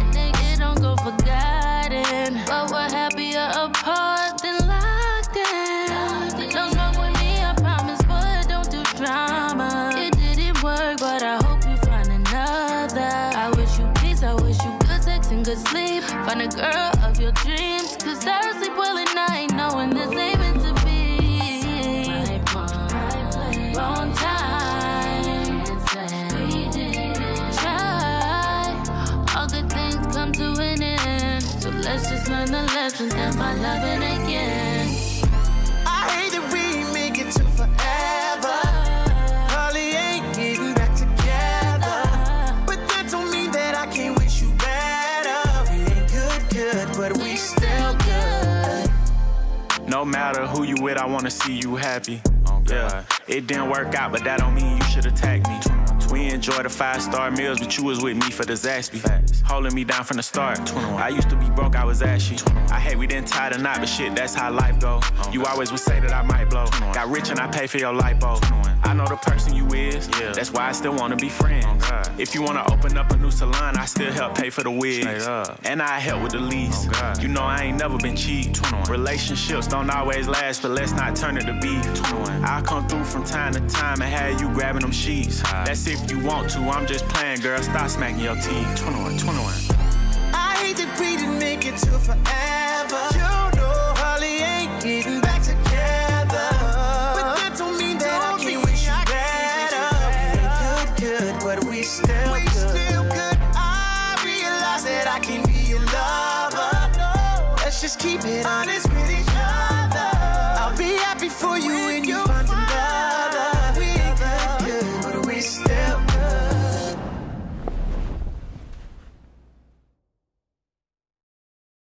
Speaker 7: Nigga, don't go forgotten. But we're happier apart than locked in. Don't smoke with me, I promise, but don't do drama. It didn't work, but I hope you find another. I wish you peace, I wish you good sex and good sleep. Find a girl of your dreams, cause I don't sleep well at night, knowing this ain't meant to be. Wrong time. We didn't try. All good things come to an end. So let's just learn the lessons and find love in again.
Speaker 8: I hate that we ain't make it to forever. Probably ain't getting back together. But that don't mean that I can't wish you better. We ain't good, good, but we still good.
Speaker 11: No matter who you with, I wanna see you happy. Yeah, it didn't work out, but that don't mean you should attack me. We enjoy the five star meals, but you was with me for the Zaxby. Holding me down from the start. I used to be broke, I was ashy. I hate we didn't tie the knot, but shit, that's how life go. You always would say that I might blow. Got rich and I pay for your lipo. I know the person you is, that's why I still wanna be friends. If you wanna open up a new salon, I still help pay for the wigs. And I help with the lease. You know I ain't never been cheap. Relationships don't always last, but let's not turn it to beef. I come through from time to time and have you grabbing them sheets. That's if you want to. I'm just playing, girl. Stop smacking your teeth. 21, 21.
Speaker 8: I hate that we didn't make it to forever. You know, Holly ain't getting back together. But that don't mean that I can't wish you
Speaker 7: still we good. still good. I realize that I can be your lover. Let's just keep it honest with each other. I'll be happy for you when you